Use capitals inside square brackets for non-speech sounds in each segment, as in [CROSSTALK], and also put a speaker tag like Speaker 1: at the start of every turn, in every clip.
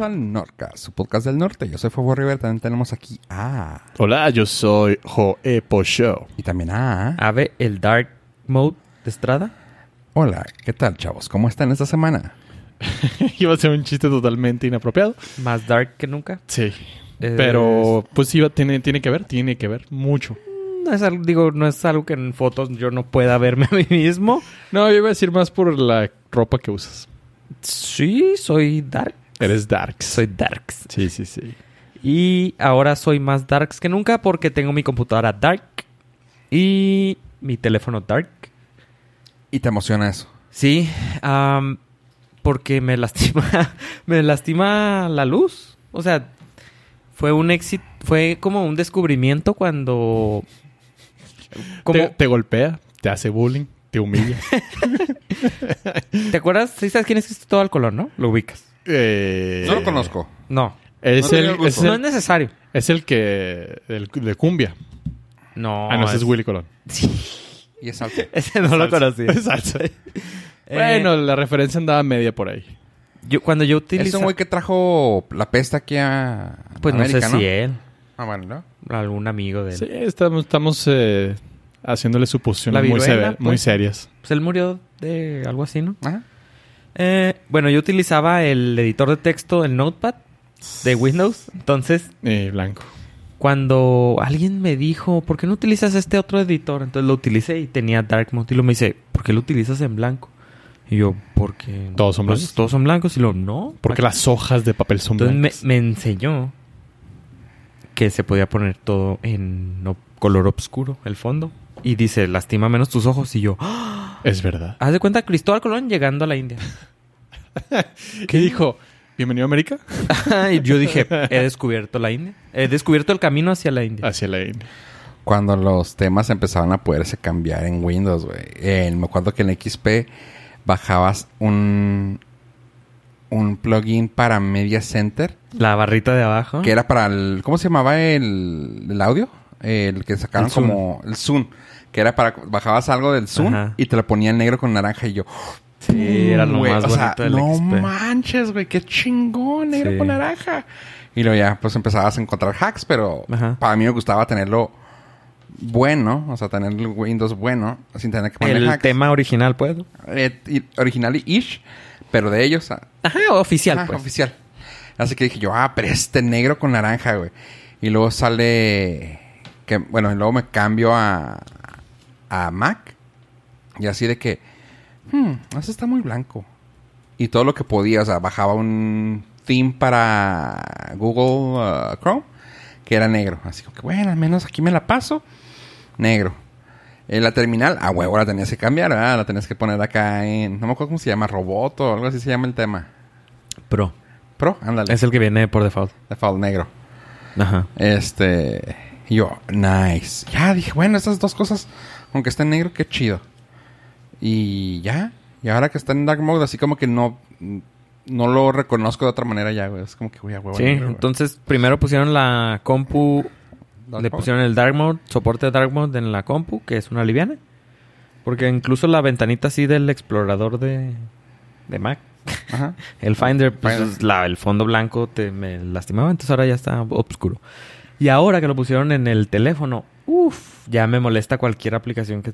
Speaker 1: al Norca, su podcast del norte. Yo soy Fofo River, también tenemos aquí a...
Speaker 2: Hola, yo soy Joe Show.
Speaker 1: Y también a...
Speaker 3: Ave, el Dark Mode de Estrada.
Speaker 1: Hola, ¿qué tal chavos? ¿Cómo están esta semana?
Speaker 2: [LAUGHS] iba a ser un chiste totalmente inapropiado.
Speaker 3: Más dark que nunca.
Speaker 2: Sí.
Speaker 3: Eh,
Speaker 2: Pero pues iba, tiene, tiene que ver, tiene que ver mucho.
Speaker 3: No es algo, digo, no es algo que en fotos yo no pueda verme a mí mismo.
Speaker 2: No, yo iba a decir más por la ropa que usas.
Speaker 3: Sí, soy dark.
Speaker 2: Eres darks.
Speaker 3: Soy darks.
Speaker 2: Sí, sí, sí.
Speaker 3: Y ahora soy más darks que nunca porque tengo mi computadora dark y mi teléfono dark.
Speaker 1: ¿Y te emociona eso?
Speaker 3: Sí, am, porque me lastima, [LAUGHS] me lastima la luz. O sea, fue un éxito, fue como un descubrimiento cuando... Como,
Speaker 2: Te, te golpea, te hace bullying, te humilla.
Speaker 3: ¿Te acuerdas? Sí, sabes quién es Cristóbal Colón, ¿no? Lo ubicas.
Speaker 2: [LAUGHS] Eh,
Speaker 1: No lo conozco.
Speaker 3: No.
Speaker 1: No
Speaker 2: Es,
Speaker 1: tenía el
Speaker 2: el,
Speaker 1: gusto.
Speaker 2: es,
Speaker 3: No es
Speaker 2: el,
Speaker 3: necesario.
Speaker 2: es el que... El de cumbia.
Speaker 3: No.
Speaker 2: ah, no, ese es Willy Colón.
Speaker 1: Y es alto.
Speaker 3: [LAUGHS] Ese no lo conocí.
Speaker 2: Es [LAUGHS] salsa.
Speaker 3: [LAUGHS] Eh,
Speaker 2: Bueno, la referencia andaba media por ahí.
Speaker 3: yo, cuando yo
Speaker 1: Es
Speaker 3: utilizo...
Speaker 1: un güey que trajo la peste aquí a
Speaker 3: Pues no
Speaker 1: América,
Speaker 3: sé si él,
Speaker 1: Ah, bueno, ¿no?
Speaker 3: algún amigo de él.
Speaker 2: Sí, estamos, estamos eh, haciéndole suposiciones
Speaker 3: La
Speaker 2: muy,
Speaker 3: viruela,
Speaker 2: sever- muy
Speaker 3: pues.
Speaker 2: serias.
Speaker 3: Pues él murió de algo así, ¿no?
Speaker 1: Ajá.
Speaker 3: Eh, bueno, yo utilizaba el editor de texto, el Notepad de Windows. Entonces,
Speaker 2: Eh, blanco.
Speaker 3: cuando alguien me dijo, ¿por qué no utilizas este otro editor? Entonces lo utilicé y tenía Dark Mode. Y luego me dice, ¿por qué lo utilizas en blanco? Y yo, porque...
Speaker 2: Todos son
Speaker 3: pues,
Speaker 2: blancos.
Speaker 3: todos son blancos. Y lo no.
Speaker 2: Porque las hojas de papel son
Speaker 3: Entonces me,
Speaker 2: blancas.
Speaker 3: me enseñó que se podía poner todo en no- color oscuro, el fondo. Y dice, lastima menos tus ojos. Y yo, ¡ah!
Speaker 2: Es verdad.
Speaker 3: haz de cuenta Cristóbal Colón llegando a la India.
Speaker 2: ¿Qué dijo? ¿Bienvenido a América?
Speaker 3: [LAUGHS] y yo dije, he descubierto la India. He descubierto el camino hacia la India.
Speaker 2: Hacia la India.
Speaker 1: Cuando los temas empezaban a poderse cambiar en Windows, güey. En- Me acuerdo que en XP bajabas un, un plugin para Media Center
Speaker 3: La barrita de abajo.
Speaker 1: que era para el... ¿Cómo se llamaba el, el audio? El que sacaron
Speaker 3: El Zoom.
Speaker 1: como... El Zoom. Que era para... Bajabas algo del Zoom
Speaker 3: Ajá.
Speaker 1: y te lo ponía en negro con naranja y yo...
Speaker 3: Sí, era lo
Speaker 1: Güey,
Speaker 3: más
Speaker 1: o
Speaker 3: bonito
Speaker 1: sea,
Speaker 3: del
Speaker 1: no
Speaker 3: XP.
Speaker 1: manches, güey. Qué chingón. Negro
Speaker 3: Sí.
Speaker 1: con naranja. Y luego ya pues empezabas a encontrar hacks, pero
Speaker 3: Ajá.
Speaker 1: para mí me gustaba tenerlo bueno. O sea, tener el Windows bueno sin tener que poner
Speaker 3: El
Speaker 1: hacks.
Speaker 3: tema original, pues.
Speaker 1: Eh, y- original y ish, pero de ellos. ah,
Speaker 3: Ajá, oficial,
Speaker 1: ah,
Speaker 3: pues.
Speaker 1: Oficial. Así que dije yo, ah, pero este negro con naranja, güey. Y luego sale... que Bueno, y luego me cambio a, a Mac. Y así de que... Hmm, eso está muy blanco. Y todo lo que podía, o sea, bajaba un theme para Google uh, Chrome, que era negro. Así como que, bueno, al menos aquí me la paso. Negro. Eh, la terminal, a huevo la tenías que cambiar, ¿verdad? La tenías que poner acá en... No me acuerdo cómo se llama, robot o algo así se llama el tema.
Speaker 3: Pro.
Speaker 1: Pro, ándale.
Speaker 3: Es el que viene por default.
Speaker 1: Default negro.
Speaker 3: Ajá.
Speaker 1: Este. y Yo, nice. Ya dije, bueno, estas dos cosas, aunque está en negro, qué chido. Y ya. Y ahora que está en dark mode, así como que no. No lo reconozco de otra manera ya, güey. Es como que, güey, a huevo.
Speaker 3: Sí,
Speaker 1: negro, güey.
Speaker 3: entonces primero pusieron la compu,
Speaker 1: Dark mode.
Speaker 3: le pusieron el dark mode, soporte dark mode en la compu, que es una liviana. Porque incluso la ventanita así del explorador de, de Mac,
Speaker 1: Ajá.
Speaker 3: el Finder, pues
Speaker 1: Finder.
Speaker 3: es la- el fondo blanco te me lastimaba, entonces ahora ya está oscuro. Y ahora que lo pusieron en el teléfono, uff, ya me molesta cualquier aplicación que,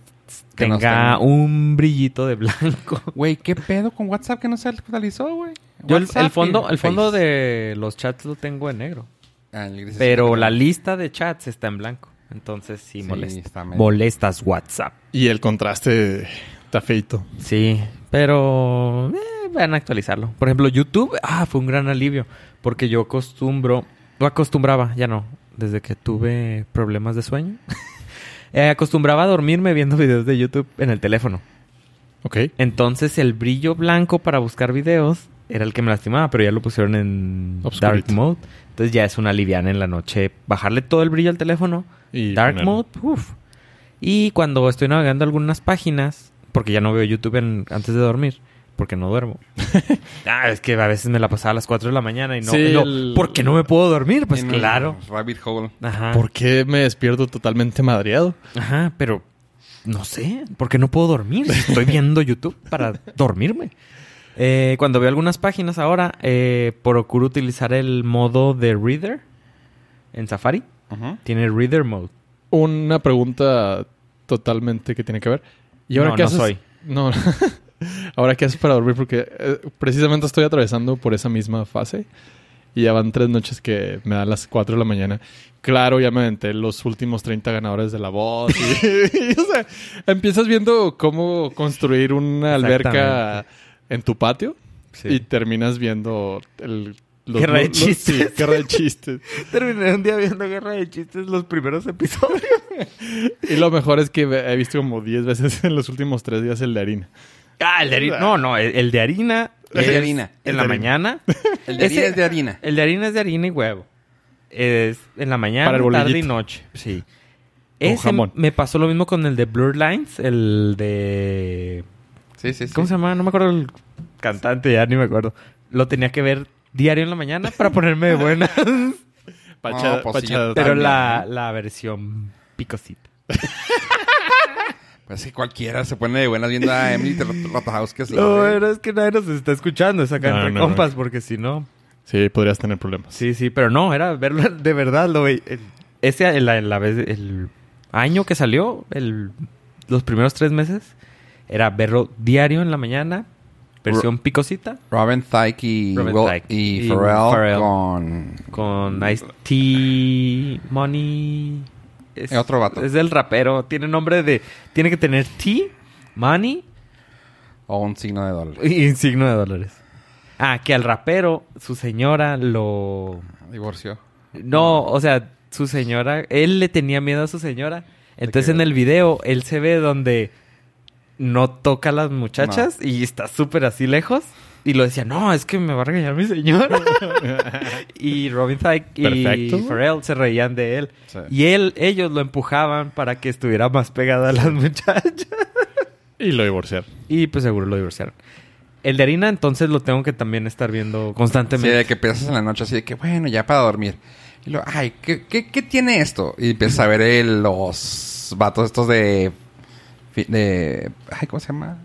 Speaker 1: Que no
Speaker 3: tenga
Speaker 1: esté-
Speaker 3: un brillito de
Speaker 1: [LAUGHS]
Speaker 3: blanco.
Speaker 1: Güey, ¿qué pedo con WhatsApp que no se actualizó, güey?
Speaker 3: Yo el,
Speaker 1: WhatsApp
Speaker 3: el fondo,
Speaker 1: y
Speaker 3: el fondo
Speaker 1: Face.
Speaker 3: de los chats lo tengo en negro.
Speaker 1: Ah, el gris es
Speaker 3: Pero
Speaker 1: el-
Speaker 3: la lista de chats está en blanco. Entonces sí,
Speaker 1: Sí,
Speaker 3: molesta.
Speaker 1: está medio-
Speaker 3: Molestas WhatsApp.
Speaker 2: Y el contraste está feito.
Speaker 3: Sí, pero eh, van a actualizarlo. Por ejemplo, YouTube, ah, fue un gran alivio. Porque yo acostumbro, no acostumbraba, ya no, desde que tuve problemas de sueño. [LAUGHS] eh, acostumbraba a dormirme viendo videos de YouTube en el teléfono.
Speaker 2: ¿Ok?
Speaker 3: Entonces el brillo blanco para buscar videos era el que me lastimaba, pero ya lo pusieron en
Speaker 2: Obscurito.
Speaker 3: Dark Mode. Entonces ya es una liviana en la noche. Bajarle todo el brillo al teléfono
Speaker 2: Y
Speaker 3: Dark
Speaker 2: ponerlo.
Speaker 3: Mode, uf. Y cuando estoy navegando algunas páginas, porque ya no veo YouTube en- antes de dormir, porque
Speaker 2: [LAUGHS]
Speaker 3: no duermo. ah, es que a veces me la pasaba a las 4 de la mañana y no.
Speaker 2: Sí,
Speaker 3: y lo-
Speaker 2: el-
Speaker 3: ¿Por qué no me puedo dormir? Pues
Speaker 1: en el
Speaker 3: claro.
Speaker 1: Rabbit hole.
Speaker 3: Ajá.
Speaker 2: ¿Por qué me despierto totalmente madreado?
Speaker 3: Ajá, pero no sé, porque no puedo dormir. Estoy viendo YouTube para dormirme. Eh, cuando veo algunas páginas ahora, eh, procuro utilizar el modo de Reader en Safari.
Speaker 1: Ujú.
Speaker 3: Tiene Reader Mode.
Speaker 2: Una pregunta totalmente que tiene que ver. ¿Y ahora
Speaker 3: No,
Speaker 2: qué
Speaker 3: no
Speaker 2: haces?
Speaker 3: soy.
Speaker 2: No. [LAUGHS] ¿Ahora qué haces para dormir? Porque eh, precisamente estoy atravesando por esa misma fase. Y ya van tres noches que me dan las 4 de la mañana. Claro, ya me aventé los últimos 30 ganadores de la voz. Y, [LAUGHS] y, o sea, empiezas viendo cómo construir una alberca en tu patio. Y terminas viendo el... los-
Speaker 3: Guerra
Speaker 2: los-
Speaker 3: de
Speaker 2: los- sí,
Speaker 3: chistes.
Speaker 2: guerra de chistes.
Speaker 3: Terminé un día viendo Guerra de Chistes los primeros episodios.
Speaker 2: Y lo mejor es que he visto como 10 veces [LAUGHS] en los últimos 3 días el de harina.
Speaker 3: Ah, el de harina. No, no, el, el de harina.
Speaker 1: El de
Speaker 3: es
Speaker 1: harina.
Speaker 3: En
Speaker 2: El
Speaker 3: la
Speaker 2: de harina.
Speaker 3: mañana.
Speaker 1: El de
Speaker 3: Ese-
Speaker 1: harina es de harina.
Speaker 3: El de harina es de harina y huevo. Es en la mañana,
Speaker 2: Para el
Speaker 3: tarde y
Speaker 2: bolillito.
Speaker 3: noche. Sí.
Speaker 2: Con
Speaker 3: Ese
Speaker 2: jamón.
Speaker 3: Me pasó lo mismo con el de Blur Lines, el de.
Speaker 1: Sí, sí, sí.
Speaker 3: ¿Cómo se llama? No me acuerdo el cantante, ya ni me acuerdo. Lo tenía que ver diario en la mañana para ponerme
Speaker 2: [LAUGHS]
Speaker 3: de buena.
Speaker 2: Pachada,
Speaker 1: No, pues sí,
Speaker 2: pachada.
Speaker 3: Pero
Speaker 1: También,
Speaker 3: la,
Speaker 1: ¿no?
Speaker 3: la versión picosita.
Speaker 1: Pues que cualquiera se pone de buenas viendo a Emily Ratajhouse que se la
Speaker 3: Lo
Speaker 1: ve.
Speaker 3: bueno es que nadie nos está escuchando esa
Speaker 2: No,
Speaker 3: canción,
Speaker 2: no, no.
Speaker 3: compas, porque si no.
Speaker 2: Sí, podrías tener problemas.
Speaker 3: Sí, sí, pero no, era verlo [LAUGHS] de verdad. Lo, ve- el- ese, el, la- la vez- el año que salió, el, los primeros tres meses, era verlo diario en la mañana, versión picosita,
Speaker 1: Robin Thicke y,
Speaker 3: Robin
Speaker 1: Will-
Speaker 3: Thicke
Speaker 1: y
Speaker 3: y
Speaker 1: Pharrell,
Speaker 3: Pharrell.
Speaker 1: con...
Speaker 3: con Ice T, Money. Es,
Speaker 1: Es otro vato.
Speaker 3: Es del rapero, tiene nombre de. Tiene que tener T, Money
Speaker 1: O un signo de dólar.
Speaker 3: y signo de dólares. Ah, que al rapero, su señora lo.
Speaker 1: Divorció.
Speaker 3: No, o sea, su señora, él le tenía miedo a su señora. Entonces
Speaker 1: que-
Speaker 3: en el video él se ve donde no toca a las muchachas y está súper así lejos. Y lo decía, no, es que me va a regañar
Speaker 1: [LAUGHS]
Speaker 3: mi señora. y Robin Thicke y
Speaker 2: Perfecto.
Speaker 3: Pharrell se reían de él.
Speaker 1: Sí.
Speaker 3: Y él, ellos lo empujaban para que estuviera más pegada a las [LAUGHS] muchachas.
Speaker 2: Y lo divorciar.
Speaker 3: Y pues seguro lo divorciaron. El de harina entonces lo tengo que también estar viendo
Speaker 1: Sí,
Speaker 3: constantemente.
Speaker 1: de que empiezas en la noche así de que, bueno, ya para dormir. Y luego, ay, ¿qué, qué, qué tiene esto? Y empiezas a ver el- los vatos estos de... fi- de ay, ¿cómo se llama?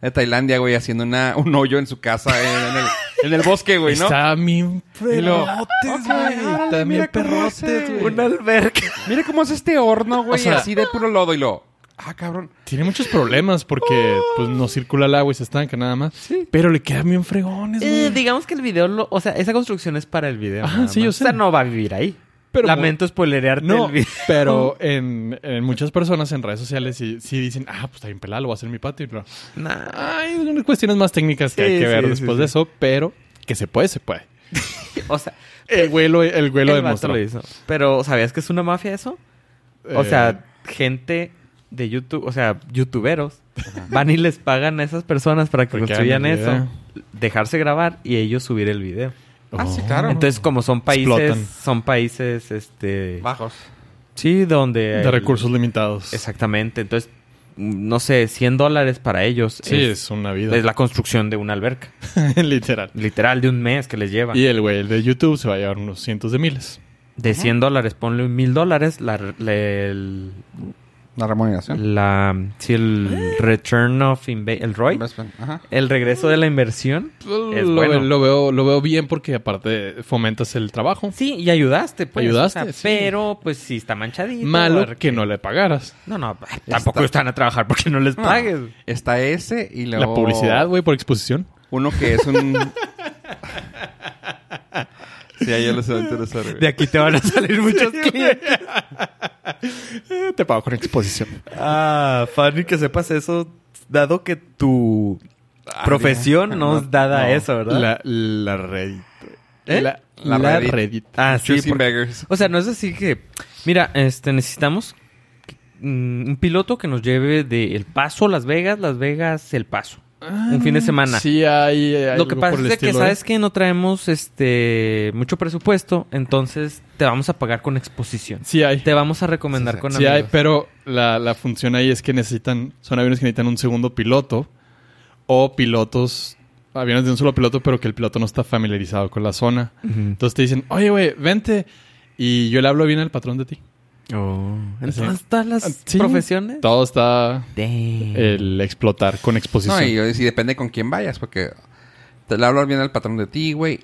Speaker 1: De Tailandia, güey, haciendo una, un hoyo en su casa en, en el, en el bosque, güey, ¿no?
Speaker 2: Está bien
Speaker 1: Y luego,
Speaker 2: perrotes,
Speaker 1: ok,
Speaker 2: güey.
Speaker 1: órale,
Speaker 2: Está bien
Speaker 1: mira cómo
Speaker 2: perrotes,
Speaker 1: hace.
Speaker 2: güey.
Speaker 3: Un alberca.
Speaker 1: Mira cómo es este horno, güey,
Speaker 2: O sea-
Speaker 1: así de puro lodo. Y lo, ah, cabrón.
Speaker 2: Tiene muchos problemas porque pues no circula el agua y se estanca nada más. Pero le quedan bien fregones,
Speaker 3: Eh,
Speaker 2: güey.
Speaker 3: digamos que el video, lo- o sea, esa construcción es para el video.
Speaker 2: Ajá,
Speaker 3: nada
Speaker 2: sí, yo
Speaker 3: más.
Speaker 2: sé.
Speaker 3: O sea, no va a vivir ahí.
Speaker 2: Pero-
Speaker 3: Lamento spoilerearte
Speaker 2: No,
Speaker 3: el video. [LAUGHS]
Speaker 2: pero en, en muchas personas en redes sociales sí, sí dicen, ah, pues está bien pelado, lo voy a hacer en mi patio. No.
Speaker 3: Nah.
Speaker 2: Hay unas cuestiones más técnicas que
Speaker 3: Sí,
Speaker 2: hay que
Speaker 3: sí,
Speaker 2: ver
Speaker 3: sí,
Speaker 2: después
Speaker 3: sí.
Speaker 2: de eso, pero que se puede, se puede.
Speaker 3: O sea,
Speaker 1: Eh,
Speaker 2: El güey lo, el güey lo
Speaker 3: el vato
Speaker 2: demostró.
Speaker 3: lo hizo. Pero, ¿sabías que es una mafia eso? O
Speaker 2: Eh,
Speaker 3: sea, gente de YouTube, o sea, youtuberos, van y les pagan a esas personas para que
Speaker 2: Porque
Speaker 3: construyan
Speaker 2: hagan el
Speaker 3: eso, dejarse grabar y ellos subir el video.
Speaker 1: Ah, sí,
Speaker 2: oh.
Speaker 1: claro.
Speaker 3: Entonces, como son países,
Speaker 2: Explotan.
Speaker 3: son países, este...
Speaker 1: Bajos.
Speaker 3: Sí, donde...
Speaker 2: De
Speaker 3: el-
Speaker 2: recursos limitados.
Speaker 3: Exactamente. Entonces, no sé, 100 dólares para ellos.
Speaker 2: Sí, es, una vida.
Speaker 3: Es la construcción de una alberca.
Speaker 2: [LAUGHS] Literal.
Speaker 3: Literal, de un mes que les lleva.
Speaker 2: Y el güey el de YouTube se va a llevar unos cientos de miles.
Speaker 3: De 100 dólares, ponle un mil dólares. La, la, el-
Speaker 1: La remuneración.
Speaker 3: la- sí, el return of inve- el ROI.
Speaker 1: Investment, Ajá.
Speaker 3: El regreso de la inversión. Es
Speaker 2: lo,
Speaker 3: bueno.
Speaker 2: lo veo, lo veo bien porque aparte fomentas el trabajo.
Speaker 3: Sí, y ayudaste, pues.
Speaker 2: Ayudaste, sí.
Speaker 3: Pero, pues, sí está manchadito.
Speaker 2: Malo
Speaker 3: ar-
Speaker 2: que no le pagaras.
Speaker 3: No, no, tampoco están a trabajar porque no les
Speaker 1: No.
Speaker 3: pagues.
Speaker 1: Está ese y luego...
Speaker 2: La publicidad, güey, por exposición.
Speaker 1: Uno que es un... [LAUGHS] sí, a ellos les va a interesar, güey.
Speaker 3: De aquí te [LAUGHS] van a salir muchos clientes.
Speaker 2: Eh, te pago con exposición.
Speaker 3: [LAUGHS] Ah, Fanny, que sepas eso, dado que tu profesión
Speaker 1: mira.
Speaker 3: Ah, no es dada a Ah, eso, ¿verdad?
Speaker 2: La, la Reddit.
Speaker 3: ¿Eh?
Speaker 2: La,
Speaker 1: La
Speaker 2: la
Speaker 1: Reddit.
Speaker 2: Reddit.
Speaker 3: Ah, sí.
Speaker 1: Choosing
Speaker 3: porque-
Speaker 1: beggars.
Speaker 3: [LAUGHS] O sea, no es así que... Mira, este, necesitamos mm, un piloto que nos lleve de El Paso, Las Vegas, Las Vegas, El Paso.
Speaker 2: Ah,
Speaker 3: Un fin de semana.
Speaker 2: Sí, hay, hay
Speaker 3: Lo que
Speaker 2: algo
Speaker 3: pasa
Speaker 2: por el
Speaker 3: es que,
Speaker 2: estilo,
Speaker 3: ¿sabes
Speaker 2: ¿eh?
Speaker 3: que No traemos, este, mucho presupuesto, entonces te vamos a pagar con exposición.
Speaker 2: Sí hay.
Speaker 3: Te vamos a recomendar
Speaker 1: Sí, sí.
Speaker 3: con
Speaker 2: Sí hay,
Speaker 3: amigos.
Speaker 2: pero la, la función ahí es que necesitan... Son aviones que necesitan un segundo piloto o pilotos... Aviones de un solo piloto, pero que el piloto no está familiarizado con la zona.
Speaker 3: Ujú.
Speaker 2: Entonces te dicen, oye, güey, vente. Y yo le hablo bien al patrón de ti.
Speaker 3: Entonces, todas las
Speaker 2: Oh, Ah, Sí. Eh,
Speaker 3: profesiones...
Speaker 2: Todo está
Speaker 3: Damn. Mm.
Speaker 2: el explotar con
Speaker 1: No,
Speaker 2: exposición.
Speaker 1: y, y depende con quién vayas, porque Te le hablas bien al patrón de ti, güey.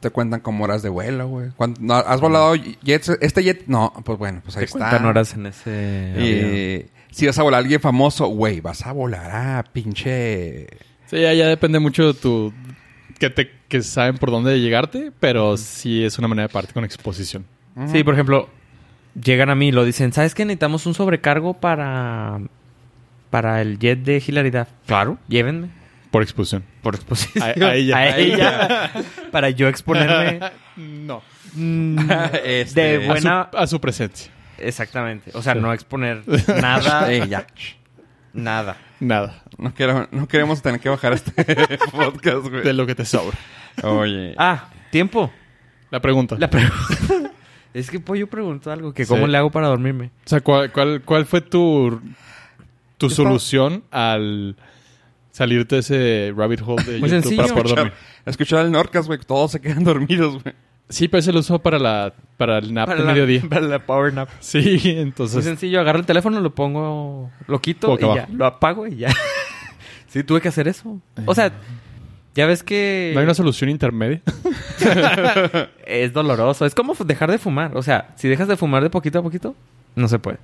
Speaker 1: Te cuentan como horas de vuelo, güey. Cuando- no, ¿Has volado jets? Este jet... No, pues bueno, pues ahí
Speaker 3: Te
Speaker 1: está.
Speaker 3: cuentan horas en ese. avión.
Speaker 1: Y si vas a volar a alguien famoso, güey, vas a volar a pinche...
Speaker 2: Sí, ya, ya depende mucho de tu... Que, te, que saben por dónde llegarte,
Speaker 3: Mm.
Speaker 2: pero sí es una manera de parte con exposición.
Speaker 1: mm,
Speaker 3: Sí,
Speaker 1: [LAUGHS]
Speaker 3: por ejemplo, llegan a mí y lo dicen, ¿sabes qué? Necesitamos un sobrecargo para, para el jet de hilaridad. Claro. Llévenme.
Speaker 2: Por exposición.
Speaker 3: Por exposición.
Speaker 2: A- a ella.
Speaker 3: [LAUGHS] A ella. para
Speaker 2: [LAUGHS]
Speaker 3: yo exponerme.
Speaker 2: no.
Speaker 3: mm,
Speaker 1: Este,
Speaker 3: de
Speaker 2: A su,
Speaker 3: buena.
Speaker 2: a su presencia.
Speaker 3: Exactamente. O sea,
Speaker 2: Sí.
Speaker 3: no exponer
Speaker 2: [LAUGHS]
Speaker 3: nada.
Speaker 1: Eh, ya.
Speaker 3: Nada.
Speaker 2: Nada.
Speaker 1: No, quiero- no queremos tener que bajar este [LAUGHS] podcast,
Speaker 2: De
Speaker 1: güey.
Speaker 2: lo que te sobra.
Speaker 1: Oye.
Speaker 3: Ah, tiempo.
Speaker 2: La pregunta.
Speaker 3: La pregunta. [LAUGHS] es que Pollo preguntó algo, que cómo
Speaker 2: Sí.
Speaker 3: le hago para dormirme.
Speaker 2: O sea, ¿cuál, cuál, cuál fue tu,
Speaker 1: Yo
Speaker 2: tu
Speaker 1: estaba-
Speaker 2: solución al salirte de ese rabbit hole de
Speaker 3: Muy
Speaker 2: YouTube para
Speaker 3: sencillo.
Speaker 2: poder dormir?
Speaker 1: Escuchar el Norcas, güey, que todos se quedan [LAUGHS] dormidos, güey.
Speaker 2: Sí, pero ese lo uso para, la, para el nap de
Speaker 3: la-
Speaker 2: [LAUGHS] mediodía.
Speaker 3: para la power nap.
Speaker 2: Sí,
Speaker 3: Muy
Speaker 2: entonces...
Speaker 3: sencillo, agarro el teléfono, lo pongo, lo quito
Speaker 2: Boca
Speaker 3: y
Speaker 2: abajo.
Speaker 3: ya, lo apago y ya. [LAUGHS] sí, tuve que hacer eso. O sea, ya ves que
Speaker 2: ¿No hay una solución intermedia?
Speaker 3: es doloroso. Es como fu- dejar de fumar. O sea, si dejas de fumar de poquito a poquito, no se puede.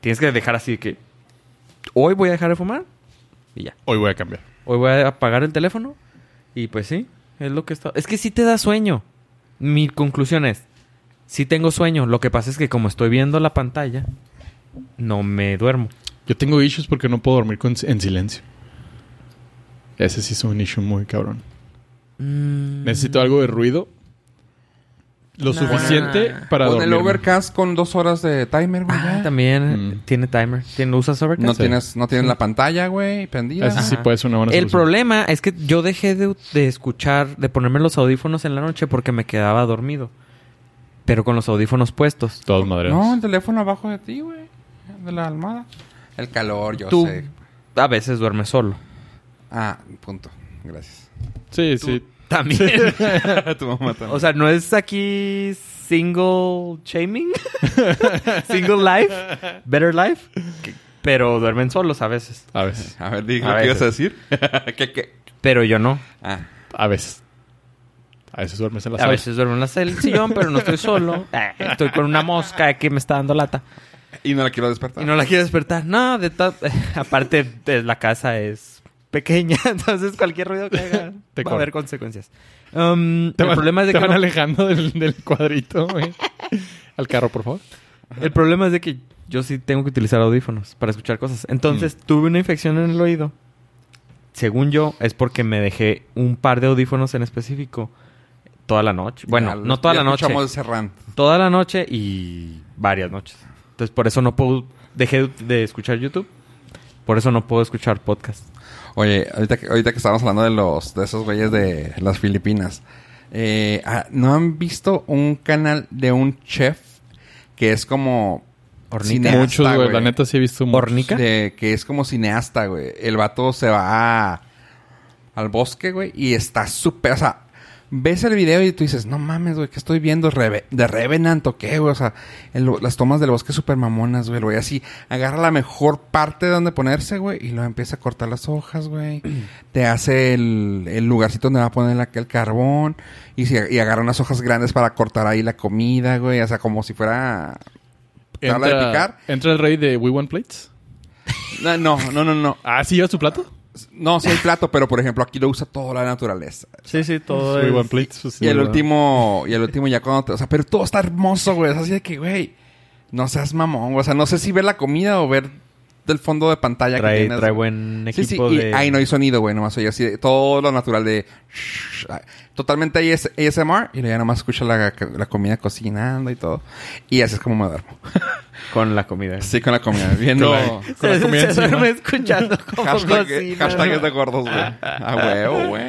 Speaker 3: Tienes que dejar así que hoy voy a dejar de fumar y ya.
Speaker 2: [LAUGHS] Hoy voy a cambiar.
Speaker 3: Hoy voy a apagar el teléfono y pues sí, es lo que está. Es que sí te da sueño. Mi conclusión es, sí tengo sueño. Lo que pasa es que como estoy viendo la pantalla, no me duermo.
Speaker 2: Yo tengo issues porque no puedo dormir con- en silencio. Ese sí es un issue muy cabrón.
Speaker 3: Mm.
Speaker 2: Necesito algo de ruido. Lo
Speaker 3: Nah.
Speaker 2: suficiente para
Speaker 1: Con
Speaker 2: dormir.
Speaker 1: el overcast con dos horas de timer, güey.
Speaker 3: Ah,
Speaker 1: ya.
Speaker 3: también
Speaker 2: Mm.
Speaker 3: tiene timer. ¿Tiene, ¿Lo usas Overcast?
Speaker 1: No
Speaker 2: Sí.
Speaker 1: tienes, no tienes la pantalla, güey, prendida.
Speaker 2: Ese sí
Speaker 3: Ajá.
Speaker 2: puede ser una buena
Speaker 3: El
Speaker 2: solución.
Speaker 3: problema es que yo dejé de, de escuchar, de ponerme los audífonos en la noche porque me quedaba dormido. Pero con los audífonos puestos.
Speaker 2: Todos madreados.
Speaker 1: No, el teléfono abajo de ti, güey. De la almohada. El calor, yo
Speaker 3: Tú
Speaker 1: sé.
Speaker 3: a veces duermes solo.
Speaker 1: Ah, punto.
Speaker 3: [LAUGHS]
Speaker 1: Gracias.
Speaker 2: Sí, sí.
Speaker 3: También.
Speaker 1: tu mamá también.
Speaker 3: [LAUGHS] O sea, no es aquí single
Speaker 2: [LAUGHS]
Speaker 3: shaming, single life, better life, que- pero duermen solos a veces.
Speaker 2: A veces.
Speaker 1: a ver, dije
Speaker 3: a
Speaker 1: lo que ibas a
Speaker 3: veces.
Speaker 1: decir. [LAUGHS] ¿Qué, qué?
Speaker 3: Pero yo no.
Speaker 1: Ah.
Speaker 2: A veces. A veces duermes en la
Speaker 3: A
Speaker 2: sala.
Speaker 3: veces duermo en la silla- el sillón, pero no
Speaker 2: [LAUGHS]
Speaker 3: estoy solo. Eh, Estoy con una mosca que me está dando lata.
Speaker 1: Y no la quiero despertar.
Speaker 3: Y no la quiero despertar. No, de to- [LAUGHS] aparte de- la casa es pequeña, [LAUGHS] entonces cualquier ruido que haga
Speaker 2: [LAUGHS] Te
Speaker 3: va a haber
Speaker 2: corre.
Speaker 3: consecuencias. Um,
Speaker 2: Te
Speaker 3: el
Speaker 2: van-
Speaker 3: problema es de
Speaker 2: te
Speaker 3: que
Speaker 2: van
Speaker 3: no-
Speaker 2: alejando del, del cuadrito, güey. Al carro, por favor.
Speaker 3: El problema es de que yo sí tengo que utilizar audífonos para escuchar cosas. Entonces,
Speaker 2: Mm.
Speaker 3: tuve una infección en el oído. Según yo, es porque me dejé un par de audífonos en específico toda la noche. Bueno,
Speaker 1: Ya-
Speaker 3: no toda
Speaker 1: ya
Speaker 3: la noche.
Speaker 1: Escuchamos ese rant.
Speaker 3: Toda la noche y varias noches. Entonces, por eso no puedo... Dejé de- de escuchar YouTube. Por eso no puedo escuchar podcast.
Speaker 1: Oye, ahorita que, ahorita que estábamos hablando de los de esos güeyes de las Filipinas, eh, ah, ¿no han visto un canal de un chef que es como
Speaker 3: Hornita.
Speaker 1: cineasta,
Speaker 2: Muchos, güey. La neta sí he visto muchos.
Speaker 3: Hornica.
Speaker 1: de- que es como cineasta, güey. El vato se va a- al bosque, güey, y está súper, o sea, ves el video y tú dices, no mames, güey, que estoy viendo Reve- de Revenant o qué, güey, o sea, el- las tomas del bosque súper mamonas, güey, el güey, así, agarra la mejor parte de donde ponerse, güey, y lo empieza a cortar las hojas, güey, te hace el, el lugarcito donde va a poner la- el carbón, y, se- y agarra unas hojas grandes para cortar ahí la comida, güey, o sea, como si fuera... tabla de picar.
Speaker 2: entra el rey de We Want Plates.
Speaker 1: No, no, no, no, no.
Speaker 2: Ah, sí, lleva su plato.
Speaker 1: No, sí hay plato, pero por ejemplo aquí lo usa toda la naturaleza.
Speaker 3: Sí, sí, todo
Speaker 2: We Want Plates. pues, sí,
Speaker 1: y el
Speaker 2: ¿verdad?
Speaker 1: último, y el último ya cuando te, o sea, pero todo está hermoso, güey. Es así de que, güey, no seas mamón, güey. O sea, no sé si ver la comida o ver del fondo de pantalla que
Speaker 3: Trae,
Speaker 1: tienes.
Speaker 3: trae buen
Speaker 1: sí,
Speaker 3: equipo
Speaker 1: sí, y
Speaker 3: de...
Speaker 1: ahí no hay sonido, güey, nomás oye así de- todo lo natural de totalmente AS ASMR y luego ya nomás escucho la, la comida cocinando y todo. Y así es como me duermo.
Speaker 3: Con la comida.
Speaker 1: Sí, con la comida, [LAUGHS] viendo
Speaker 2: Con la
Speaker 3: Se-
Speaker 2: comida
Speaker 3: se
Speaker 2: encima. eh,
Speaker 3: duerme escuchando cómo
Speaker 1: [LAUGHS] hashtag,
Speaker 3: cocina.
Speaker 1: hashtags de gordos, güey. A huevo, Ah, güey.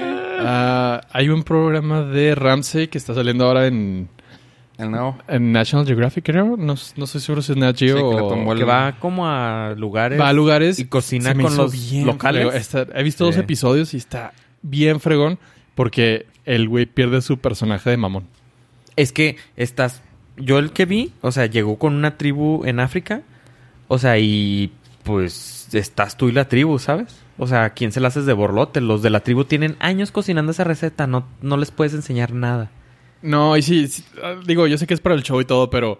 Speaker 2: Ah, hay un programa de Ramsey que está saliendo ahora en,
Speaker 1: El nuevo.
Speaker 2: en National Geographic, creo. No, no estoy seguro si es Nat Geo
Speaker 1: Sí, que la
Speaker 2: o-
Speaker 1: tomó el-
Speaker 3: Que va como a lugares.
Speaker 2: Va a lugares.
Speaker 3: Y cocina
Speaker 2: Se me
Speaker 3: con
Speaker 2: hizo
Speaker 3: los locales.
Speaker 2: fregón. Está- he visto dos
Speaker 3: Sí.
Speaker 2: episodios y está bien fregón porque el güey pierde su personaje de mamón.
Speaker 3: Es que estás. Yo el que vi, o sea, llegó con una tribu en África. O sea, y pues estás tú y la tribu, ¿sabes? O sea, ¿quién se la haces de borlote? Los de la tribu tienen años cocinando esa receta, no, no les puedes enseñar nada.
Speaker 2: No, y sí, sí, ah, digo, yo sé que es para el show y todo, pero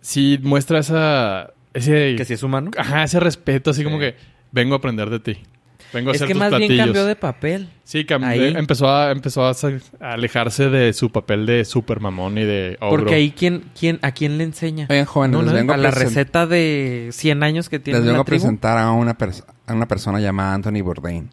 Speaker 2: sí muestra esa. Ese,
Speaker 3: Que si es humano.
Speaker 2: ajá, ese respeto, así como
Speaker 3: Sí.
Speaker 2: que vengo a aprender de ti. Vengo a
Speaker 3: Es
Speaker 2: hacer
Speaker 3: que
Speaker 2: tus
Speaker 3: más bien
Speaker 2: platillos.
Speaker 3: cambió de papel.
Speaker 2: Sí, cambió.
Speaker 3: ahí.
Speaker 2: Empezó, a, empezó a, sa- a alejarse de su papel de super mamón y de ogro.
Speaker 3: Porque ahí, ¿quién, quién, ¿a quién le enseña?
Speaker 1: Oigan, jóvenes,
Speaker 2: No,
Speaker 1: les
Speaker 2: no,
Speaker 1: vengo
Speaker 3: a la
Speaker 1: presen-
Speaker 3: receta de 100 años que tiene
Speaker 1: les vengo
Speaker 3: la
Speaker 1: a
Speaker 3: tribu.
Speaker 1: presentar a una, pers- a una persona llamada Anthony Bourdain.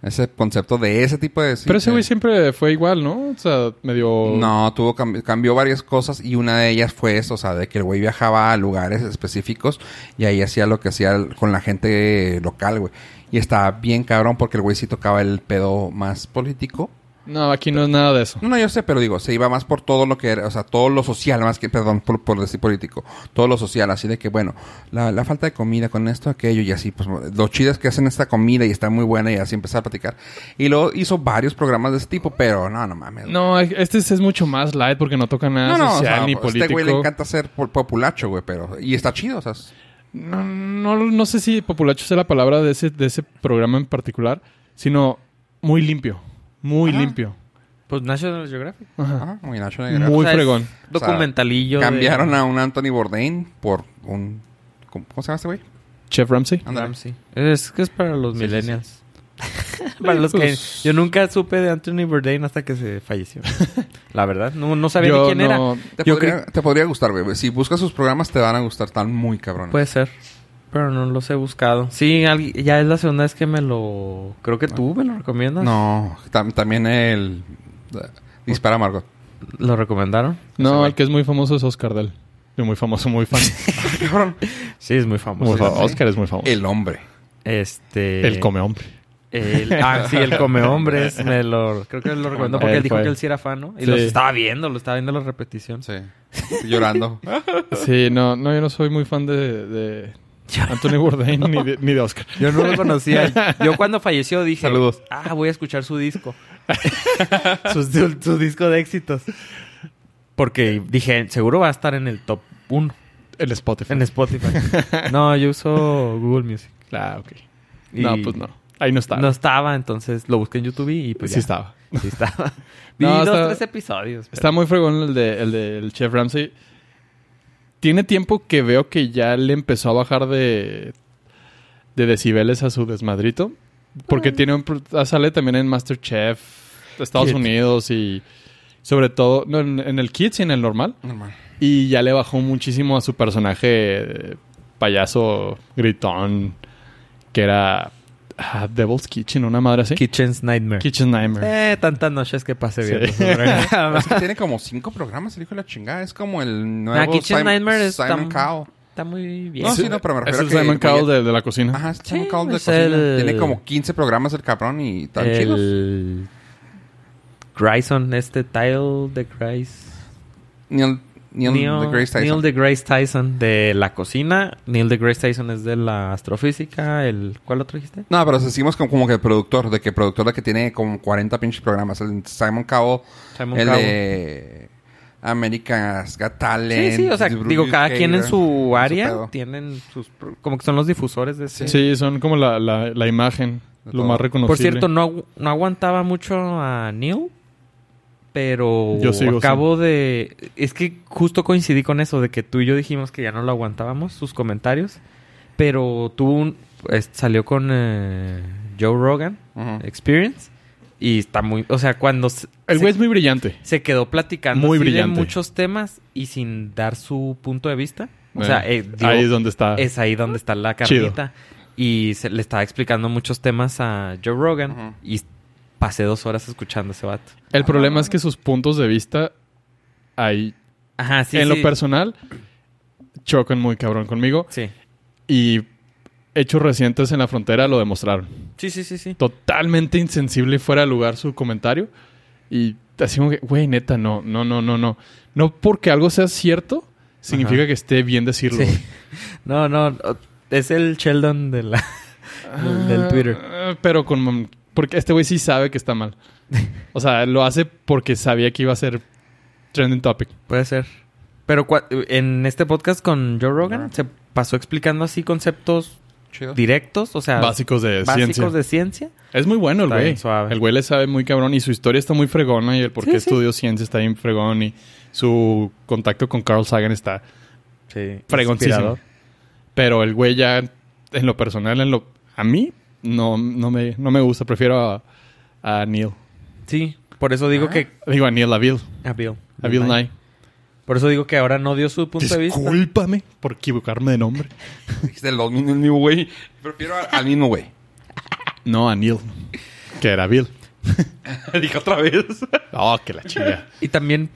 Speaker 1: Ese concepto de ese tipo de...
Speaker 2: Pero ese güey
Speaker 1: de-
Speaker 2: siempre fue igual, ¿no? O sea, medio...
Speaker 1: No, tuvo cam- cambió varias cosas y una de ellas fue eso, o sea, de que el güey viajaba a lugares específicos y ahí hacía lo que hacía el- con la gente local, güey. Y estaba bien cabrón porque el güey sí tocaba el pedo más político.
Speaker 2: No, aquí no es nada de eso.
Speaker 1: No, no, yo sé, pero digo, se iba más por todo lo que era, o sea, todo lo social, más que, perdón, por, por decir político, todo lo social, así de que, bueno, la, la falta de comida con esto, aquello, y así, pues, lo chido es que hacen esta comida y está muy buena y así empezar a platicar. Y luego hizo varios programas de ese tipo, pero no, no mames.
Speaker 2: No, este es es mucho más light porque no toca nada
Speaker 1: No, no, o
Speaker 2: social
Speaker 1: sea,
Speaker 2: ni
Speaker 1: a
Speaker 2: político.
Speaker 1: este güey le encanta ser po- populacho, güey, pero... Y está chido, o sea... es-
Speaker 2: No, no, no sé si populacho sea la palabra de ese, de ese programa en particular, sino muy limpio. Muy
Speaker 1: Ajá.
Speaker 2: liempio.
Speaker 3: Pues National Geographic.
Speaker 2: Ajá.
Speaker 1: ah, muy Nacho Negra.
Speaker 2: Muy
Speaker 3: O sea, es
Speaker 2: fregón.
Speaker 1: O sea,
Speaker 3: Documentalillo. de-
Speaker 1: Cambiaron a un Anthony Bourdain por un... ¿Cómo, cómo se llama este güey?
Speaker 2: Chef Ramsey.
Speaker 1: Ándale.
Speaker 3: Ramsey. Es que es para los
Speaker 1: Sí, sí,
Speaker 2: [LAUGHS]
Speaker 3: millennials. para los que...
Speaker 2: Pues-
Speaker 3: Yo nunca supe de Anthony Bourdain hasta que se
Speaker 2: [LAUGHS]
Speaker 3: falleció. la verdad. No, no sabía ni
Speaker 2: Yo
Speaker 3: quién era.
Speaker 2: no-
Speaker 1: Te,
Speaker 3: Yo
Speaker 1: podría, te podría gustar, güey. Si buscas sus programas te van a gustar. Están muy cabrones.
Speaker 3: Puede ser. Pero no los he buscado. Sí, alguien- ya es la segunda vez que me lo... Creo que tú me lo recomiendas.
Speaker 1: no, tam- también el... Dispara Margot.
Speaker 2: [LAUGHS]
Speaker 3: ¿Lo recomendaron?
Speaker 2: No, el que es muy famoso es Oscar Del. Yo muy famoso, muy
Speaker 1: [LAUGHS]
Speaker 2: fan.
Speaker 1: Cabrón.
Speaker 3: Sí, es muy famoso.
Speaker 2: Muy fa-
Speaker 1: sí.
Speaker 2: Oscar es muy famoso. El,
Speaker 1: El hombre.
Speaker 3: Este...
Speaker 2: come hombre.
Speaker 3: El- ah, sí, el come hombres. Me lo, creo que lo recomendó porque
Speaker 2: Él
Speaker 3: él dijo
Speaker 2: fue.
Speaker 3: que él sí era fan, ¿no?
Speaker 2: Sí.
Speaker 3: Y los estaba viendo, lo estaba viendo la repetición.
Speaker 1: Sí. [LAUGHS] Llorando.
Speaker 2: Sí, no, no, yo no soy muy fan
Speaker 1: [LAUGHS]
Speaker 2: de, de Anthony Bourdain ni, de, ni de Oscar.
Speaker 3: Yo
Speaker 2: [LAUGHS]
Speaker 3: no lo conocía. Yo cuando falleció dije...
Speaker 1: Saludos.
Speaker 3: Ah, voy a escuchar
Speaker 2: [LAUGHS]
Speaker 3: su disco. su, su- su disco de éxitos. Porque dije, seguro va a estar en el top 1
Speaker 2: El Spotify. [LAUGHS]
Speaker 3: en Spotify. No, yo uso Google Music.
Speaker 2: Ah, ok.
Speaker 3: Y
Speaker 2: No, pues no. Ahí no está.
Speaker 3: No estaba, entonces lo busqué en YouTube y pues
Speaker 2: sí
Speaker 3: ya.
Speaker 2: estaba. [LAUGHS]
Speaker 3: Sí estaba. Vi
Speaker 2: No,
Speaker 3: dos,
Speaker 2: está-
Speaker 3: tres episodios. pero-
Speaker 2: Está muy fregón el de el del Chef Ramsey. Tiene tiempo que veo que ya le empezó a bajar de, de decibeles a su desmadrito. Porque tiene un, pro- ah, sale también en Masterchef de Estados
Speaker 3: Kids.
Speaker 2: Unidos y sobre todo no, en, en el Kids y en el normal.
Speaker 1: Normal.
Speaker 2: Y ya le bajó muchísimo a su personaje eh, payaso gritón que era ah, Devil's Kitchen, una madre así.
Speaker 3: Kitchen's Nightmare.
Speaker 2: Kitchen Nightmare.
Speaker 3: Eh, tantas noches que pasé
Speaker 2: Sí.
Speaker 3: viendo. esos
Speaker 2: [LAUGHS]
Speaker 3: programas.
Speaker 1: Es que tiene como cinco programas, el hijo de la chingada. Es como el nuevo
Speaker 3: Kitchen
Speaker 1: Simon,
Speaker 3: Nightmare es ¿Eh?
Speaker 1: Simon
Speaker 3: tan-
Speaker 1: Cowell.
Speaker 3: Está muy bien.
Speaker 1: No, sí, no, pero me
Speaker 2: Es
Speaker 1: refiero
Speaker 2: el
Speaker 1: a que...
Speaker 2: Simon Cowell de, de la cocina.
Speaker 1: Ajá, es Simon
Speaker 3: Sí,
Speaker 1: Cowell de
Speaker 3: es
Speaker 1: cocina.
Speaker 3: el-
Speaker 1: Tiene como 15 programas el cabrón y tan chidos.
Speaker 3: el... Grayson, este Tile de Grace.
Speaker 1: Neil, Neil, deGrasse Tyson.
Speaker 3: Neil deGrasse Tyson de la cocina. Neil deGrasse Tyson es de la astrofísica. El, ¿Cuál otro dijiste?
Speaker 1: No, pero decimos como, como que productor, de que productor de que tiene como 40 pinches programas. El Simon Cowell,
Speaker 3: Simon
Speaker 1: el
Speaker 3: Cowell.
Speaker 1: de America's Got Talent.
Speaker 3: Sí, sí, o sea,
Speaker 1: Bruce
Speaker 3: digo, cada quien en
Speaker 1: Cater,
Speaker 3: su área
Speaker 1: pedo.
Speaker 3: tienen sus... pro- Como que son los difusores de ese...
Speaker 2: Sí, son como la, la, la imagen,
Speaker 1: De
Speaker 2: lo
Speaker 1: todo.
Speaker 2: más reconocible.
Speaker 3: Por cierto, no, agu- no aguantaba mucho a Neil, pero
Speaker 2: Yo sigo,
Speaker 3: acabo de... Es que justo coincidí con eso, de que tú y yo dijimos que ya no lo aguantábamos, sus comentarios, pero tuvo un... es- salió con eh, Joe Rogan,
Speaker 1: Ujú.
Speaker 3: Experience, y está muy... O sea, cuando se,
Speaker 2: El
Speaker 3: se-
Speaker 2: güey es muy brillante.
Speaker 3: se quedó platicando
Speaker 2: muy
Speaker 3: así de
Speaker 2: brillante.
Speaker 3: muchos temas y sin dar su punto de vista. O
Speaker 2: Eh,
Speaker 3: sea, eh, digo,
Speaker 2: ahí es donde está.
Speaker 3: es ahí donde está la
Speaker 2: Ah. Chido.
Speaker 3: carnita. Y se, le estaba explicando muchos temas a Joe Rogan.
Speaker 1: Ujú.
Speaker 3: Y pasé dos horas escuchando a ese vato.
Speaker 2: El problema
Speaker 3: Ah.
Speaker 2: es que sus puntos de vista ahí,
Speaker 3: Ajá, sí,
Speaker 2: en
Speaker 3: sí.
Speaker 2: lo personal, chocan muy cabrón conmigo.
Speaker 3: Sí.
Speaker 2: Y hechos recientes en la frontera lo demostraron.
Speaker 3: Sí, sí, sí, sí.
Speaker 2: Totalmente insensible y fuera de lugar su comentario. Y así como que, güey, neta, no, no, no, no, no. No porque algo sea cierto, significa
Speaker 3: Ajá.
Speaker 2: que esté bien decirlo.
Speaker 3: Sí. [LAUGHS] No, no. o- Es el Sheldon de la... [LAUGHS] del- del Twitter.
Speaker 2: Ah, Pero con... Porque este güey sí sabe que está mal. O sea, lo hace porque sabía que iba a ser trending topic.
Speaker 3: Puede ser. Pero cua- en este podcast con Joe Rogan se pasó explicando así conceptos
Speaker 1: Chido.
Speaker 3: directos, o sea,
Speaker 2: Básicos de
Speaker 3: Ah, básicos
Speaker 2: ciencia.
Speaker 3: de ciencia.
Speaker 2: Es muy bueno el
Speaker 3: Está
Speaker 2: güey.
Speaker 3: bien suave.
Speaker 2: El güey le sabe muy cabrón y su historia está muy fregona y el por qué
Speaker 3: Sí, sí.
Speaker 2: estudió ciencia está bien fregón y su contacto con Carl Sagan está
Speaker 3: Sí.
Speaker 2: fregoncísimo.
Speaker 3: inspirador.
Speaker 2: Pero el güey ya en lo personal, en lo a mí no, no, me, no me gusta, prefiero a, a Neil.
Speaker 3: Sí, por eso digo
Speaker 1: Ah.
Speaker 3: que
Speaker 2: Digo a Neil, a Bill,
Speaker 3: a Bill.
Speaker 2: a Bill Nye.
Speaker 3: Por eso digo que ahora no dio su punto de vista.
Speaker 2: Discúlpame por equivocarme de nombre.
Speaker 1: Dijiste los mismos, el mismo güey. Prefiero al, al mismo
Speaker 3: [LAUGHS]
Speaker 1: güey.
Speaker 2: No, a Neil, que era Bill.
Speaker 1: Dijo otra vez.
Speaker 2: Oh, que la chica.
Speaker 3: Y también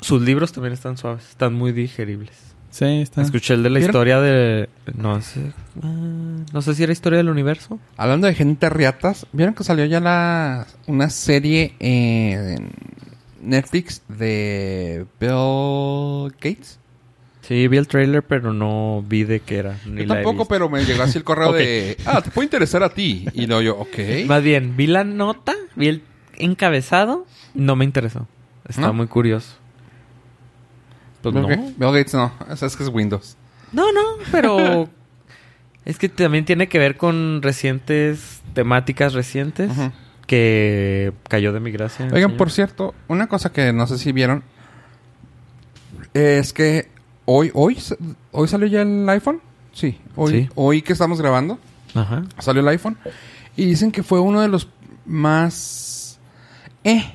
Speaker 3: sus libros también están suaves, están muy digeribles.
Speaker 2: Sí, está.
Speaker 3: Escuché el de la
Speaker 1: ¿Vieron?
Speaker 3: historia de no sé, ah, no sé si era historia del universo.
Speaker 1: Hablando de gente riatas, ¿vieron que salió ya la, una serie eh, en Netflix de Bill Gates?
Speaker 3: Sí, vi el trailer, pero no vi de qué era. ni
Speaker 1: Yo
Speaker 3: la he
Speaker 1: tampoco,
Speaker 3: visto.
Speaker 1: pero me llegó así el
Speaker 3: [LAUGHS]
Speaker 1: correo
Speaker 2: Ok.
Speaker 1: de... Ah, te puede interesar a ti. Y luego yo, ok.
Speaker 3: Más bien, vi la nota, vi el encabezado, no me interesó. Está
Speaker 1: ¿No?
Speaker 3: muy curioso. Pues
Speaker 1: Bill,
Speaker 3: no.
Speaker 1: Ga- Bill Gates no. O sea, es que es Windows.
Speaker 3: No, no,
Speaker 1: [LAUGHS]
Speaker 3: pero es que también tiene que ver con recientes temáticas recientes
Speaker 1: Ujú.
Speaker 3: que cayó de mi gracia. el
Speaker 1: Oigan,
Speaker 3: señor.
Speaker 1: por cierto, una cosa que no sé si vieron es que hoy, hoy, sa- hoy salió ya el iPhone. Sí, hoy,
Speaker 3: Sí.
Speaker 1: hoy que estamos grabando
Speaker 3: Ajá.
Speaker 1: salió el iPhone y dicen que fue uno de los más eh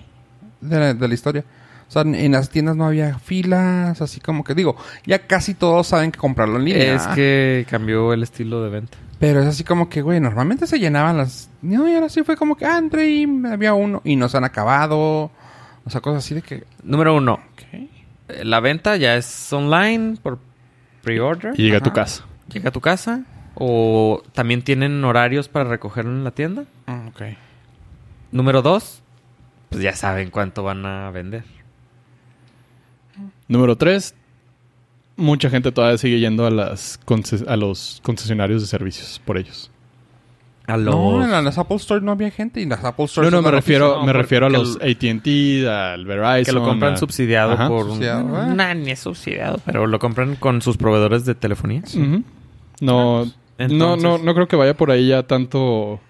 Speaker 1: de la, de la historia. O sea, en- en las tiendas no había filas, así como que digo, ya casi todos saben que comprarlo en línea.
Speaker 3: Es que cambió el estilo de venta.
Speaker 1: Pero es así como que, güey, normalmente se llenaban las... No, y ahora sí fue como que, ah, entré y había uno y no se han acabado. O sea, cosas así de que...
Speaker 3: Número uno,
Speaker 1: ok.
Speaker 3: eh, la venta ya es online por pre-order.
Speaker 2: Y llega a tu
Speaker 1: Ajá.
Speaker 2: casa.
Speaker 3: Llega a tu casa. O también tienen horarios para recogerlo en la tienda.
Speaker 1: Mm, ok.
Speaker 3: Número dos, pues ya saben cuánto van a vender.
Speaker 2: Número tres, mucha gente todavía sigue yendo a, las conces- a los concesionarios de servicios por ellos.
Speaker 3: A los...
Speaker 1: No, en las Apple Store no había gente y las Apple
Speaker 2: No,
Speaker 1: Store...
Speaker 2: no,
Speaker 1: son
Speaker 2: me
Speaker 1: la
Speaker 2: refiero,
Speaker 1: noticia,
Speaker 2: me
Speaker 1: ¿no?
Speaker 2: refiero a
Speaker 3: porque
Speaker 2: los ATT, al Verizon.
Speaker 3: que lo compran
Speaker 2: a-
Speaker 3: subsidiado
Speaker 2: Ajá.
Speaker 3: por un-
Speaker 1: Subsidiado,
Speaker 3: bueno,
Speaker 1: ah.
Speaker 3: nah, ni es subsidiado, pero lo compran con sus proveedores de telefonía.
Speaker 2: Ujú. No, no,
Speaker 3: Entonces-
Speaker 2: no, no creo que vaya por ahí ya tanto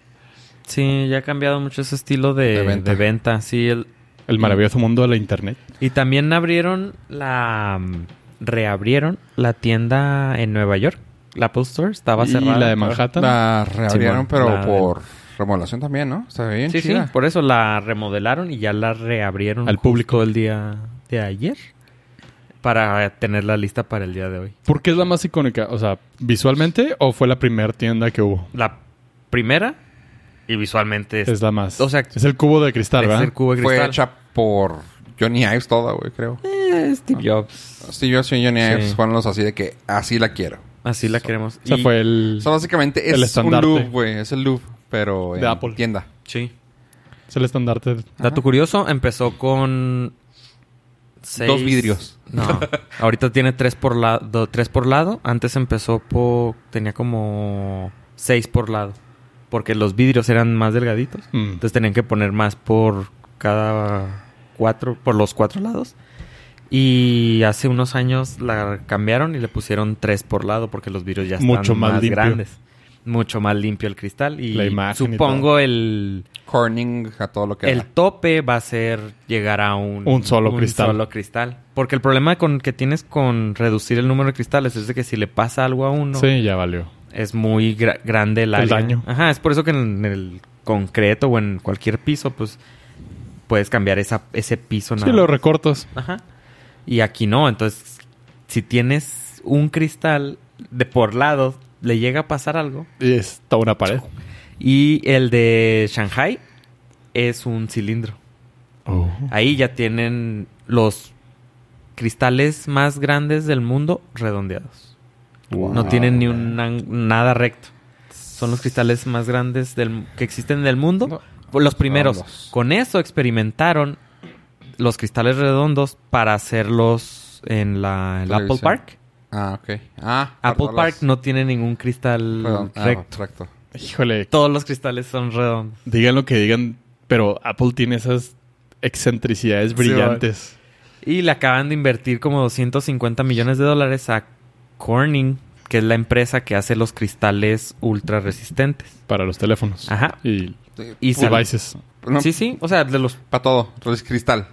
Speaker 3: Sí, ya ha cambiado mucho ese estilo de,
Speaker 1: De
Speaker 3: de
Speaker 1: venta.
Speaker 3: venta. Sí, el-
Speaker 2: el maravilloso mundo de la internet.
Speaker 3: y también abrieron la mm, reabrieron la tienda en Nueva York. La Apple Store estaba Ah.
Speaker 2: y
Speaker 3: cerrada.
Speaker 2: la de Manhattan.
Speaker 1: La reabrieron,
Speaker 3: Simón,
Speaker 1: pero
Speaker 3: la de-
Speaker 1: por remodelación también, ¿no? Está bien
Speaker 3: Sí, sí,
Speaker 1: chida.
Speaker 3: por eso la remodelaron y ya la reabrieron
Speaker 2: Al
Speaker 3: justo
Speaker 2: público.
Speaker 3: el día de ayer para tenerla lista para el día de hoy.
Speaker 2: ¿Por qué es la más icónica? O sea, ¿visualmente o fue la primera tienda que hubo?
Speaker 3: La primera y visualmente es,
Speaker 2: Es la más.
Speaker 3: o sea,
Speaker 2: es el cubo de cristal,
Speaker 3: es
Speaker 2: ¿verdad?
Speaker 3: el cubo de
Speaker 1: Fue
Speaker 3: cristal.
Speaker 1: hecha por Johnny Ives toda, güey, creo.
Speaker 3: Eh, Steve
Speaker 1: Ah.
Speaker 3: Jobs.
Speaker 1: Sí, yo soy Johnny
Speaker 3: Sí.
Speaker 1: Ives, fueron los así de que así la quiero.
Speaker 3: Así la queremos.
Speaker 2: O sea,
Speaker 3: Y-
Speaker 2: fue el,
Speaker 1: O sea, básicamente
Speaker 2: El
Speaker 1: es un
Speaker 2: estandarte.
Speaker 1: Louvre, güey. Es el Louvre, pero
Speaker 2: De
Speaker 1: en
Speaker 2: Apple.
Speaker 1: tienda.
Speaker 3: Sí.
Speaker 2: es el estandarte.
Speaker 3: Dato curioso, empezó con... seis-
Speaker 1: Dos vidrios.
Speaker 3: No. Ahorita tiene tres por, lado, tres por lado. Antes empezó por... Tenía como seis por lado. Porque los vidrios eran más delgaditos.
Speaker 2: Mm.
Speaker 3: Entonces tenían que poner más por cada cuatro, por los cuatro lados. Y hace unos años la cambiaron y le pusieron tres por lado porque los vidrios ya están
Speaker 2: Mucho más
Speaker 3: más,
Speaker 2: limpio.
Speaker 3: grandes. Mucho más limpio el cristal. Y
Speaker 2: La imagen y todo.
Speaker 3: supongo el,
Speaker 1: Corning a todo lo que
Speaker 3: el
Speaker 1: da.
Speaker 3: tope va a ser llegar a un,
Speaker 2: Un solo cristal.
Speaker 3: solo cristal. Porque el problema con que tienes con reducir el número de cristales es de que si le pasa algo a uno,
Speaker 2: Sí, ya valió.
Speaker 3: es muy gra- grande el,
Speaker 2: El
Speaker 3: área.
Speaker 2: daño.
Speaker 3: Ajá, es por eso que en el concreto o en cualquier piso, pues puedes cambiar esa, ese piso.
Speaker 2: Sí,
Speaker 3: nada
Speaker 2: lo
Speaker 3: más.
Speaker 2: recortas.
Speaker 3: Ajá. Y aquí no, entonces si tienes un cristal de por lado, le llega a pasar algo.
Speaker 2: Y está una pared.
Speaker 3: Y el de Shanghai es un cilindro. Ahí ya tienen los cristales más grandes del mundo redondeados. No tienen ni un ang- nada recto. Son los cristales más grandes del, que existen del mundo. Los primeros.
Speaker 1: Redondos.
Speaker 3: Con eso experimentaron los cristales redondos para hacerlos en la, el Apple
Speaker 1: Televisión.
Speaker 3: Park.
Speaker 1: Ah, ok. Ah,
Speaker 3: Apple
Speaker 1: perdón,
Speaker 3: Park
Speaker 1: las-
Speaker 3: no tiene ningún cristal
Speaker 1: perdón. Ah,
Speaker 3: recto.
Speaker 1: recto.
Speaker 2: Híjole,
Speaker 3: Todos los cristales son redondos.
Speaker 2: digan lo que digan, pero Apple tiene esas excentricidades brillantes.
Speaker 3: Y le acaban de invertir como 250 millones de dólares a Corning, que es la empresa que hace los cristales ultra resistentes.
Speaker 2: Para los teléfonos.
Speaker 3: Ajá.
Speaker 2: Y
Speaker 3: Y sal-
Speaker 2: devices.
Speaker 1: No,
Speaker 3: Sí, sí, o sea, de los
Speaker 1: Para todo. Entonces, cristal.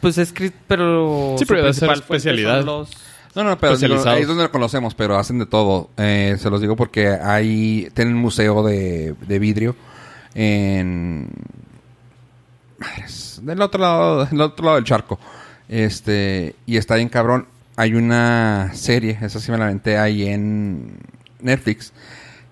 Speaker 3: pues es cri- pero
Speaker 2: Sí, pero
Speaker 3: su
Speaker 2: debe ser
Speaker 3: principal fuente son
Speaker 2: especialidad.
Speaker 3: los-
Speaker 1: No, no, pero digo,
Speaker 2: Especializados.
Speaker 1: ahí es donde lo conocemos, pero hacen de todo. Eh, se los digo porque ahí tienen un museo de, de vidrio en... Madres, del otro lado, del otro lado del charco. Este, y está bien cabrón. Hay una serie, esa sí me la aventé ahí en Netflix,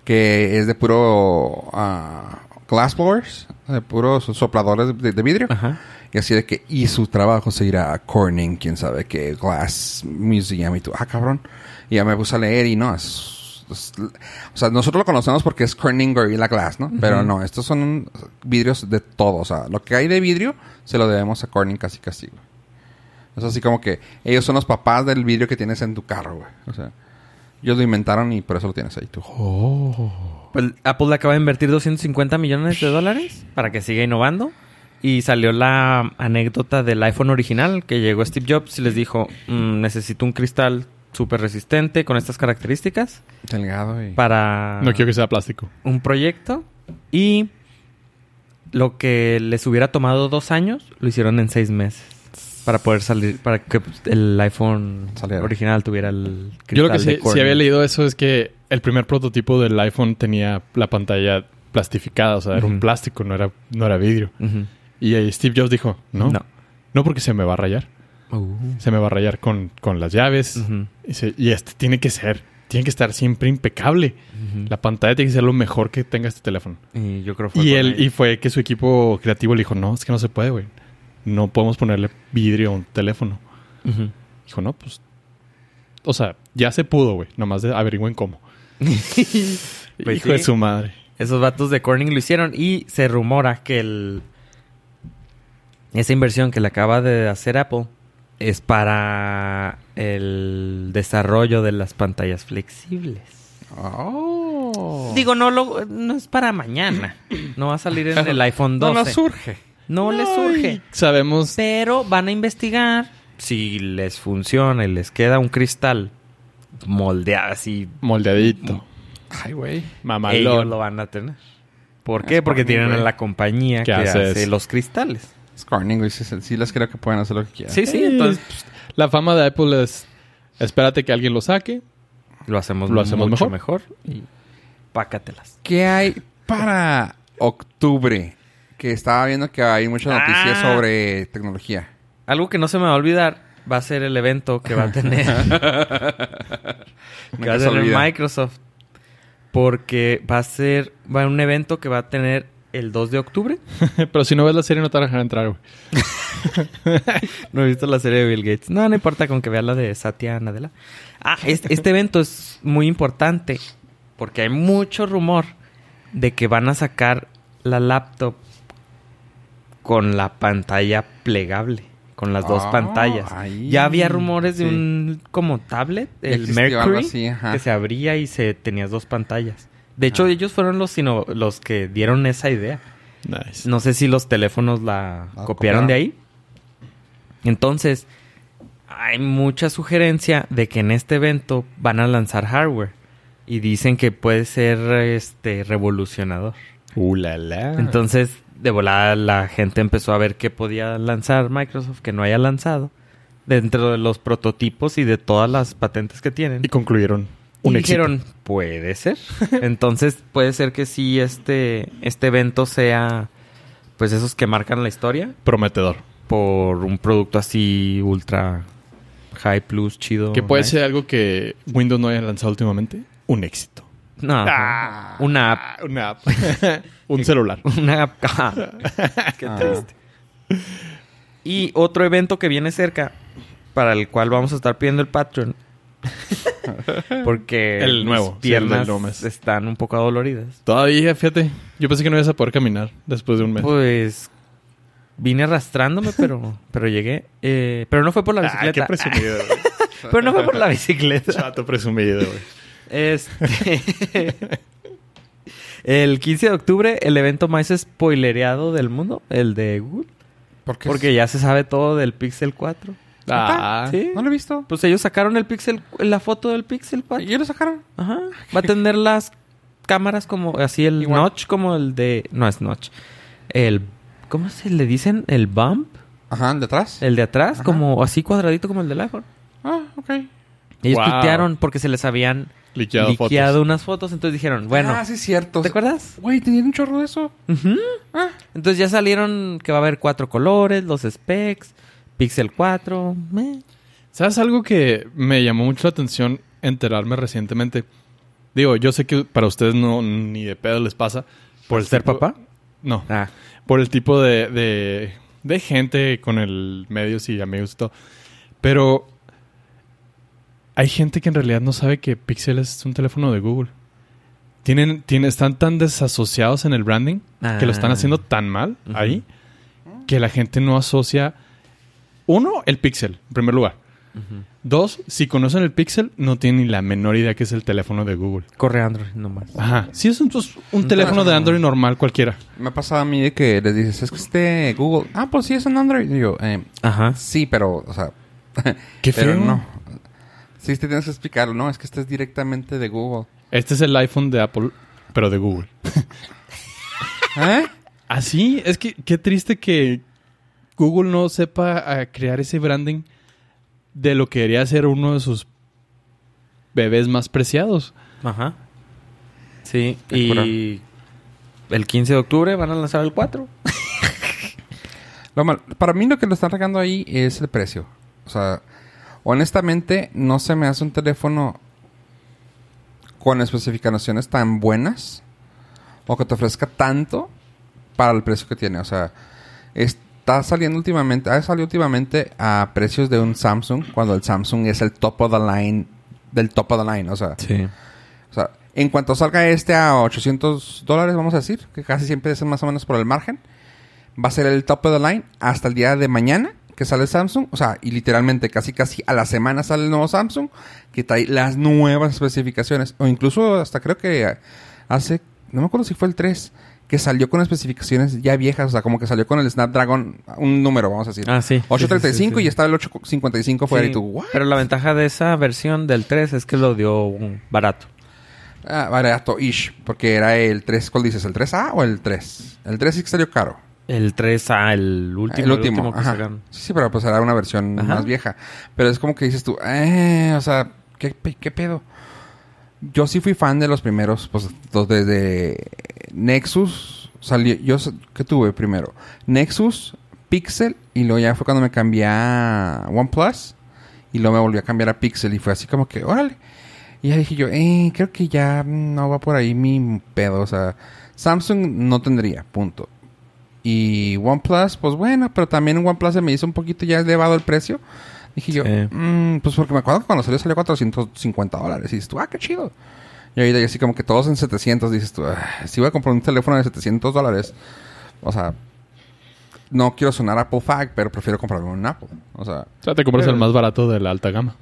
Speaker 1: que es de puro ah, glass blowers, de puros sopladores de, de vidrio.
Speaker 3: Ajá.
Speaker 1: Y así de que, y su trabajo se irá a Corning, quién sabe qué, Glass Museum, y tú, ah, cabrón. Y ya me puse a leer y no, es- es- o sea, nosotros lo conocemos porque es Corning Gorilla Glass, ¿no? Pero no, estos son vidrios de todo, o sea, lo que hay de vidrio se lo debemos a Corning casi casi, güey. Es así como que ellos son los papás del vidrio que tienes en tu carro, güey. O sea, ellos lo inventaron y por eso lo tienes ahí, tú.
Speaker 2: Oh.
Speaker 3: Pues Apple le acaba de invertir 250 millones de dólares para que siga innovando. Y salió la anécdota del iPhone original que llegó Steve Jobs y les dijo, "Mm, necesito un cristal súper resistente con estas características
Speaker 1: Delgado y...
Speaker 3: para
Speaker 2: No quiero que sea plástico.
Speaker 3: un proyecto. Y lo que les hubiera tomado dos años, lo hicieron en seis meses. Para poder salir, para que el iPhone
Speaker 1: Saliera.
Speaker 3: original tuviera el cristal
Speaker 2: Yo lo que sí,
Speaker 3: de
Speaker 2: sí
Speaker 3: Corning.
Speaker 2: había leído eso es que el primer prototipo del iPhone tenía la pantalla plastificada, o sea, era
Speaker 3: Ujú.
Speaker 2: un plástico, no era, no era vidrio.
Speaker 3: Ujú.
Speaker 2: Y ahí Steve Jobs dijo, no, Uh. no,
Speaker 3: No.
Speaker 2: porque se me va a rayar, se me va a rayar con, con las llaves.
Speaker 3: Ujú.
Speaker 2: Dice, y este tiene que ser, tiene que estar siempre impecable.
Speaker 3: Ujú.
Speaker 2: La pantalla tiene que ser lo mejor que tenga este teléfono.
Speaker 3: Y yo creo fue
Speaker 2: Y
Speaker 3: con
Speaker 2: él,
Speaker 3: ahí.
Speaker 2: y fue que su equipo creativo le dijo, no, es que no se puede, güey. No podemos ponerle vidrio a un teléfono.
Speaker 3: Ujú.
Speaker 2: Dijo, no, pues. O sea, ya se pudo, güey. Nomás de- averigüen cómo.
Speaker 3: [LAUGHS] Pues
Speaker 2: Hijo
Speaker 3: sí.
Speaker 2: de su madre.
Speaker 3: Esos vatos de Corning lo hicieron y se rumora que el... esa inversión que le acaba de hacer Apple es para el desarrollo de las pantallas flexibles.
Speaker 1: Oh.
Speaker 3: Digo, no lo no es para mañana. No va a salir en el iPhone
Speaker 1: no,
Speaker 3: 12.
Speaker 1: no
Speaker 3: No,
Speaker 1: surge.
Speaker 3: le surge.
Speaker 2: Sabemos.
Speaker 3: Pero van a investigar si les funciona y les queda un cristal moldeado así.
Speaker 2: Moldeadito.
Speaker 1: Ay, güey.
Speaker 3: Ellos Mm. lo
Speaker 2: Mamalón.
Speaker 3: van a tener. ¿Por
Speaker 1: Es
Speaker 3: qué? Porque
Speaker 1: Corning,
Speaker 3: tienen a
Speaker 1: güey.
Speaker 3: la compañía que
Speaker 2: ¿Qué haces?
Speaker 3: hace los cristales.
Speaker 1: Es Corning, güey. Sí, sí, sí, les creo que pueden hacer lo que quieran.
Speaker 3: Sí, sí,
Speaker 2: Eh,
Speaker 3: entonces pues,
Speaker 2: La fama de Apple es. Espérate que alguien lo saque. [LAUGHS]
Speaker 3: lo hacemos,
Speaker 2: Lo hacemos
Speaker 3: mucho
Speaker 2: mejor.
Speaker 3: mejor. y pácatelas.
Speaker 1: ¿Qué hay para octubre? Que estaba viendo que hay muchas noticias
Speaker 3: Ah.
Speaker 1: sobre tecnología.
Speaker 3: Algo que no se me va a olvidar va a ser el evento que va a [LAUGHS] tener, que [LAUGHS] va
Speaker 1: Nunca
Speaker 3: a
Speaker 1: se
Speaker 3: tener
Speaker 1: olvida.
Speaker 3: Microsoft. Porque va a ser va a un evento que va a tener el 2 de octubre.
Speaker 2: Pero si no ves la serie, no te van a dejar entrar, güey.
Speaker 3: [LAUGHS] No he visto la serie de Bill Gates. No, no importa con que vea la de Satya Nadella. Ah, este, este evento es muy importante porque hay mucho rumor de que van a sacar la laptop con la pantalla plegable, con las dos
Speaker 1: Ah,
Speaker 3: pantallas.
Speaker 1: ahí.
Speaker 3: ya había rumores de
Speaker 1: Sí.
Speaker 3: un como tablet,
Speaker 1: Ya
Speaker 3: el
Speaker 1: existió algo
Speaker 3: Mercury,
Speaker 1: así, ajá.
Speaker 3: que se abría y se tenías dos pantallas. De hecho,
Speaker 1: Ah.
Speaker 3: ellos fueron los, sino, los que dieron esa idea.
Speaker 2: Nice.
Speaker 3: No sé si los teléfonos la
Speaker 1: La
Speaker 3: copiaron,
Speaker 1: copiaron.
Speaker 3: de ahí. Entonces, hay mucha sugerencia de que en este evento van a lanzar hardware. Y dicen que puede ser este revolucionador.
Speaker 2: Uh, la, la.
Speaker 3: Entonces, de volada la gente empezó a ver qué podía lanzar Microsoft que no haya lanzado. Dentro de los prototipos y de todas las patentes que tienen.
Speaker 2: y concluyeron un
Speaker 3: Y
Speaker 2: éxito.
Speaker 3: dijeron, puede ser. Entonces, puede ser que sí este, este evento sea, pues esos que marcan la historia
Speaker 2: Prometedor.
Speaker 3: por un producto así ultra high plus, chido.
Speaker 2: Que puede
Speaker 3: nice.
Speaker 2: ser algo que Windows no haya lanzado últimamente. Un éxito.
Speaker 3: No,
Speaker 2: Ah.
Speaker 3: una app.
Speaker 2: Ah, Una app. [LAUGHS] un celular.
Speaker 3: Una app. [LAUGHS] Ah, Qué
Speaker 1: Ah.
Speaker 3: triste. Y otro evento que viene cerca, para el cual vamos a estar pidiendo el Patreon. [LAUGHS] Porque
Speaker 2: El nuevo,
Speaker 3: mis
Speaker 2: sí, el del
Speaker 3: piernas
Speaker 2: nuevo mes.
Speaker 3: están un poco adoloridas.
Speaker 2: Todavía, fíjate. Yo pensé que no ibas a poder caminar después de un mes.
Speaker 3: Pues vine arrastrándome, pero,
Speaker 2: [LAUGHS]
Speaker 3: pero llegué. Eh, pero no fue por la
Speaker 2: Ah, qué
Speaker 3: bicicleta.
Speaker 2: presumido,
Speaker 3: [LAUGHS]
Speaker 2: güey.
Speaker 3: pero no fue por
Speaker 2: [LAUGHS]
Speaker 3: la bicicleta.
Speaker 2: Chato presumido, güey.
Speaker 3: Este. [LAUGHS] el 15 de octubre, el evento más spoilereado del mundo, el de Google.
Speaker 1: ¿Por qué?
Speaker 3: Porque ya se sabe todo del Pixel 4.
Speaker 2: Ah,
Speaker 3: ¿Sí?
Speaker 1: No lo he visto.
Speaker 3: Pues ellos sacaron el Pixel, la foto del Pixel 4.
Speaker 1: ¿Y ya lo sacaron?
Speaker 3: Ajá. Va a tener las cámaras como así el
Speaker 1: Igual.
Speaker 3: notch como el de no es notch. El ¿cómo se le dicen? El bump,
Speaker 1: Ajá, ¿de atrás?
Speaker 3: el de atrás
Speaker 1: Ajá.
Speaker 3: como así cuadradito como el del iPhone.
Speaker 1: Ah, ok.
Speaker 3: Ellos
Speaker 2: Wow.
Speaker 3: tuitearon porque se les habían
Speaker 2: liqueado,
Speaker 3: liqueado,
Speaker 2: fotos.
Speaker 3: unas fotos, entonces dijeron, bueno,
Speaker 1: Ah, sí, es cierto.
Speaker 3: ¿te acuerdas?
Speaker 1: Güey, tenían un chorro de eso.
Speaker 3: Ujú.
Speaker 1: Ah.
Speaker 3: Entonces ya salieron que va a haber cuatro colores, los specs, Pixel 4, meh.
Speaker 2: ¿Sabes algo que me llamó mucho la atención enterarme recientemente? Digo, yo sé que para ustedes no ni de pedo les pasa. ¿Por el
Speaker 3: ser
Speaker 2: tipo-
Speaker 3: papá?
Speaker 2: No.
Speaker 3: Ah,
Speaker 2: por el tipo de, de, de gente con el medios y amigos y todo. Pero hay gente que en realidad no sabe que Pixel es un teléfono de Google. Tienen, tienen, están tan desasociados en el branding que lo están
Speaker 3: Ah.
Speaker 2: haciendo tan mal
Speaker 3: Ujú.
Speaker 2: ahí que la gente no asocia. Uno, el Pixel, en primer lugar.
Speaker 3: ujú.
Speaker 2: Dos, si conocen el Pixel, no tienen ni la menor idea que es el teléfono de Google.
Speaker 3: corre Android nomás.
Speaker 2: Ajá. Sí, es un, pues, un teléfono de Android normal cualquiera.
Speaker 1: Me ha pasado a mí de que les dices, es que este Google... Ah, pues sí, es un Android. Y yo, eh,
Speaker 3: Ajá.
Speaker 1: sí, pero, o sea...
Speaker 2: Qué
Speaker 1: pero
Speaker 2: feo.
Speaker 1: no. Sí, te tienes que explicarlo, ¿no? Es que este es directamente de Google.
Speaker 2: Este es el iPhone de Apple, pero de Google.
Speaker 1: ¿Eh?
Speaker 2: Así, es que qué triste que Google no sepa ah, crear ese branding de lo que debería ser uno de sus bebés más preciados.
Speaker 3: Ajá. Sí,
Speaker 1: Qué
Speaker 3: y el 15 de octubre van a lanzar el 4.
Speaker 1: Lo mal- para mí lo que lo están regando ahí es el precio. O sea, honestamente no se me hace un teléfono con especificaciones tan buenas o que te ofrezca tanto para el precio que tiene. O sea, está saliendo últimamente, ha salido últimamente a precios de un Samsung cuando el Samsung es el top of the line del top of the line. O sea,
Speaker 3: Sí.
Speaker 1: o sea, en cuanto salga este a 800 dólares, vamos a decir, que casi siempre es más o menos por el margen, va a ser el top of the line hasta el día de mañana que sale Samsung. O sea, y literalmente casi casi a la semana sale el nuevo Samsung que trae las nuevas especificaciones. O incluso hasta creo que hace, no me acuerdo si fue el 3, que salió con especificaciones ya viejas. O sea, como que salió con el Snapdragon, un número, vamos a decir.
Speaker 3: Ah, sí.
Speaker 1: 835
Speaker 3: Sí, sí, sí,
Speaker 1: y estaba el 855 fuera
Speaker 3: Sí,
Speaker 1: y tú, ¿what?
Speaker 3: Pero la ventaja de esa versión del 3 es que lo dio un barato.
Speaker 1: Ah, barato, ish. Porque era el 3, ¿cuál dices? ¿El 3A o el 3? El 3 sí que salió caro.
Speaker 3: El 3 a el último.
Speaker 1: el último.
Speaker 3: que
Speaker 1: ajá.
Speaker 3: sacaron.
Speaker 1: Sí, sí, pero pues era una versión
Speaker 3: Ajá.
Speaker 1: más vieja. Pero es como que dices tú, eh, o sea, ¿qué, pe- qué pedo? Yo sí fui fan de los primeros, pues los desde Nexus salió. Yo, s- ¿qué tuve primero? Nexus, Pixel, y luego ya fue cuando me cambié a OnePlus. Y luego me volví a cambiar a Pixel y fue así como que, órale. Y ya dije yo, eh, creo que ya no va por ahí mi pedo. O sea, Samsung no tendría, punto. Y OnePlus, pues bueno, pero también OnePlus se me hizo un poquito ya elevado el precio. Dije yo,
Speaker 3: Sí.
Speaker 1: mm, pues porque me acuerdo que cuando salió salió 450 dólares. Y dices tú, ah, qué chido. Y ahorita ya así como que todos en 700, dices tú, "Ah, si voy a comprar un teléfono de 700 dólares, o sea, no quiero sonar Apple Fact, pero prefiero comprarme un Apple. O sea,
Speaker 2: O sea, te compras
Speaker 1: Pero-
Speaker 2: el más barato de la alta gama,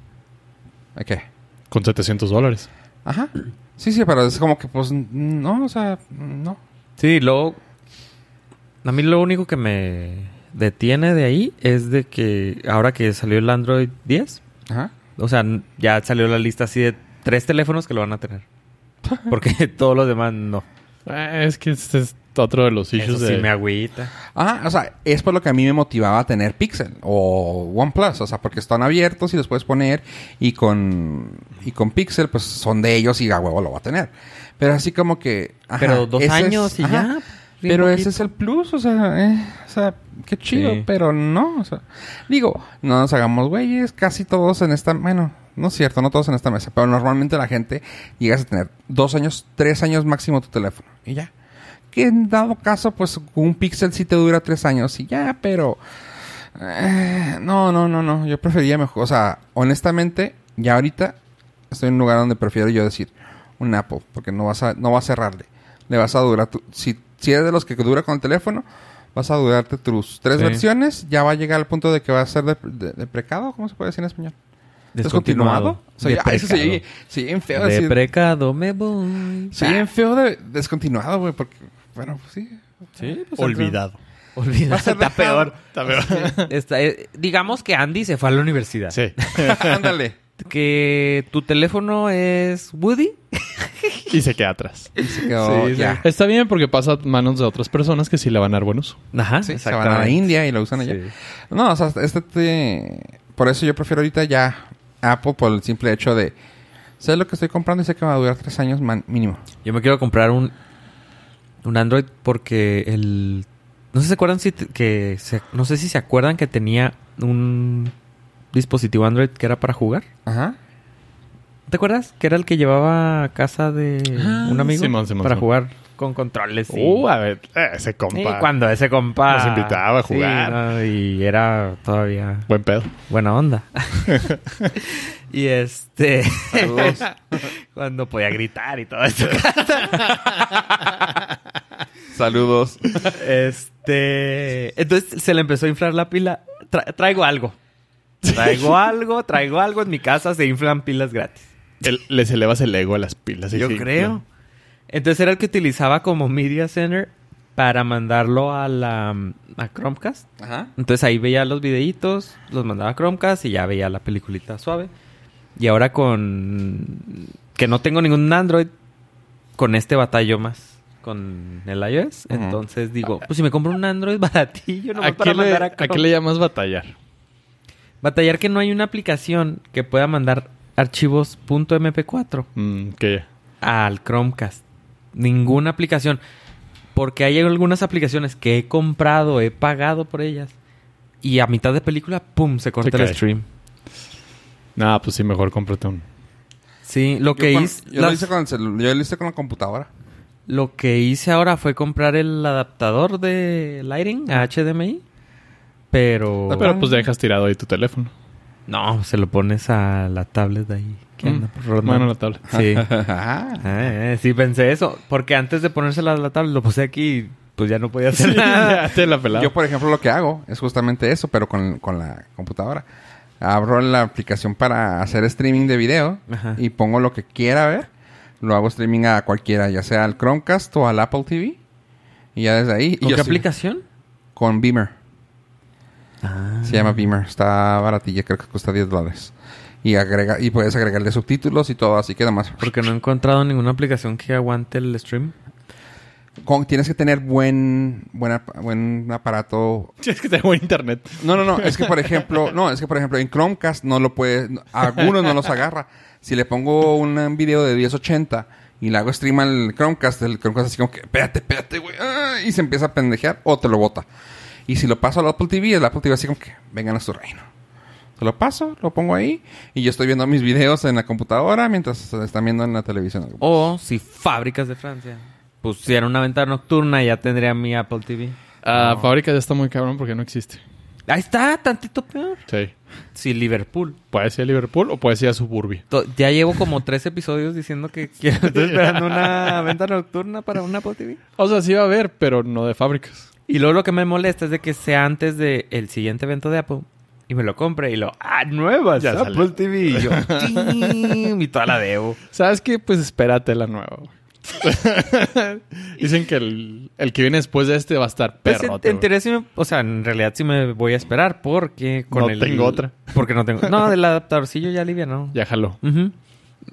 Speaker 1: ¿qué?
Speaker 2: con 700 dólares.
Speaker 1: Ajá. Sí, sí, pero es como que, pues, no, o sea, no.
Speaker 3: Sí, luego. A mí lo único que me detiene de ahí es de que ahora que salió el Android 10,
Speaker 1: Ajá.
Speaker 3: o sea, n- ya salió la lista así de tres teléfonos que lo van a tener.
Speaker 1: Ah.
Speaker 3: Porque [LAUGHS] todos los demás no.
Speaker 2: Eh, es que este es otro de los
Speaker 3: Eso
Speaker 2: issues
Speaker 3: sí
Speaker 2: de...
Speaker 3: me agüita.
Speaker 1: [LAUGHS] Ajá, o sea, es por lo que a mí me motivaba a tener Pixel o OnePlus, o sea, porque están abiertos y los puedes poner y con y con Pixel pues son de ellos y a huevo lo va a tener. Pero así como que ajá,
Speaker 3: Pero dos
Speaker 1: ese es-
Speaker 3: años y
Speaker 1: ajá,
Speaker 3: ya. bien
Speaker 1: Pero
Speaker 3: poquito.
Speaker 1: ese es el plus, o sea, eh, o sea, qué chido,
Speaker 3: Sí.
Speaker 1: pero no, o sea, digo, no nos hagamos güeyes, casi todos en esta, bueno, no es cierto, no todos en esta mesa, pero normalmente la gente llegas a tener dos años, tres años máximo tu teléfono y ya. Que en dado caso, pues un pixel sí te dura tres años y ya, pero eh, no, no, no, no, yo prefería mejor, o sea, honestamente, ya ahorita estoy en un lugar donde prefiero yo decir un Apple, porque no vas a, no va a cerrarle. Le vas a durar tu- si, si eres de los que dura con el teléfono, vas a durarte tus tres
Speaker 3: Sí.
Speaker 1: versiones, ya va a llegar al punto de que va a ser de, de- deprecado, ¿cómo se puede decir en español?
Speaker 3: Descontinuado.
Speaker 1: O sea, ya- eso se oye-
Speaker 3: Deprecado.
Speaker 1: se oye bien feo
Speaker 3: De
Speaker 1: decir.
Speaker 3: precado me voy. [LAUGHS]
Speaker 1: Se oye bien feo de descontinuado, güey, porque bueno, pues sí.
Speaker 3: Sí, pues,
Speaker 2: Olvidado.
Speaker 3: Olvida,
Speaker 1: ser
Speaker 3: está
Speaker 1: dejado.
Speaker 3: peor.
Speaker 2: Está peor.
Speaker 3: Está, eh, digamos que Andy se fue a la universidad.
Speaker 2: Sí.
Speaker 1: [LAUGHS] Ándale.
Speaker 3: Que tu teléfono es Woody.
Speaker 2: Y se queda atrás.
Speaker 1: Se quedó,
Speaker 2: Sí, sí.
Speaker 1: ya.
Speaker 2: Está bien porque pasa a manos de otras personas que sí le van a dar buenos.
Speaker 3: Ajá,
Speaker 1: Sí, se van a la India y lo usan allá. No, o sea, este... te- Por eso yo prefiero ahorita ya Apple por el simple hecho de... Sé lo que estoy comprando y sé que va a durar tres años man- mínimo.
Speaker 3: Yo me quiero comprar un, un Android porque el... No sé si se acuerdan si te- que... se- no sé si se acuerdan que tenía un dispositivo Android que era para jugar.
Speaker 1: Ajá.
Speaker 3: ¿Te acuerdas? Que era el que llevaba a casa de
Speaker 2: Ah,
Speaker 3: un amigo
Speaker 2: Simón, Simón,
Speaker 3: para
Speaker 2: Simón.
Speaker 3: jugar con controles. Y...
Speaker 2: Uh, a ver, eh, ese
Speaker 3: Y
Speaker 2: compa.
Speaker 3: cuando ese compa...
Speaker 2: Nos invitaba a
Speaker 3: Sí,
Speaker 2: jugar.
Speaker 3: no, y era todavía
Speaker 2: Buen pedo. [LAUGHS]
Speaker 3: buena onda. [LAUGHS] y este...
Speaker 1: [LAUGHS] Saludos.
Speaker 3: cuando podía gritar y todo esto.
Speaker 1: Saludos.
Speaker 3: Este. Entonces se le empezó a inflar la pila. Tra- traigo algo. Traigo algo, traigo algo. En mi casa se inflan pilas gratis.
Speaker 2: El- les elevas el ego a las pilas. y
Speaker 3: Yo
Speaker 2: sí,
Speaker 3: creo. Entonces era el que utilizaba como Media Center para mandarlo a la mm, a Chromecast.
Speaker 1: Ajá.
Speaker 3: Entonces ahí veía los videitos, los mandaba a Chromecast y ya veía la peliculita suave. Y ahora con que no tengo ningún Android, con este batallo más con el iOS.
Speaker 1: Ujú.
Speaker 3: Entonces digo, pues si me compro un Android [LAUGHS] baratillo,
Speaker 2: no.
Speaker 3: nomás
Speaker 2: ¿A,
Speaker 3: para
Speaker 2: qué le,
Speaker 3: mandar a
Speaker 2: ¿A qué le
Speaker 3: Chromecast.
Speaker 2: llamas batallar?
Speaker 3: Batallar que no hay una aplicación que pueda mandar archivos .mp4
Speaker 2: Mm, que
Speaker 3: al Chromecast. Ninguna aplicación. Porque hay algunas aplicaciones que he comprado, he pagado por ellas. Y a mitad de película, ¡pum! Se corta el
Speaker 2: cae.
Speaker 3: stream.
Speaker 2: Nada, pues sí, mejor cómprate un.
Speaker 3: Sí, lo que,
Speaker 1: Yo, cuan-
Speaker 3: hice,
Speaker 1: yo lo
Speaker 3: las-
Speaker 1: hice con el celu- yo lo hice con la computadora.
Speaker 3: lo que hice ahora fue comprar el adaptador de Lighting a HDMI. Pero...
Speaker 2: Pero pues dejas tirado ahí tu teléfono.
Speaker 3: No, se lo pones a la tablet de ahí. que
Speaker 2: Mm,
Speaker 3: anda por rodando.
Speaker 2: Mano a la tabla. [LAUGHS]
Speaker 1: [LAUGHS]
Speaker 3: Sí.
Speaker 1: Ajá.
Speaker 3: Ah, eh, sí, pensé eso. Porque antes de ponérsela a la tablet lo puse aquí y pues ya no podía
Speaker 2: [LAUGHS]
Speaker 3: hacer
Speaker 2: Sí, [LAUGHS]
Speaker 3: nada.
Speaker 2: ya te la pelada.
Speaker 1: Yo, por ejemplo, lo que hago es justamente eso, pero con, con la computadora. Abro la aplicación para hacer streaming de video
Speaker 3: Ajá.
Speaker 1: y pongo lo que quiera ver. Lo hago streaming a cualquiera, ya sea al Chromecast o al Apple TV. Y ya desde ahí. y
Speaker 3: ¿Con
Speaker 1: yo
Speaker 3: qué
Speaker 1: estoy-
Speaker 3: aplicación?
Speaker 1: Con Beamer.
Speaker 3: Ah.
Speaker 1: Se llama Beamer. Está baratilla, creo que cuesta 10 dólares. Y, agrega, y puedes agregarle subtítulos y todo, así que nada más.
Speaker 3: Porque no he encontrado ninguna aplicación que aguante el stream.
Speaker 1: Con- tienes que tener buen, buen, ap- buen aparato
Speaker 2: [LAUGHS] Es que tengo internet.
Speaker 1: No, no, no. Es que, por ejemplo, no, es que, por ejemplo, en Chromecast no lo puede... no, algunos no los agarra. Si le pongo un um, video de 1080 y le hago stream al Chromecast, el Chromecast así como que, espérate, espérate, güey. ah", y se empieza a pendejear o te lo bota. Y si lo paso al Apple TV, el Apple TV así como que, vengan a su reino. Se lo paso, lo pongo ahí y yo estoy viendo mis videos en la computadora mientras se están viendo en la televisión.
Speaker 3: O si Fábricas de Francia pusiera una ventana nocturna, ya tendría mi Apple TV.
Speaker 2: Ah, Fábrica ya está muy cabrón porque no existe.
Speaker 3: Ahí está, tantito peor.
Speaker 2: Sí.
Speaker 3: Sí, Liverpool.
Speaker 2: Puedes ir a Liverpool o puedes ir a Suburbia.
Speaker 3: To- Ya llevo como tres episodios diciendo que [LAUGHS] quiero- estoy esperando una venta nocturna para una Apple TV.
Speaker 2: O sea, sí va a haber, pero no de fábricas.
Speaker 3: Y luego lo que me molesta es de que sea antes del siguiente evento de Apple. Y me lo compre y lo... ¡Ah, nuevas!
Speaker 2: Ya
Speaker 3: Apple
Speaker 2: sale.
Speaker 3: TV. Y yo... "Chin", y toda la debo.
Speaker 2: ¿Sabes qué? Pues espérate la
Speaker 3: [LAUGHS]
Speaker 2: nueva. güey. Dicen que el, el que viene después de este va a estar
Speaker 3: Pues
Speaker 2: perro.
Speaker 3: en, en teoría sí me- o sea, en realidad sí me voy a esperar porque con
Speaker 2: No
Speaker 3: el-
Speaker 2: tengo otra.
Speaker 3: Porque no tengo. No, del adaptadorcillo ya alivia, ¿no?
Speaker 2: ya jaló.
Speaker 3: Ujú.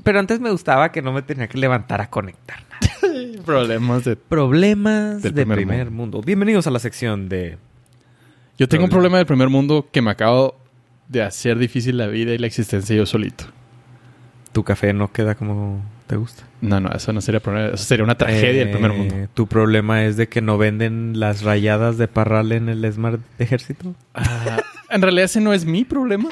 Speaker 3: Pero antes me gustaba que no me tenía que levantar a conectar. nada.
Speaker 2: Problemas de...
Speaker 3: Problemas
Speaker 2: Del
Speaker 3: de
Speaker 2: primer
Speaker 3: primer, mundo. Bienvenidos a la sección de.
Speaker 2: Yo tengo un
Speaker 3: Problema.
Speaker 2: problema del primer mundo que me acabo de hacer difícil la vida y la existencia yo solito.
Speaker 3: Tu café no queda como te gusta.
Speaker 2: No, no, eso no sería problema. Eso sería una tragedia del primer
Speaker 3: Eh,
Speaker 2: mundo.
Speaker 3: Tu problema es de que no venden las rayadas de parral en el Smart Ejército.
Speaker 2: Ah, en realidad ese no es mi problema.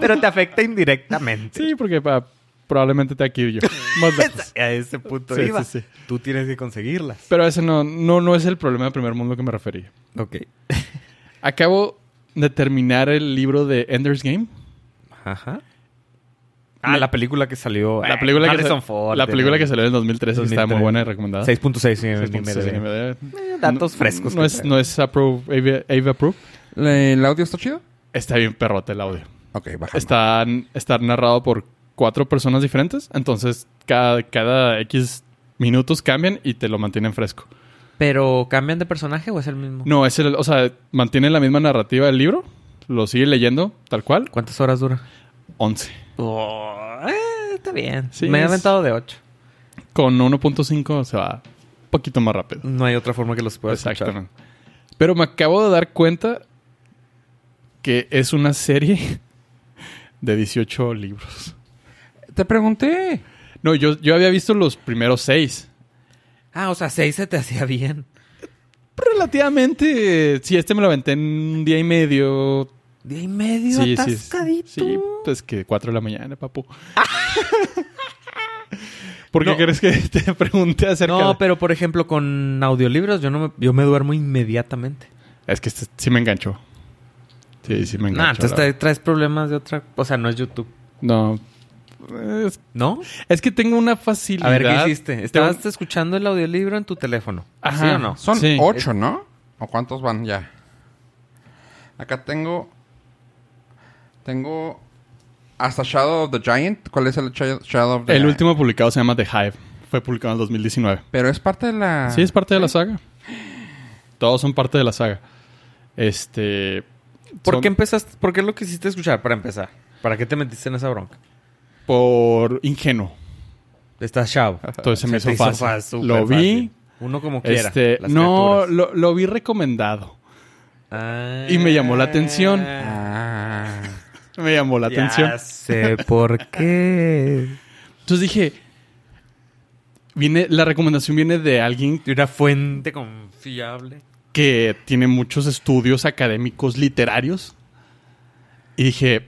Speaker 3: Pero te afecta indirectamente. [LAUGHS]
Speaker 2: Sí, porque pa- probablemente te aquí yo. Más lejos.
Speaker 3: A ese punto
Speaker 2: Sí,
Speaker 3: iba.
Speaker 2: sí, sí.
Speaker 3: Tú tienes que conseguirlas.
Speaker 2: Pero ese no, no, no es el problema del primer mundo que me refería.
Speaker 3: Ok.
Speaker 2: Acabo de terminar el libro de Ender's Game.
Speaker 3: Ajá. Ah, la película que salió.
Speaker 2: La película, que,
Speaker 3: Harrison
Speaker 2: sa-
Speaker 3: Ford.
Speaker 2: la película que salió en el 2013 que está muy
Speaker 3: 2013.
Speaker 2: buena y recomendada.
Speaker 3: 6.6 en
Speaker 2: 6.6
Speaker 3: IMDb.
Speaker 2: IMDb.
Speaker 3: Eh, Datos
Speaker 2: No-
Speaker 3: frescos.
Speaker 2: No
Speaker 3: que
Speaker 2: es,
Speaker 3: trae.
Speaker 2: no es approve, AV, AV approve.
Speaker 1: ¿El audio está chido?
Speaker 2: Está bien perrote el audio.
Speaker 1: Ok, baja.
Speaker 2: Está, está narrado por cuatro personas diferentes. Entonces, cada, cada X minutos cambian y te lo mantienen fresco.
Speaker 3: ¿Pero cambian de personaje o es el mismo?
Speaker 2: No, es el, o sea, mantiene la misma narrativa del libro, lo sigue leyendo tal cual,
Speaker 3: ¿Cuántas horas dura?
Speaker 2: 11.
Speaker 3: Oh, eh, está bien.
Speaker 2: Sí,
Speaker 3: Me he
Speaker 2: es-
Speaker 3: aventado de 8.
Speaker 2: Con 1.5 se va un poquito más rápido.
Speaker 3: No hay otra forma que los pueda escuchar.
Speaker 2: Exactamente. Pero me acabo de dar cuenta que es una serie [LAUGHS] de 18 libros.
Speaker 1: Te pregunté.
Speaker 2: No, yo, yo había visto los primeros seis.
Speaker 3: Ah, o sea, 6 se te hacía bien.
Speaker 2: Relativamente, si este me lo aventé en un día y medio.
Speaker 3: Día y medio
Speaker 2: Sí, sí,
Speaker 3: atascadito.
Speaker 2: sí, pues que 4 de la mañana, papu. ¿Por qué crees que te [LAUGHS] pregunté acerca
Speaker 3: No,
Speaker 2: de-
Speaker 3: pero por ejemplo, con audiolibros yo no me, yo me duermo inmediatamente.
Speaker 2: Es que este sí me enganchó. Sí, sí me
Speaker 3: Nah,
Speaker 2: enganchó.
Speaker 3: entonces
Speaker 2: la
Speaker 3: te- traes problemas de otra... O sea, no es YouTube.
Speaker 2: verdad. No. Es,
Speaker 3: ¿No?
Speaker 2: es que tengo una facilidad.
Speaker 3: A ver, ¿qué hiciste?
Speaker 2: Tengo-
Speaker 3: Estabas escuchando el audiolibro en tu teléfono. ¿Sí
Speaker 2: Ajá.
Speaker 3: o no?
Speaker 1: Son
Speaker 2: Sí.
Speaker 1: ocho, ¿no? ¿O cuántos van ya? Acá tengo. Tengo. Hasta Shadow of the Giant. ¿Cuál es el Ch- Shadow of the
Speaker 2: El
Speaker 1: Giant?
Speaker 2: último publicado se llama The Hive. Fue publicado en el 2019.
Speaker 1: Pero es parte de
Speaker 3: Ah.
Speaker 1: la.
Speaker 2: Sí, es parte de la saga. Todos son parte de la saga. Este.
Speaker 3: ¿Por
Speaker 2: son-
Speaker 3: qué empezaste? ¿Por qué lo quisiste escuchar para empezar? ¿Para qué te metiste en esa bronca?
Speaker 2: Por
Speaker 3: [LAUGHS]
Speaker 2: ingenuo.
Speaker 3: Estás chavo.
Speaker 2: Entonces
Speaker 3: [LAUGHS]
Speaker 2: se me
Speaker 3: te
Speaker 2: hizo fácil.
Speaker 3: fa- súper
Speaker 2: Lo vi.
Speaker 3: fácil. Uno como quiera.
Speaker 2: Este,
Speaker 3: las
Speaker 2: no,
Speaker 3: criaturas.
Speaker 2: lo, lo vi recomendado.
Speaker 3: Ah.
Speaker 2: y me llamó la atención.
Speaker 1: Ah.
Speaker 2: Me llamó la atención.
Speaker 3: Ya sé por qué.
Speaker 2: Entonces dije. Viene, la recomendación viene de alguien
Speaker 3: De una fuente confiable.
Speaker 2: que tiene muchos estudios académicos literarios. Y dije,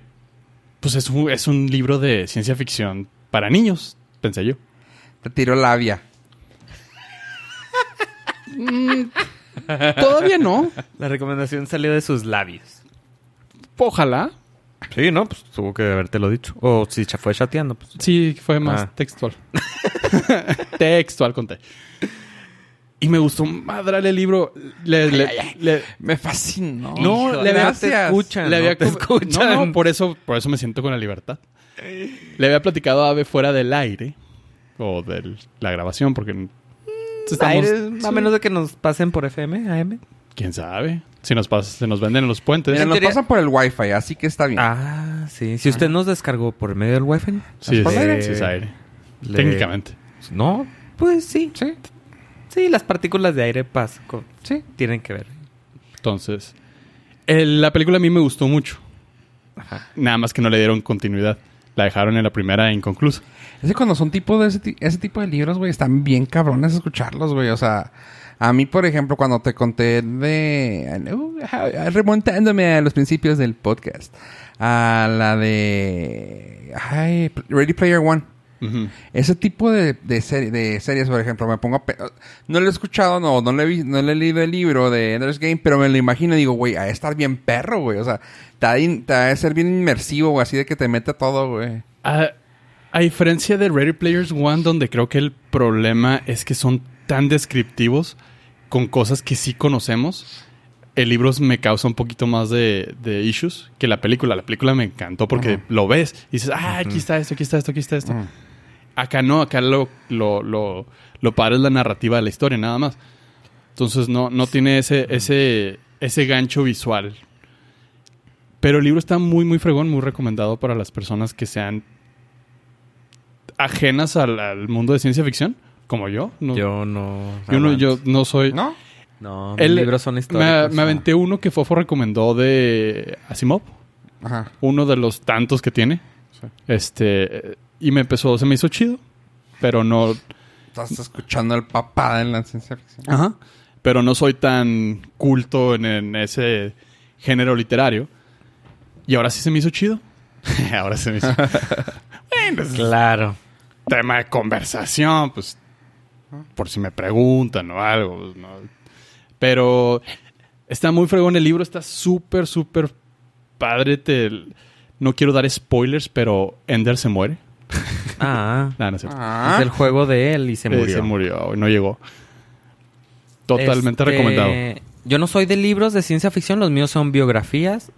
Speaker 2: pues es un, es un libro de ciencia ficción para niños, pensé yo.
Speaker 1: Te tiró labia.
Speaker 2: Todavía no.
Speaker 3: La recomendación salió de sus labios.
Speaker 2: Ojalá.
Speaker 3: Sí, ¿no? Pues tuvo que habértelo dicho. O si cha- fue chateando, pues.
Speaker 2: Sí, fue más
Speaker 3: Ah.
Speaker 2: textual. [LAUGHS] textual conté. Y me gustó madre el libro. Le- le- le-
Speaker 1: Me fascinó.
Speaker 2: no,
Speaker 3: Hijo,
Speaker 2: le había,
Speaker 3: gracias. Te escuchan,
Speaker 2: le
Speaker 3: no
Speaker 2: había
Speaker 3: te
Speaker 2: co-
Speaker 3: escuchan.
Speaker 2: No, no, por eso, por eso me siento con la libertad. Le había platicado a Ave fuera del aire o de la grabación, porque estamos-
Speaker 3: Aire, A menos de que nos pasen por FM, AM.
Speaker 2: quién sabe si nos pasa, se nos venden en los puentes.
Speaker 1: Mira,
Speaker 3: en
Speaker 1: nos
Speaker 3: teoría-
Speaker 1: pasan por el wifi, así que está bien.
Speaker 3: Ah, sí. Si usted nos descargó por medio del Wi-Fi,
Speaker 2: sí,
Speaker 1: ¿Por
Speaker 2: es,
Speaker 1: aire?
Speaker 2: sí es aire.
Speaker 3: le-
Speaker 2: Técnicamente.
Speaker 3: No, pues sí. Sí. Sí, las partículas de aire pas con-
Speaker 1: Sí.
Speaker 3: tienen que ver.
Speaker 2: Entonces, el- la película a mí me gustó mucho. Nada más que no le dieron continuidad. La dejaron en la primera inconclusa.
Speaker 1: Es que cuando son tipo de ese, ti- ese tipo de libros, güey, están bien cabrones escucharlos, güey. O sea, a mí, por ejemplo, cuando te conté de... uh, remontándome a los principios del podcast. A la de... Ay, Ready Player One.
Speaker 2: Ujú.
Speaker 1: Ese tipo de, de, seri- de series, por ejemplo, me pongo... a pe- No lo he escuchado, no, no le, he vi- no le he leído el libro de Ender's Game, pero me lo imagino y digo, güey, ha de estar bien perro, güey. O sea, te ha de in- te ha de ser bien inmersivo, güey, así de que te mete todo, güey.
Speaker 2: A, a diferencia de Ready Players One, donde creo que el problema es que son tan descriptivos con cosas que sí conocemos, el libro me causa un poquito más de, de issues que la película. La película me encantó porque lo ves y dices, ah, aquí está esto, aquí está esto, aquí está esto.
Speaker 1: Ujú.
Speaker 2: Acá no, acá lo, lo, lo, lo padre es la narrativa de la historia, nada más. Entonces no, no tiene ese, ese, ese gancho visual. Pero el libro está muy, muy fregón, muy recomendado para las personas que sean ajenas al, al mundo de ciencia ficción, como yo. No,
Speaker 3: Yo no.
Speaker 2: yo no, yo no soy...
Speaker 1: ¿No?
Speaker 3: No,
Speaker 2: El-
Speaker 3: mis libros son
Speaker 2: me,
Speaker 3: históricos.
Speaker 2: me aventé uno que Fofo recomendó de Asimov,
Speaker 1: Ajá.
Speaker 2: uno de los tantos que tiene.
Speaker 1: Sí.
Speaker 2: Este, y me empezó, se me hizo chido, pero no,
Speaker 1: Estás escuchando el papá de la ciencia ficción.
Speaker 2: Ajá. Pero no soy tan culto en, en ese género literario. Y ahora sí se me hizo chido. [LAUGHS] ahora se me hizo. Bueno, es
Speaker 3: Claro.
Speaker 2: tema de conversación, pues. Por si me preguntan o algo. pues, ¿no? Pero está muy fregón el libro, está súper, súper padre. te- No quiero dar spoilers, pero Ender se muere.
Speaker 3: Ah,
Speaker 2: Nada, no es cierto.
Speaker 1: Ah,
Speaker 3: es el juego de él y se
Speaker 2: Eh,
Speaker 3: murió.
Speaker 2: Se murió, no llegó. Totalmente
Speaker 3: Este,
Speaker 2: recomendado.
Speaker 3: Yo no soy de libros de ciencia ficción, los míos son biografías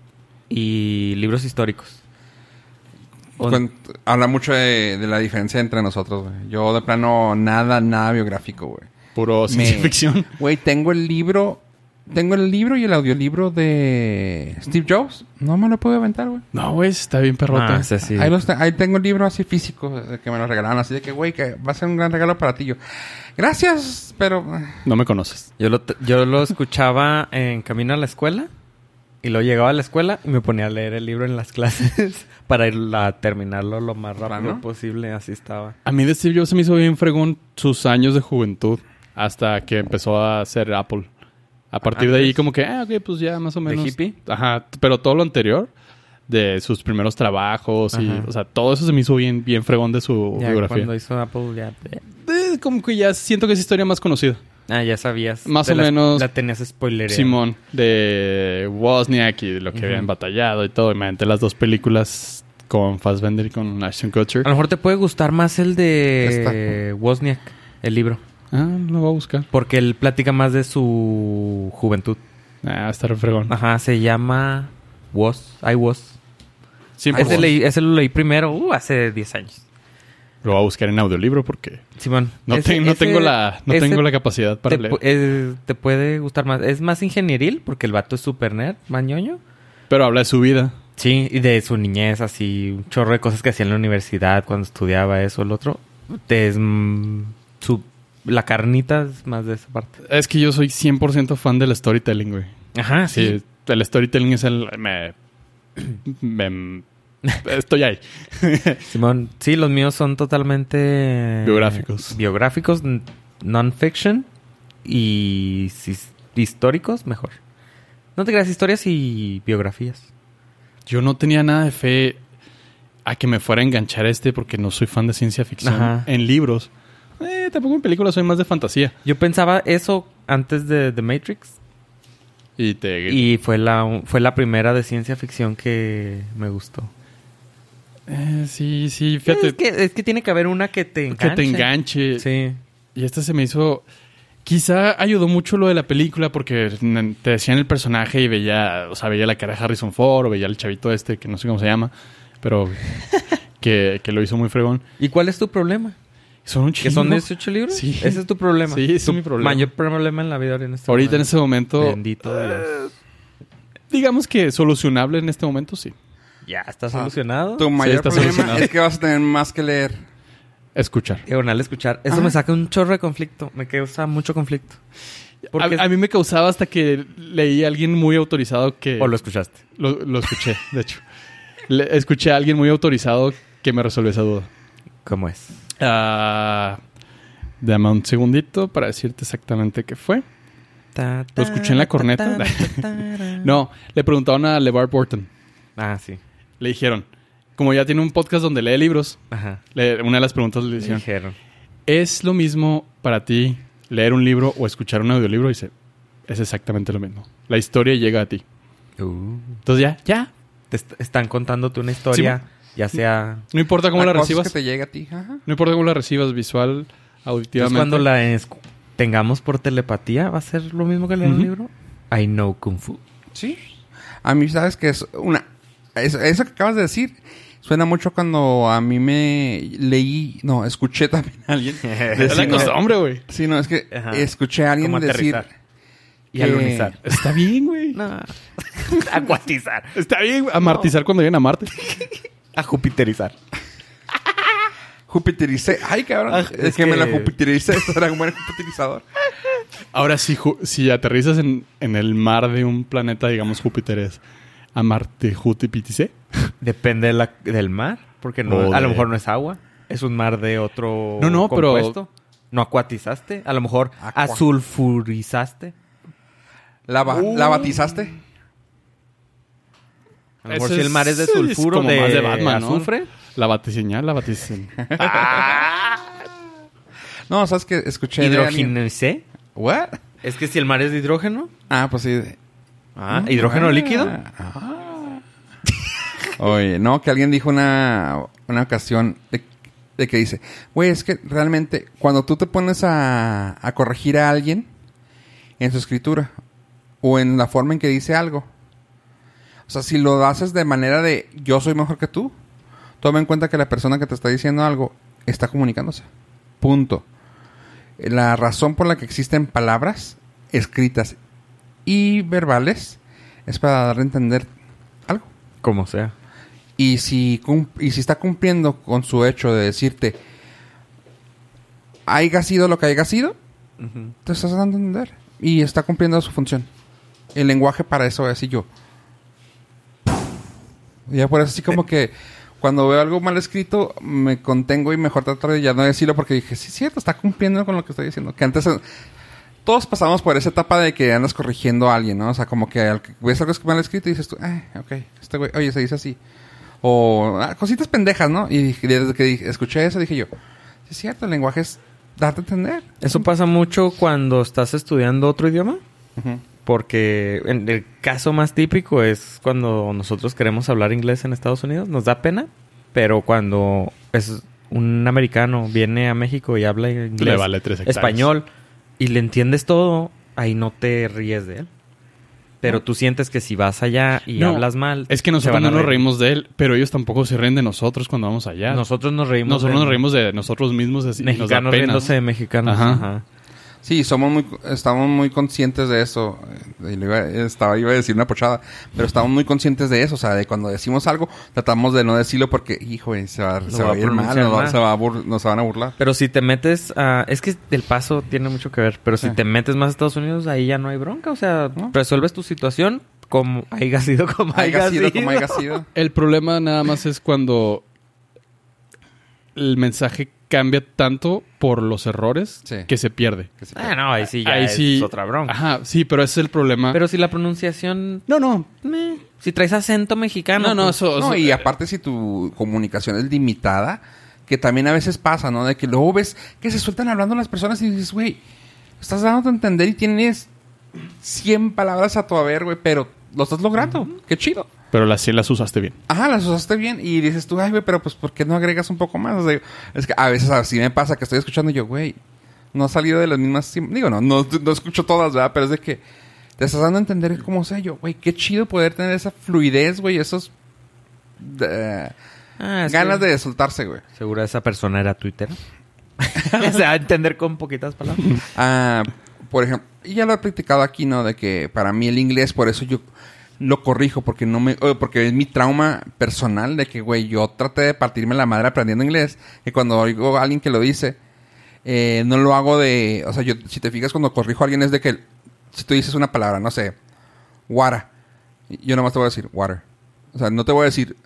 Speaker 3: y libros históricos. O-
Speaker 1: Con- habla mucho de, de la diferencia entre nosotros, güey. Yo de plano nada, nada biográfico, güey.
Speaker 2: Puro ciencia
Speaker 1: Me-
Speaker 2: ficción.
Speaker 1: Güey, tengo el libro. Tengo el libro y el audiolibro de Steve Jobs. No me lo pude aventar, güey.
Speaker 2: No, güey, está bien perrota.
Speaker 3: Ah, ese sí.
Speaker 1: Ahí, los te- ahí tengo el libro así físico eh, que me lo regalaron. Así de que, güey, que va a ser un gran regalo para ti. Yo, gracias, pero. eh,
Speaker 2: No me conoces.
Speaker 3: Yo lo, t- yo lo escuchaba en camino a la escuela y luego llegaba a la escuela y me ponía a leer el libro en las [LAUGHS] clases para ir a terminarlo lo más rápido
Speaker 1: ¿Plano?
Speaker 3: posible. Así estaba.
Speaker 2: A mí de Steve Jobs se me hizo bien fregón sus años de juventud hasta que empezó a hacer Apple. A partir de ahí
Speaker 3: pues.
Speaker 2: como que, ah, ok, pues ya más o
Speaker 3: ¿De
Speaker 2: menos.
Speaker 3: hippie?
Speaker 2: Ajá, t- pero todo lo anterior de sus primeros trabajos y,
Speaker 3: Ajá.
Speaker 2: o sea, todo eso se me hizo bien, bien fregón de su
Speaker 3: Ya
Speaker 2: Oh, biografía.
Speaker 3: cuando hizo Apple ya...
Speaker 2: Eh, como que ya siento que es historia más conocida.
Speaker 3: Ah, ya sabías.
Speaker 2: Más
Speaker 3: Te
Speaker 2: o
Speaker 3: la-
Speaker 2: menos-
Speaker 3: La tenías spoiler.
Speaker 2: Simón, de Wozniak y de lo que
Speaker 3: Ujú.
Speaker 2: habían batallado y todo. Imagínate las dos películas con Fassbender y con Ashton Kutcher.
Speaker 3: A lo mejor te puede gustar más el de Wozniak, el libro.
Speaker 2: Ah, lo voy a buscar.
Speaker 3: Porque él platica más de su juventud.
Speaker 2: Ah, está re fregón.
Speaker 3: Ajá, se llama Woz. I Was.
Speaker 2: Siempre
Speaker 3: Ese, leí- ese lo leí primero, uh, hace 10 años.
Speaker 2: Lo voy a buscar en audiolibro porque
Speaker 3: Simón.
Speaker 2: no,
Speaker 3: ese-
Speaker 2: te- no
Speaker 3: ese-
Speaker 2: tengo, la, no
Speaker 3: ese
Speaker 2: tengo la capacidad para
Speaker 3: te,
Speaker 2: leer.
Speaker 3: pu- eh. es- te puede gustar más. Es más ingenieril porque el vato es super nerd, más ñoño.
Speaker 2: Pero habla de su vida.
Speaker 3: Sí, y de su niñez, así, un chorro de cosas que hacía en la universidad cuando estudiaba eso, el otro. Te es, mm, su, la carnita es más de esa parte.
Speaker 2: Es que yo soy 100% fan del storytelling, güey.
Speaker 3: Ajá,
Speaker 2: Sí, el storytelling es el... Me, me- em, estoy ahí.
Speaker 3: Simón, sí, los míos son totalmente... eh,
Speaker 2: Biográficos.
Speaker 3: Biográficos, n- non-fiction y sis- históricos, mejor. No te creas historias y biografías.
Speaker 2: Yo no tenía nada de fe a que me fuera a enganchar este porque no soy fan de ciencia ficción
Speaker 3: Ajá.
Speaker 2: en libros. Eh, tampoco en películas, soy más de fantasía.
Speaker 3: Yo pensaba eso antes de The Matrix.
Speaker 2: Y te...
Speaker 3: Y fue la, fue la primera de ciencia ficción que me gustó.
Speaker 2: Eh, sí, sí, fíjate.
Speaker 3: Es que, es que tiene que haber una que te enganche.
Speaker 2: que te enganche.
Speaker 3: Sí.
Speaker 2: Y este se me hizo... Quizá ayudó mucho lo de la película porque n- te decían el personaje y veía... O sea, veía la cara de Harrison Ford o veía el chavito este que no sé cómo se llama.
Speaker 3: [LAUGHS]
Speaker 2: Pero que, que lo hizo muy fregón.
Speaker 3: ¿Y cuál es tu problema?
Speaker 2: Son un
Speaker 3: ¿Que son
Speaker 2: chingo.
Speaker 3: 18 libros?
Speaker 2: Sí.
Speaker 3: Ese es tu problema.
Speaker 2: Sí, ese es
Speaker 3: Tu
Speaker 2: mi problema.
Speaker 3: Mayor problema en la vida en este
Speaker 2: Ahorita en
Speaker 3: momento.
Speaker 2: ese momento...
Speaker 3: Bendito Dios.
Speaker 2: Digamos que solucionable en este momento, sí.
Speaker 3: Ya, está
Speaker 2: Ah.
Speaker 3: solucionado.
Speaker 1: Tu mayor
Speaker 2: está
Speaker 1: problema
Speaker 2: solucionado.
Speaker 1: es que vas a tener más que leer.
Speaker 2: Escuchar.
Speaker 3: Diagonal escuchar. Eso
Speaker 1: Ajá.
Speaker 3: me saca un chorro de conflicto. Me causa mucho conflicto. Porque-
Speaker 2: A, a mí me causaba hasta que leí a alguien muy autorizado que...
Speaker 3: O lo escuchaste.
Speaker 2: Lo, lo escuché, de hecho. Le- escuché a alguien muy autorizado que me resolvió esa duda.
Speaker 3: ¿Cómo es?
Speaker 2: Ah, dame un segundito para decirte exactamente qué fue.
Speaker 3: Ta,
Speaker 2: ¿Lo escuché en la
Speaker 3: ta,
Speaker 2: corneta?
Speaker 3: ta, ta, ta, ta.
Speaker 2: [LAUGHS] No, le preguntaron a LeVar Burton.
Speaker 3: Ah, sí.
Speaker 2: Le dijeron, como ya tiene un podcast donde lee libros,
Speaker 3: Ajá.
Speaker 2: le- una de las preguntas le
Speaker 3: Me
Speaker 2: hicieron,
Speaker 3: Dijeron.
Speaker 2: ¿es lo mismo para ti leer un libro o escuchar un audiolibro? Y dice, es exactamente lo mismo. La historia llega a ti.
Speaker 3: Uh.
Speaker 2: Entonces ya, ya.
Speaker 3: Te est- están contándote una historia, ya sea...
Speaker 2: No importa cómo
Speaker 1: Hay
Speaker 2: la
Speaker 1: cosas
Speaker 2: recibas.
Speaker 1: que te llega a ti. Ajá.
Speaker 2: No importa cómo la recibas, visual,
Speaker 3: Entonces,
Speaker 2: auditivamente.
Speaker 3: pues, cuando la es- tengamos por telepatía, ¿va a ser lo mismo que leer un
Speaker 2: Ujú.
Speaker 3: libro? I know Kung [LAUGHS] Fu.
Speaker 1: Sí. A mí, sabes que es una. es- eso que acabas de decir suena mucho cuando a mí me leí. No, escuché también [LAUGHS] a alguien.
Speaker 2: Es la
Speaker 1: decir, no,
Speaker 2: costumbre, güey.
Speaker 1: Sí, no, es que
Speaker 3: Ajá.
Speaker 1: escuché a alguien
Speaker 3: Como
Speaker 1: decir.
Speaker 3: aterrizar. Y alunizar.
Speaker 2: [LAUGHS] Está bien, güey.
Speaker 3: No. [LAUGHS] Acuatizar.
Speaker 2: Está bien, güey. Amartizar cuando lleguen a Marte.
Speaker 3: A jupiterizar.
Speaker 1: Jupitericé. Ay, cabrón.
Speaker 3: Ah,
Speaker 1: es,
Speaker 3: es
Speaker 1: que, me la
Speaker 3: que-
Speaker 1: Jupitericé. [LAUGHS] Era un buen jupiterizador.
Speaker 2: Ahora, si, ju- si aterrizas en, en el mar de un planeta, digamos Júpiter es a Marte Júpiter,
Speaker 3: Depende de la- del mar, porque no,
Speaker 2: O
Speaker 3: a
Speaker 2: de-
Speaker 3: lo mejor no es agua. Es un mar de otro
Speaker 2: No, no, pero-
Speaker 3: compuesto. No acuatizaste. A lo mejor
Speaker 1: Aqua.
Speaker 3: azulfurizaste.
Speaker 1: ¿La, ba-
Speaker 2: Uh.
Speaker 1: ¿la batizaste?
Speaker 3: A lo mejor
Speaker 2: Eso
Speaker 3: si el mar es de
Speaker 2: es
Speaker 3: sulfuro,
Speaker 2: como
Speaker 3: de,
Speaker 2: más de Batman, ¿no?
Speaker 3: azufre.
Speaker 2: la batiseñal, la batiseñal.
Speaker 1: No, sabes que escuché. de alguien-
Speaker 3: Hidrogenicé.
Speaker 1: ¿What?
Speaker 3: Es que si el mar es de hidrógeno.
Speaker 1: Ah, pues sí.
Speaker 3: Ah, hidrógeno
Speaker 1: Ah.
Speaker 3: líquido.
Speaker 1: Ah. Oye, no, que alguien dijo una, una ocasión de, de que dice, güey, es que realmente cuando tú te pones a, a corregir a alguien en su escritura o en la forma en que dice algo, o sea, si lo haces de manera de yo soy mejor que tú, toma en cuenta que la persona que te está diciendo algo está comunicándose. Punto. La razón por la que existen palabras escritas y verbales es para dar a entender algo.
Speaker 3: Como sea.
Speaker 1: Y si, cum- y si está cumpliendo con su hecho de decirte, haya sido lo que haya sido, te estás dando a entender. Y está cumpliendo su función. El lenguaje para eso es y yo. Ya por eso así como que cuando veo algo mal escrito, me contengo y mejor trato de ya no decirlo porque dije, sí, es cierto, está cumpliendo con lo que estoy diciendo. Que antes eh, todos pasamos por esa etapa de que andas corrigiendo a alguien, ¿no? O sea, como que al- ves algo mal escrito y dices tú, ah, ok, este güey, oye, se dice así. O ah, cositas pendejas, ¿no? Y dije- desde que dije- escuché eso dije yo, sí, es cierto, el lenguaje es darte a entender.
Speaker 3: Eso pasa mucho cuando estás estudiando otro idioma.
Speaker 1: Ujú.
Speaker 3: Porque en el caso más típico es cuando nosotros queremos hablar inglés en Estados Unidos, nos da pena, pero cuando es un americano viene a México y habla inglés,
Speaker 2: Le vale tres hectáreas.
Speaker 3: español y le entiendes todo, ahí no te ríes de él. Pero tú sientes que si vas allá [LAUGHS] y
Speaker 2: No,
Speaker 3: hablas mal,
Speaker 2: Es que
Speaker 3: se
Speaker 2: nosotros
Speaker 3: van a
Speaker 2: no nos
Speaker 3: reír.
Speaker 2: reímos de él, pero ellos tampoco se ríen de nosotros cuando vamos allá.
Speaker 3: Nosotros nos reímos.
Speaker 2: nosotros
Speaker 3: de
Speaker 2: nos reímos de nosotros mismos. Así, y nos da
Speaker 3: mexicanos
Speaker 2: pena.
Speaker 3: riéndose de mexicanos.
Speaker 2: Ajá.
Speaker 3: ajá.
Speaker 1: Sí, somos muy, estamos muy conscientes de eso. Eh, y le iba- estaba, iba a decir una pochada, pero estamos muy conscientes de eso. O sea, de cuando decimos algo, tratamos de no decirlo porque, hijo, eh, se va, se
Speaker 3: va
Speaker 1: va a
Speaker 3: a
Speaker 1: ir mal,
Speaker 3: pronunciar
Speaker 1: nos, va-
Speaker 3: mal.
Speaker 1: se va a bur- nos van a burlar.
Speaker 3: Pero si te metes a... Es que el paso tiene mucho que ver. Pero si
Speaker 1: Sí.
Speaker 3: te metes más a Estados Unidos, ahí ya no hay bronca. O sea,
Speaker 1: ¿No?
Speaker 3: resuelves tu situación como haya sido, [LAUGHS] como haya,
Speaker 1: Haya sido
Speaker 3: sido.
Speaker 1: como haya
Speaker 3: [LAUGHS]
Speaker 1: sido.
Speaker 2: El problema nada más es cuando el mensaje cambia tanto por los errores
Speaker 1: Sí.
Speaker 2: que se pierde.
Speaker 1: Que se-
Speaker 3: Ah, no, ahí sí ya
Speaker 2: Ahí
Speaker 3: es
Speaker 2: sí-
Speaker 3: otra bronca.
Speaker 2: Ajá, sí, pero ese es el problema.
Speaker 3: Pero si la pronunciación...
Speaker 2: no, no.
Speaker 3: meh, si traes acento mexicano...
Speaker 2: No, no,
Speaker 3: pues,
Speaker 2: eso.
Speaker 1: No,
Speaker 2: eso-
Speaker 1: y aparte si tu comunicación es limitada, que también a veces pasa, ¿no? De que luego ves que se sueltan hablando las personas y dices, güey, estás dándote a entender y tienes 100 palabras a tu haber, güey, pero lo estás logrando. Qué chido.
Speaker 2: Pero las sí las usaste bien.
Speaker 1: Ajá, las usaste bien. Y dices tú, ay, güey, pero pues, ¿por qué no agregas un poco más? O sea, es que a veces así me pasa que estoy escuchando y yo, güey, no ha salido de las mismas. sim- Digo, no, no, no escucho todas, ¿verdad? Pero es de que te estás dando a entender cómo sé yo, güey, qué chido poder tener esa fluidez, güey, esos. eh,
Speaker 3: ah, es
Speaker 1: ganas
Speaker 3: que-
Speaker 1: de soltarse, güey.
Speaker 3: Seguro esa persona era [LAUGHS] Twitter. Se va a entender con poquitas palabras.
Speaker 1: Ah, por ejemplo, y ya lo he practicado aquí, ¿no? De que para mí el inglés, por eso yo lo corrijo, porque no me, eh, porque es mi trauma personal de que, güey, yo traté de partirme la madre aprendiendo inglés, que cuando oigo a alguien que lo dice, eh, no lo hago de, o sea, yo, si te fijas, cuando corrijo a alguien es de que, si tú dices una palabra, no sé, water, yo nomás te voy a decir water, o sea, no te voy a decir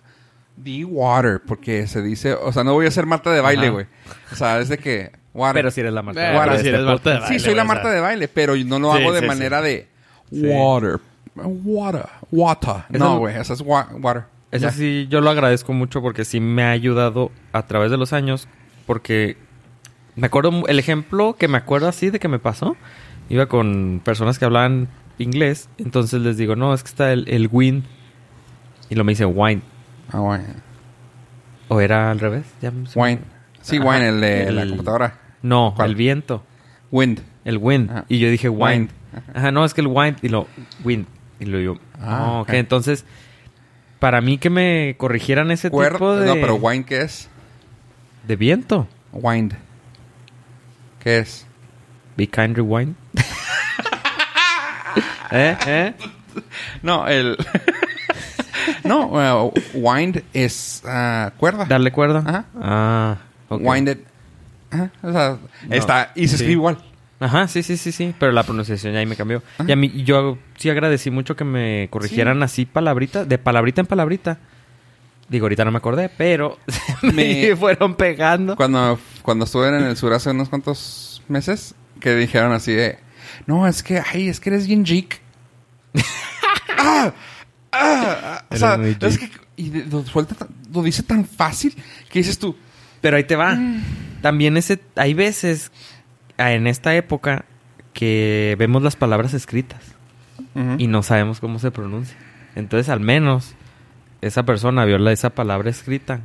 Speaker 1: the water, porque se dice, o sea, no voy a ser Marta de baile,
Speaker 3: Ajá.
Speaker 1: güey, o sea, es de que water.
Speaker 3: Pero si eres la Marta.
Speaker 2: Eh,
Speaker 3: de baile
Speaker 1: pero
Speaker 2: si
Speaker 3: de
Speaker 2: eres
Speaker 3: este
Speaker 2: Marta de
Speaker 3: podcast.
Speaker 2: baile,
Speaker 1: Sí, soy la
Speaker 2: güey, o
Speaker 1: Marta
Speaker 2: sea.
Speaker 1: de baile, pero yo no lo
Speaker 2: Sí,
Speaker 1: hago de
Speaker 2: sí,
Speaker 1: manera de
Speaker 3: Sí.
Speaker 1: water, water, water.
Speaker 3: Eso-
Speaker 1: No, güey, eso es wa- water.
Speaker 3: Eso
Speaker 1: Ya.
Speaker 3: sí, yo lo agradezco mucho porque sí me ha ayudado a través de los años. Porque me acuerdo, mu- el ejemplo que me acuerdo así de que me pasó, iba con personas que hablaban inglés. Entonces les digo, no, es que está el, el win. Y lo me dice wine.
Speaker 1: Ah, güey.
Speaker 3: ¿O era al revés? Ya me-
Speaker 1: Wine. Sí,
Speaker 3: Ajá.
Speaker 1: wine, el de la
Speaker 3: El-
Speaker 1: computadora.
Speaker 3: No,
Speaker 1: ¿Cuál? Ah.
Speaker 3: el viento.
Speaker 1: Wind.
Speaker 3: El wind.
Speaker 1: Ajá.
Speaker 3: Y yo dije wine.
Speaker 1: Wind.
Speaker 3: Ajá, no, es que el wine. Y lo wind. Y lo yo.
Speaker 1: Ah,
Speaker 3: Ah, ok.
Speaker 1: ok.
Speaker 3: Entonces, para mí que me corrigieran ese
Speaker 1: Cuer-
Speaker 3: tipo de,
Speaker 1: No, pero wine, ¿qué es?
Speaker 3: de viento.
Speaker 1: Wind. ¿Qué es?
Speaker 3: Be kind, rewind. [LAUGHS] ¿Eh? ¿Eh?
Speaker 1: No, el... [LAUGHS] no, eh, wind es ah, cuerda.
Speaker 3: ¿Darle cuerda?
Speaker 1: Ajá.
Speaker 3: Ah, ok.
Speaker 1: Winded. Ajá, o sea,
Speaker 3: No.
Speaker 1: está... Y se
Speaker 3: Sí.
Speaker 1: escribe igual.
Speaker 3: Ajá, sí, sí, sí, sí. Pero la pronunciación ya ahí me cambió. Y a mí, yo sí agradecí mucho que me corrigieran así palabrita, de palabrita en palabrita. Digo, ahorita no me acordé, pero [LAUGHS] me,
Speaker 1: Me-
Speaker 3: fueron pegando.
Speaker 1: Cuando, cuando estuve en el sur hace unos cuantos meses, que dijeron así de... No, es que... Ay, es que eres bien geek. ah, ah, o
Speaker 3: Eres
Speaker 1: sea,
Speaker 3: muy
Speaker 1: es
Speaker 3: geek.
Speaker 1: que... Y de- lo, suelta tan- lo dice tan fácil que dices tú...
Speaker 3: Pero ahí te va.
Speaker 1: Mm.
Speaker 3: También ese, hay veces ah, en esta época que vemos las palabras escritas. y no sabemos cómo se pronuncia. Entonces, al menos, esa persona vio la- esa palabra escrita.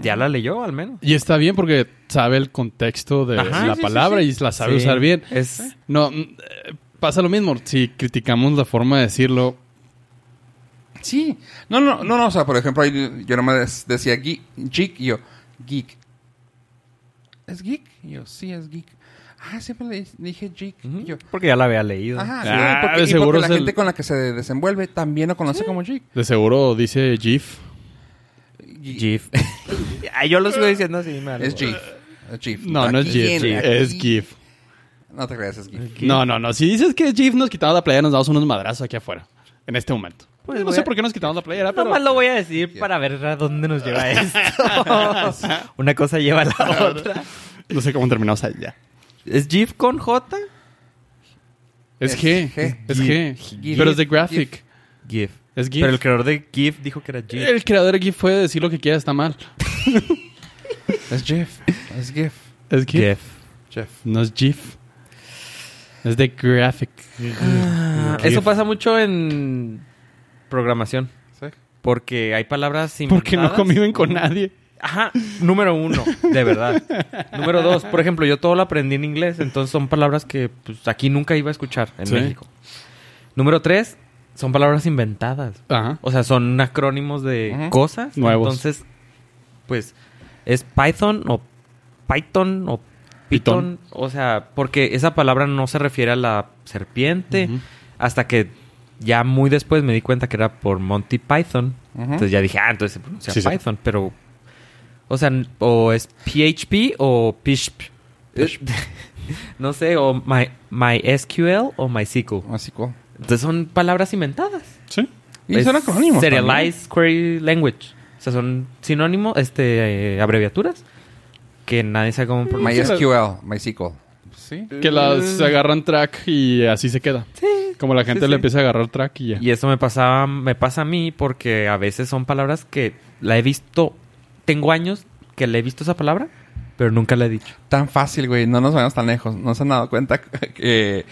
Speaker 3: Ya la leyó, al menos.
Speaker 2: Y está bien porque sabe el contexto de
Speaker 3: Ajá,
Speaker 2: la
Speaker 3: sí, sí,
Speaker 2: palabra
Speaker 3: sí.
Speaker 2: y la sabe
Speaker 3: Sí,
Speaker 2: usar bien.
Speaker 3: Es,
Speaker 2: No, mm, eh, pasa lo mismo. Si criticamos la forma de decirlo,
Speaker 1: Sí. No, no, no, no. O sea, por ejemplo, ahí yo nomás decía geek, geek y yo... Geek. ¿es geek? Y yo, sí, es geek. Ah, siempre le dije geek. Y yo,
Speaker 3: Porque ya la había leído.
Speaker 1: ajá.
Speaker 2: Sí.
Speaker 1: y
Speaker 2: Ah,
Speaker 1: porque-
Speaker 2: de
Speaker 1: y porque
Speaker 2: seguro
Speaker 1: la
Speaker 2: es el-
Speaker 1: gente con la que se desenvuelve también lo conoce como geek.
Speaker 2: De seguro dice GIF.
Speaker 1: Y-
Speaker 3: GIF. [LAUGHS] Ay, yo lo sigo diciendo así. me vale.
Speaker 1: Es GIF. Es GIF.
Speaker 2: No, no es
Speaker 1: Aquí
Speaker 2: GIF.
Speaker 1: en- aquí-
Speaker 2: Es GIF.
Speaker 1: No te creas, es
Speaker 3: [LAUGHS]
Speaker 1: GIF.
Speaker 3: Aquí.
Speaker 2: No, no, no. Si dices que es GIF, nos quitamos la playera, nos damos unos madrazos aquí afuera. En este momento.
Speaker 3: Pues
Speaker 2: no
Speaker 3: voy
Speaker 2: sé
Speaker 3: a-
Speaker 2: por qué nos quitamos la playera, pero.
Speaker 3: Nomás lo voy a decir para ver a dónde
Speaker 2: [LAUGHS]
Speaker 3: nos lleva esto. Una cosa lleva a la otra.
Speaker 2: No sé cómo terminamos allá.
Speaker 3: ¿Es GIF con J?
Speaker 2: Es
Speaker 1: Es
Speaker 2: G.
Speaker 1: G.
Speaker 2: Es G.
Speaker 1: GIF.
Speaker 2: Pero es de
Speaker 1: GIF.
Speaker 2: graphic.
Speaker 3: GIF.
Speaker 2: Es GIF.
Speaker 3: Pero el creador de GIF dijo que era GIF.
Speaker 2: El creador de GIF puede decir lo que quiera, está mal.
Speaker 1: Es GIF. Es GIF.
Speaker 2: Es GIF.
Speaker 1: Jeff.
Speaker 2: No es GIF. Es de graphic.
Speaker 3: Ah,
Speaker 2: GIF.
Speaker 3: Eso pasa mucho en programación.
Speaker 1: ¿Sí?
Speaker 3: Porque hay palabras inventadas.
Speaker 2: Porque no conviven con nadie.
Speaker 3: Ajá, número uno, de verdad. número dos, por ejemplo, yo todo lo aprendí en inglés, entonces son palabras que pues, aquí nunca iba a escuchar en
Speaker 2: Sí.
Speaker 3: México. Número tres, son palabras inventadas.
Speaker 2: Ajá.
Speaker 3: O sea, son acrónimos de
Speaker 1: Ujú.
Speaker 3: cosas.
Speaker 2: Nuevos.
Speaker 3: Entonces, pues, es Python o Python o Python. O sea, porque esa palabra no se refiere a la serpiente.
Speaker 2: Ujú.
Speaker 3: Hasta que ya muy después me di cuenta que era por Monty Python.
Speaker 1: Ujú.
Speaker 3: Entonces ya dije, ah, entonces se pronuncia
Speaker 2: Sí, sí.
Speaker 3: Python. Pero, o sea, n- o es PHP o PISP.
Speaker 1: PHP.
Speaker 3: [LAUGHS] no sé, o my, MySQL o MySQL.
Speaker 1: Así como.
Speaker 3: Entonces son palabras inventadas.
Speaker 2: Sí.
Speaker 1: Y son
Speaker 3: Es
Speaker 1: acrónimos. también.
Speaker 3: Serialized Query Language. O sea, son sinónimos, este, eh, abreviaturas que nadie sabe cómo pronunciar.
Speaker 1: MySQL. MySQL. Sí.
Speaker 2: Que las agarran track y así se queda.
Speaker 3: Mm. Sí.
Speaker 2: Como la gente
Speaker 3: Sí, sí.
Speaker 2: le empieza a agarrar track y ya.
Speaker 3: Y eso me pasaba, me pasa a mí porque a veces son palabras que la he visto, tengo años que le he visto esa palabra, pero nunca la he dicho.
Speaker 1: Tan fácil, güey. No nos vayamos tan lejos. No se han dado cuenta [LAUGHS] que,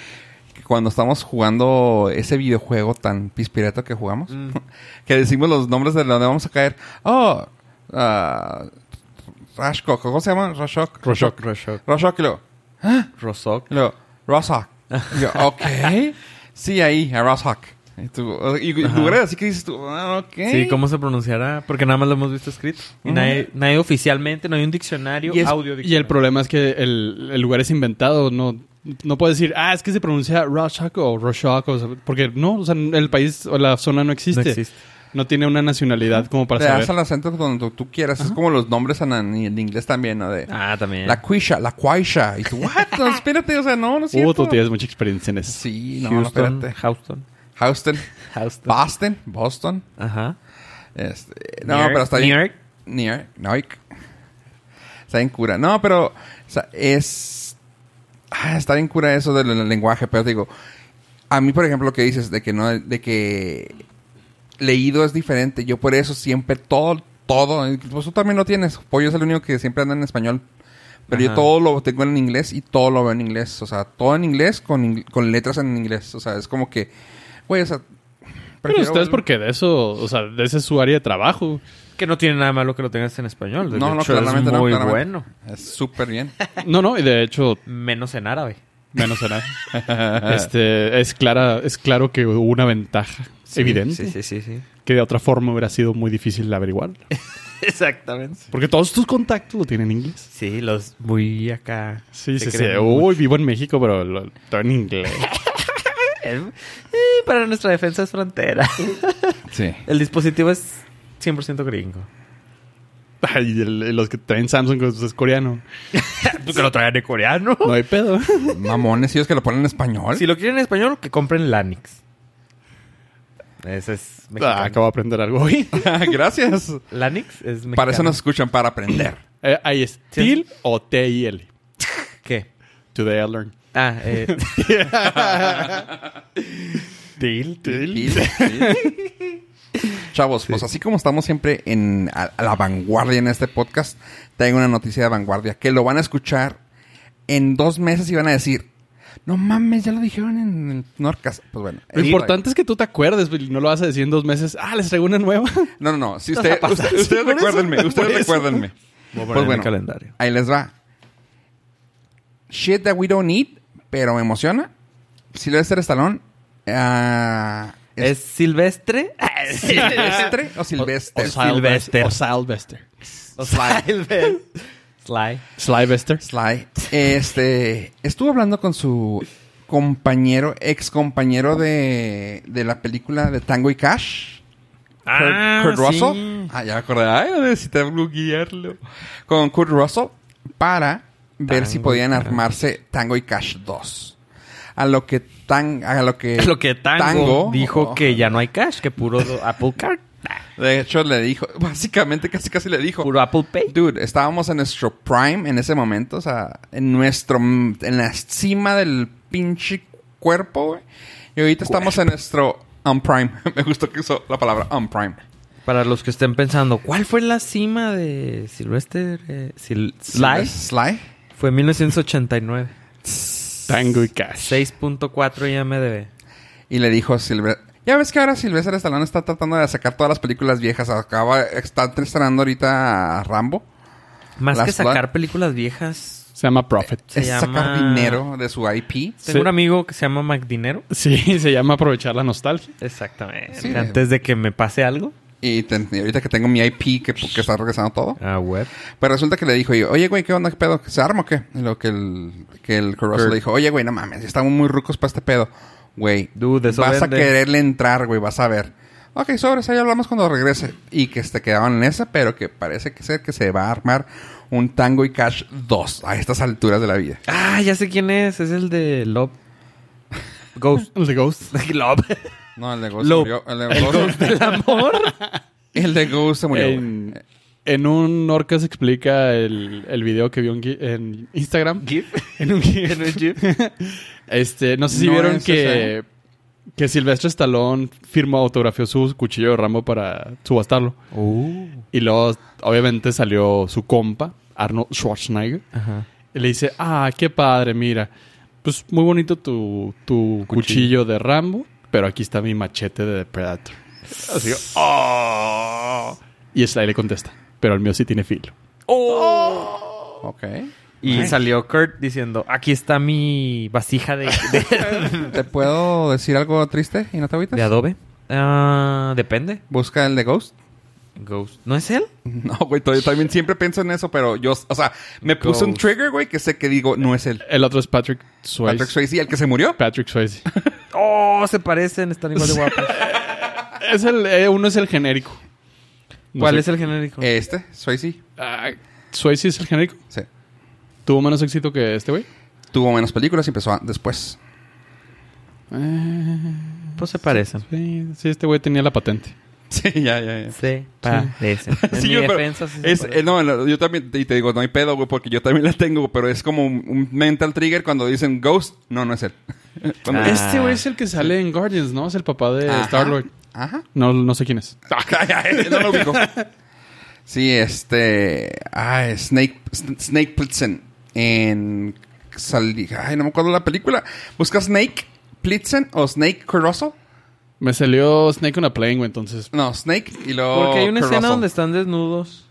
Speaker 1: que cuando estamos jugando ese videojuego tan pispireto que jugamos, [LAUGHS] que decimos los nombres de donde vamos a caer. Oh, ah, Rashok. ¿Cómo se llama? Rashok.
Speaker 2: Rashok.
Speaker 3: Roshock.
Speaker 1: Rashok y luego,
Speaker 3: Rosoc.
Speaker 1: y luego, Rashok. Y yo,
Speaker 3: [LAUGHS]
Speaker 1: ok. Sí, ahí, a Rashok. Y tú, y, y tú eres así que dices tú, ah, ok.
Speaker 3: Sí, ¿cómo se pronunciará? Porque nada más lo hemos visto escrito. Y
Speaker 1: Ujú.
Speaker 3: nadie, nadie oficialmente, no hay un diccionario,
Speaker 1: Y es-
Speaker 3: audio
Speaker 2: Y el problema es que el, el lugar es inventado, no, no puedes decir, ah, es que se pronuncia Rorschach o Rorschach, o sea, porque no, o sea, el país o la zona no existe. No,
Speaker 3: No existe.
Speaker 2: tiene una nacionalidad como para
Speaker 1: Le das al
Speaker 2: saber.
Speaker 1: acento cuando tú quieras. Es como los nombres en, en inglés también, ¿no? De,
Speaker 3: Ah, también.
Speaker 1: La cuisha, la cuisha. Y tú, what? No, espérate, o sea, no,
Speaker 3: [LAUGHS]
Speaker 1: no es
Speaker 2: Uh,
Speaker 1: cierto.
Speaker 2: tú tienes mucha experiencia en eso.
Speaker 1: Sí, no, no,
Speaker 3: Houston,
Speaker 1: espérate.
Speaker 3: Houston.
Speaker 1: Houston,
Speaker 3: [LAUGHS] Houston.
Speaker 1: Boston, Boston.
Speaker 3: Ajá.
Speaker 1: Este, no,
Speaker 3: New York,
Speaker 1: pero está
Speaker 3: New
Speaker 1: bien.
Speaker 3: York.
Speaker 1: New York. New York. Está bien cura. No, pero o sea, es... Ah, está bien cura eso del, del lenguaje, pero te digo, a mí, por ejemplo, lo que dices de que no, de que leído es diferente. Yo por eso siempre todo, todo, pues tú también lo tienes. Pollo es el único que siempre anda en español. Pero yo
Speaker 3: Ajá.
Speaker 1: todo lo tengo en inglés y todo lo veo en inglés. O sea, todo en inglés con, ing- con letras en inglés. O sea, es como que, güey, o sea...
Speaker 2: Pero
Speaker 1: prefiero-
Speaker 2: ustedes porque de eso, o sea, de ese es su área de
Speaker 3: [LAUGHS]
Speaker 2: trabajo.
Speaker 3: Que no tiene nada malo que lo tengas en español. De
Speaker 1: No, no,
Speaker 3: hecho,
Speaker 1: claramente
Speaker 3: es
Speaker 1: no.
Speaker 3: muy
Speaker 1: claramente.
Speaker 3: bueno.
Speaker 1: Es súper bien.
Speaker 2: No, no, y de hecho,
Speaker 3: Menos en árabe.
Speaker 2: menos en nada. [LAUGHS] este, es clara, es claro que hubo una ventaja evidente,
Speaker 3: Sí, sí, sí, sí.
Speaker 2: que de otra forma hubiera sido muy difícil de averiguar.
Speaker 3: [LAUGHS] Exactamente.
Speaker 2: Porque todos tus contactos lo tienen en inglés.
Speaker 3: Sí, los muy acá.
Speaker 2: Sí, sí,
Speaker 3: se
Speaker 2: sí.
Speaker 3: creen mucho.
Speaker 2: Uy, vivo en México, pero lo, todo en inglés.
Speaker 3: Es- eh, para nuestra defensa es frontera.
Speaker 1: Sí.
Speaker 3: El dispositivo es 100% gringo.
Speaker 2: [LAUGHS] Ay, y el- y los que traen Samsung pues, es coreano.
Speaker 3: Tú que lo traigan en coreano.
Speaker 2: No hay pedo.
Speaker 1: [LAUGHS] Mamones, ellos que lo ponen en español.
Speaker 3: [LAUGHS] Si lo quieren en español, que compren Lanix. Ese es mexicano.
Speaker 2: Ah, acabo de aprender algo hoy.
Speaker 1: [LAUGHS] Gracias.
Speaker 3: Lanix es mexicano.
Speaker 1: Para eso nos escuchan, para aprender.
Speaker 2: [LAUGHS] Eh, ahí es TIL o T-I-L.
Speaker 3: ¿Qué?
Speaker 2: Today I learned.
Speaker 3: Ah, eh... [LAUGHS]
Speaker 2: TIL,
Speaker 1: Sí, sí. Chavos, pues así como estamos siempre en, a, a la vanguardia en este podcast, tengo una noticia de vanguardia que lo van a escuchar en dos meses y van a decir, no mames, ya lo dijeron en el Norcas. Pues bueno.
Speaker 2: Lo
Speaker 1: es-
Speaker 2: importante es que tú te acuerdes, pues, no lo vas a decir en dos meses. Ah, les traigo una nueva.
Speaker 1: No, no, no. Si
Speaker 3: No
Speaker 1: usted,
Speaker 3: la pasas.
Speaker 1: usted- ustedes
Speaker 2: Por eso,
Speaker 1: recuérdenme,
Speaker 2: por
Speaker 1: ustedes
Speaker 2: eso.
Speaker 1: recuérdenme.
Speaker 3: Voy a poner
Speaker 1: Pues
Speaker 3: en
Speaker 1: bueno.
Speaker 3: el calendario.
Speaker 1: Ahí les va. Shit that we don't need, pero me emociona. Sylvester Stallone. ah,
Speaker 3: ¿Es silvestre? [LAUGHS]
Speaker 1: Silvestre o Silvestre?
Speaker 2: Silvester.
Speaker 3: Sylvester.
Speaker 2: O Sylvester.
Speaker 3: Silvestre. Sly.
Speaker 2: Sly Bester.
Speaker 1: Sly. Este, estuvo hablando con su compañero, ex compañero de, de la película de Tango y Cash. Kurt, Kurt Russell. Ah, ya me acordé. Ay, necesitaba googlearlo. Con Kurt Russell para ver
Speaker 3: Tango
Speaker 1: si
Speaker 3: y
Speaker 1: podían
Speaker 3: Cash.
Speaker 1: armarse Tango y Cash 2. A lo que tan, a lo
Speaker 3: [LAUGHS]
Speaker 1: que,
Speaker 3: Lo que Eh, Tango, dijo
Speaker 1: oh,
Speaker 3: que ya no hay cash, que puro do- Apple Card.
Speaker 1: De hecho, le dijo, [LAUGHS] básicamente casi casi le dijo.
Speaker 3: Puro Apple Pay.
Speaker 1: Dude, estábamos en nuestro prime en ese momento, o sea, en nuestro, en la cima del pinche cuerpo, güey. Y ahorita estamos en nuestro unprime. [LAUGHS] Me gustó que usó la palabra unprime.
Speaker 3: Para los que estén pensando, ¿cuál fue la cima de Sylvester eh, Sil- Sly?
Speaker 1: Sly.
Speaker 3: Fue 1989.
Speaker 2: Tango y Cash.
Speaker 3: 6.4 IMDB.
Speaker 1: Y le dijo a Sylvester... Ya ves que ahora Sylvester Stallone está tratando de sacar todas las películas viejas. Acaba, está estrenando ahorita a Rambo.
Speaker 3: Más
Speaker 1: Las
Speaker 3: que sacar
Speaker 1: Black-
Speaker 3: películas viejas.
Speaker 2: Se llama Profit.
Speaker 3: Se
Speaker 1: es sacar
Speaker 3: llama-
Speaker 1: dinero de su IP.
Speaker 3: Tengo
Speaker 2: Sí.
Speaker 3: un amigo que se llama MacDinero.
Speaker 2: [LAUGHS] Sí, se llama Aprovechar la Nostalgia.
Speaker 3: Exactamente.
Speaker 1: Sí.
Speaker 3: Antes de que me pase algo.
Speaker 1: Y, ten- y ahorita que tengo mi IP que, que está regresando todo.
Speaker 3: Ah, web.
Speaker 1: Pero resulta que le dijo, yo, oye, güey, ¿qué onda? ¿Qué pedo? ¿Se arma o qué? Y lo que el, que el Kurt Russell
Speaker 2: Kurt.
Speaker 1: le dijo, oye, güey, no mames, estamos muy rucos para este pedo. Güey,
Speaker 3: Dude, eso
Speaker 1: vas
Speaker 3: vende.
Speaker 1: a quererle entrar, güey, vas a ver. Ok, sobres, ahí hablamos cuando regrese. Y que se quedaban en esa, pero que parece que ser que se va a armar un Tango y Cash 2 a estas alturas de la vida.
Speaker 3: Ah, ya sé quién es. Es el de Love. [LAUGHS]
Speaker 2: [LAUGHS]
Speaker 3: Ghost.
Speaker 2: El de Ghost.
Speaker 3: Love.
Speaker 1: No, el de Ghost
Speaker 3: Lo-
Speaker 1: murió. [LAUGHS] El de Ghost,
Speaker 3: ¿Del amor?
Speaker 1: el de Ghost se murió. güey.
Speaker 2: En, en un Orca se explica el, el video que vio en, Gi- en Instagram. En un GIF.
Speaker 3: En un GIF.
Speaker 2: Este, no sé si
Speaker 1: No
Speaker 2: vieron
Speaker 1: es
Speaker 2: que,
Speaker 1: ese.
Speaker 2: que Silvestre Stallone firmó, autografió su cuchillo de Rambo para subastarlo. Y luego, obviamente, salió su compa, Arnold Schwarzenegger.
Speaker 3: Ajá.
Speaker 2: Y le dice, ah, qué padre, mira. Pues muy bonito tu, tu cuchillo. de Rambo, pero aquí está mi machete de Predator. Así, "Oh". Y Sly le contesta, pero el mío sí tiene filo.
Speaker 1: Ok.
Speaker 3: Y salió Kurt diciendo, aquí está mi vasija de,
Speaker 1: [LAUGHS]
Speaker 3: de,
Speaker 1: ¿Te puedo decir algo triste y no te agüites?
Speaker 3: de adobe. Ah, depende.
Speaker 1: Busca el de Ghost.
Speaker 3: Ghost. ¿No es él?
Speaker 1: [LAUGHS] No, güey, yo también siempre pienso en eso, pero yo, o sea, me puse un
Speaker 3: Ghost.
Speaker 1: trigger, güey, que sé que digo, no es él.
Speaker 2: El otro es Patrick Swayze.
Speaker 1: Patrick Swayze, el que se murió.
Speaker 2: Patrick Swayze. [LAUGHS]
Speaker 3: Oh, se parecen, están igual de guapos.
Speaker 2: es el, eh, uno es el genérico. No
Speaker 3: ¿Cuál
Speaker 2: sé.
Speaker 3: es el genérico?
Speaker 1: Este, Swayze,
Speaker 2: Ah, Swayze es el genérico.
Speaker 1: sí.
Speaker 2: Tuvo menos éxito que este güey.
Speaker 1: Tuvo menos películas y empezó a- después. [LAUGHS]
Speaker 3: pues se parecen.
Speaker 2: Sí, sí, este güey tenía la patente.
Speaker 1: Sí, ya, ya, ya.
Speaker 3: Se parecen. En
Speaker 1: Sí,
Speaker 3: mi
Speaker 1: yo, pero
Speaker 3: defensa sí se
Speaker 1: es-
Speaker 3: parecen.
Speaker 1: eh, no, no, yo también, y te digo, no hay pedo, güey, porque yo también la tengo, pero es como un, un mental trigger cuando dicen Ghost, no, no es él. [LAUGHS] Cuando-
Speaker 3: Ah. eh,
Speaker 2: Este güey es el que sale en Guardians, ¿no? Es el papá de
Speaker 1: Ajá.
Speaker 2: Star-Lord.
Speaker 1: Ajá.
Speaker 2: No, no sé quién es.
Speaker 3: [LAUGHS]
Speaker 1: no lo ubico. Sí, este. Ah, Snake, Sn- Snake Plitzen. En. sali- Ay, no me acuerdo la película. Busca Snake Plitzen o Snake Caruso.
Speaker 2: Me salió Snake on a Plane, güey, entonces.
Speaker 1: No, Snake y luego.
Speaker 3: Porque hay una escena
Speaker 1: Caruso.
Speaker 3: donde están desnudos.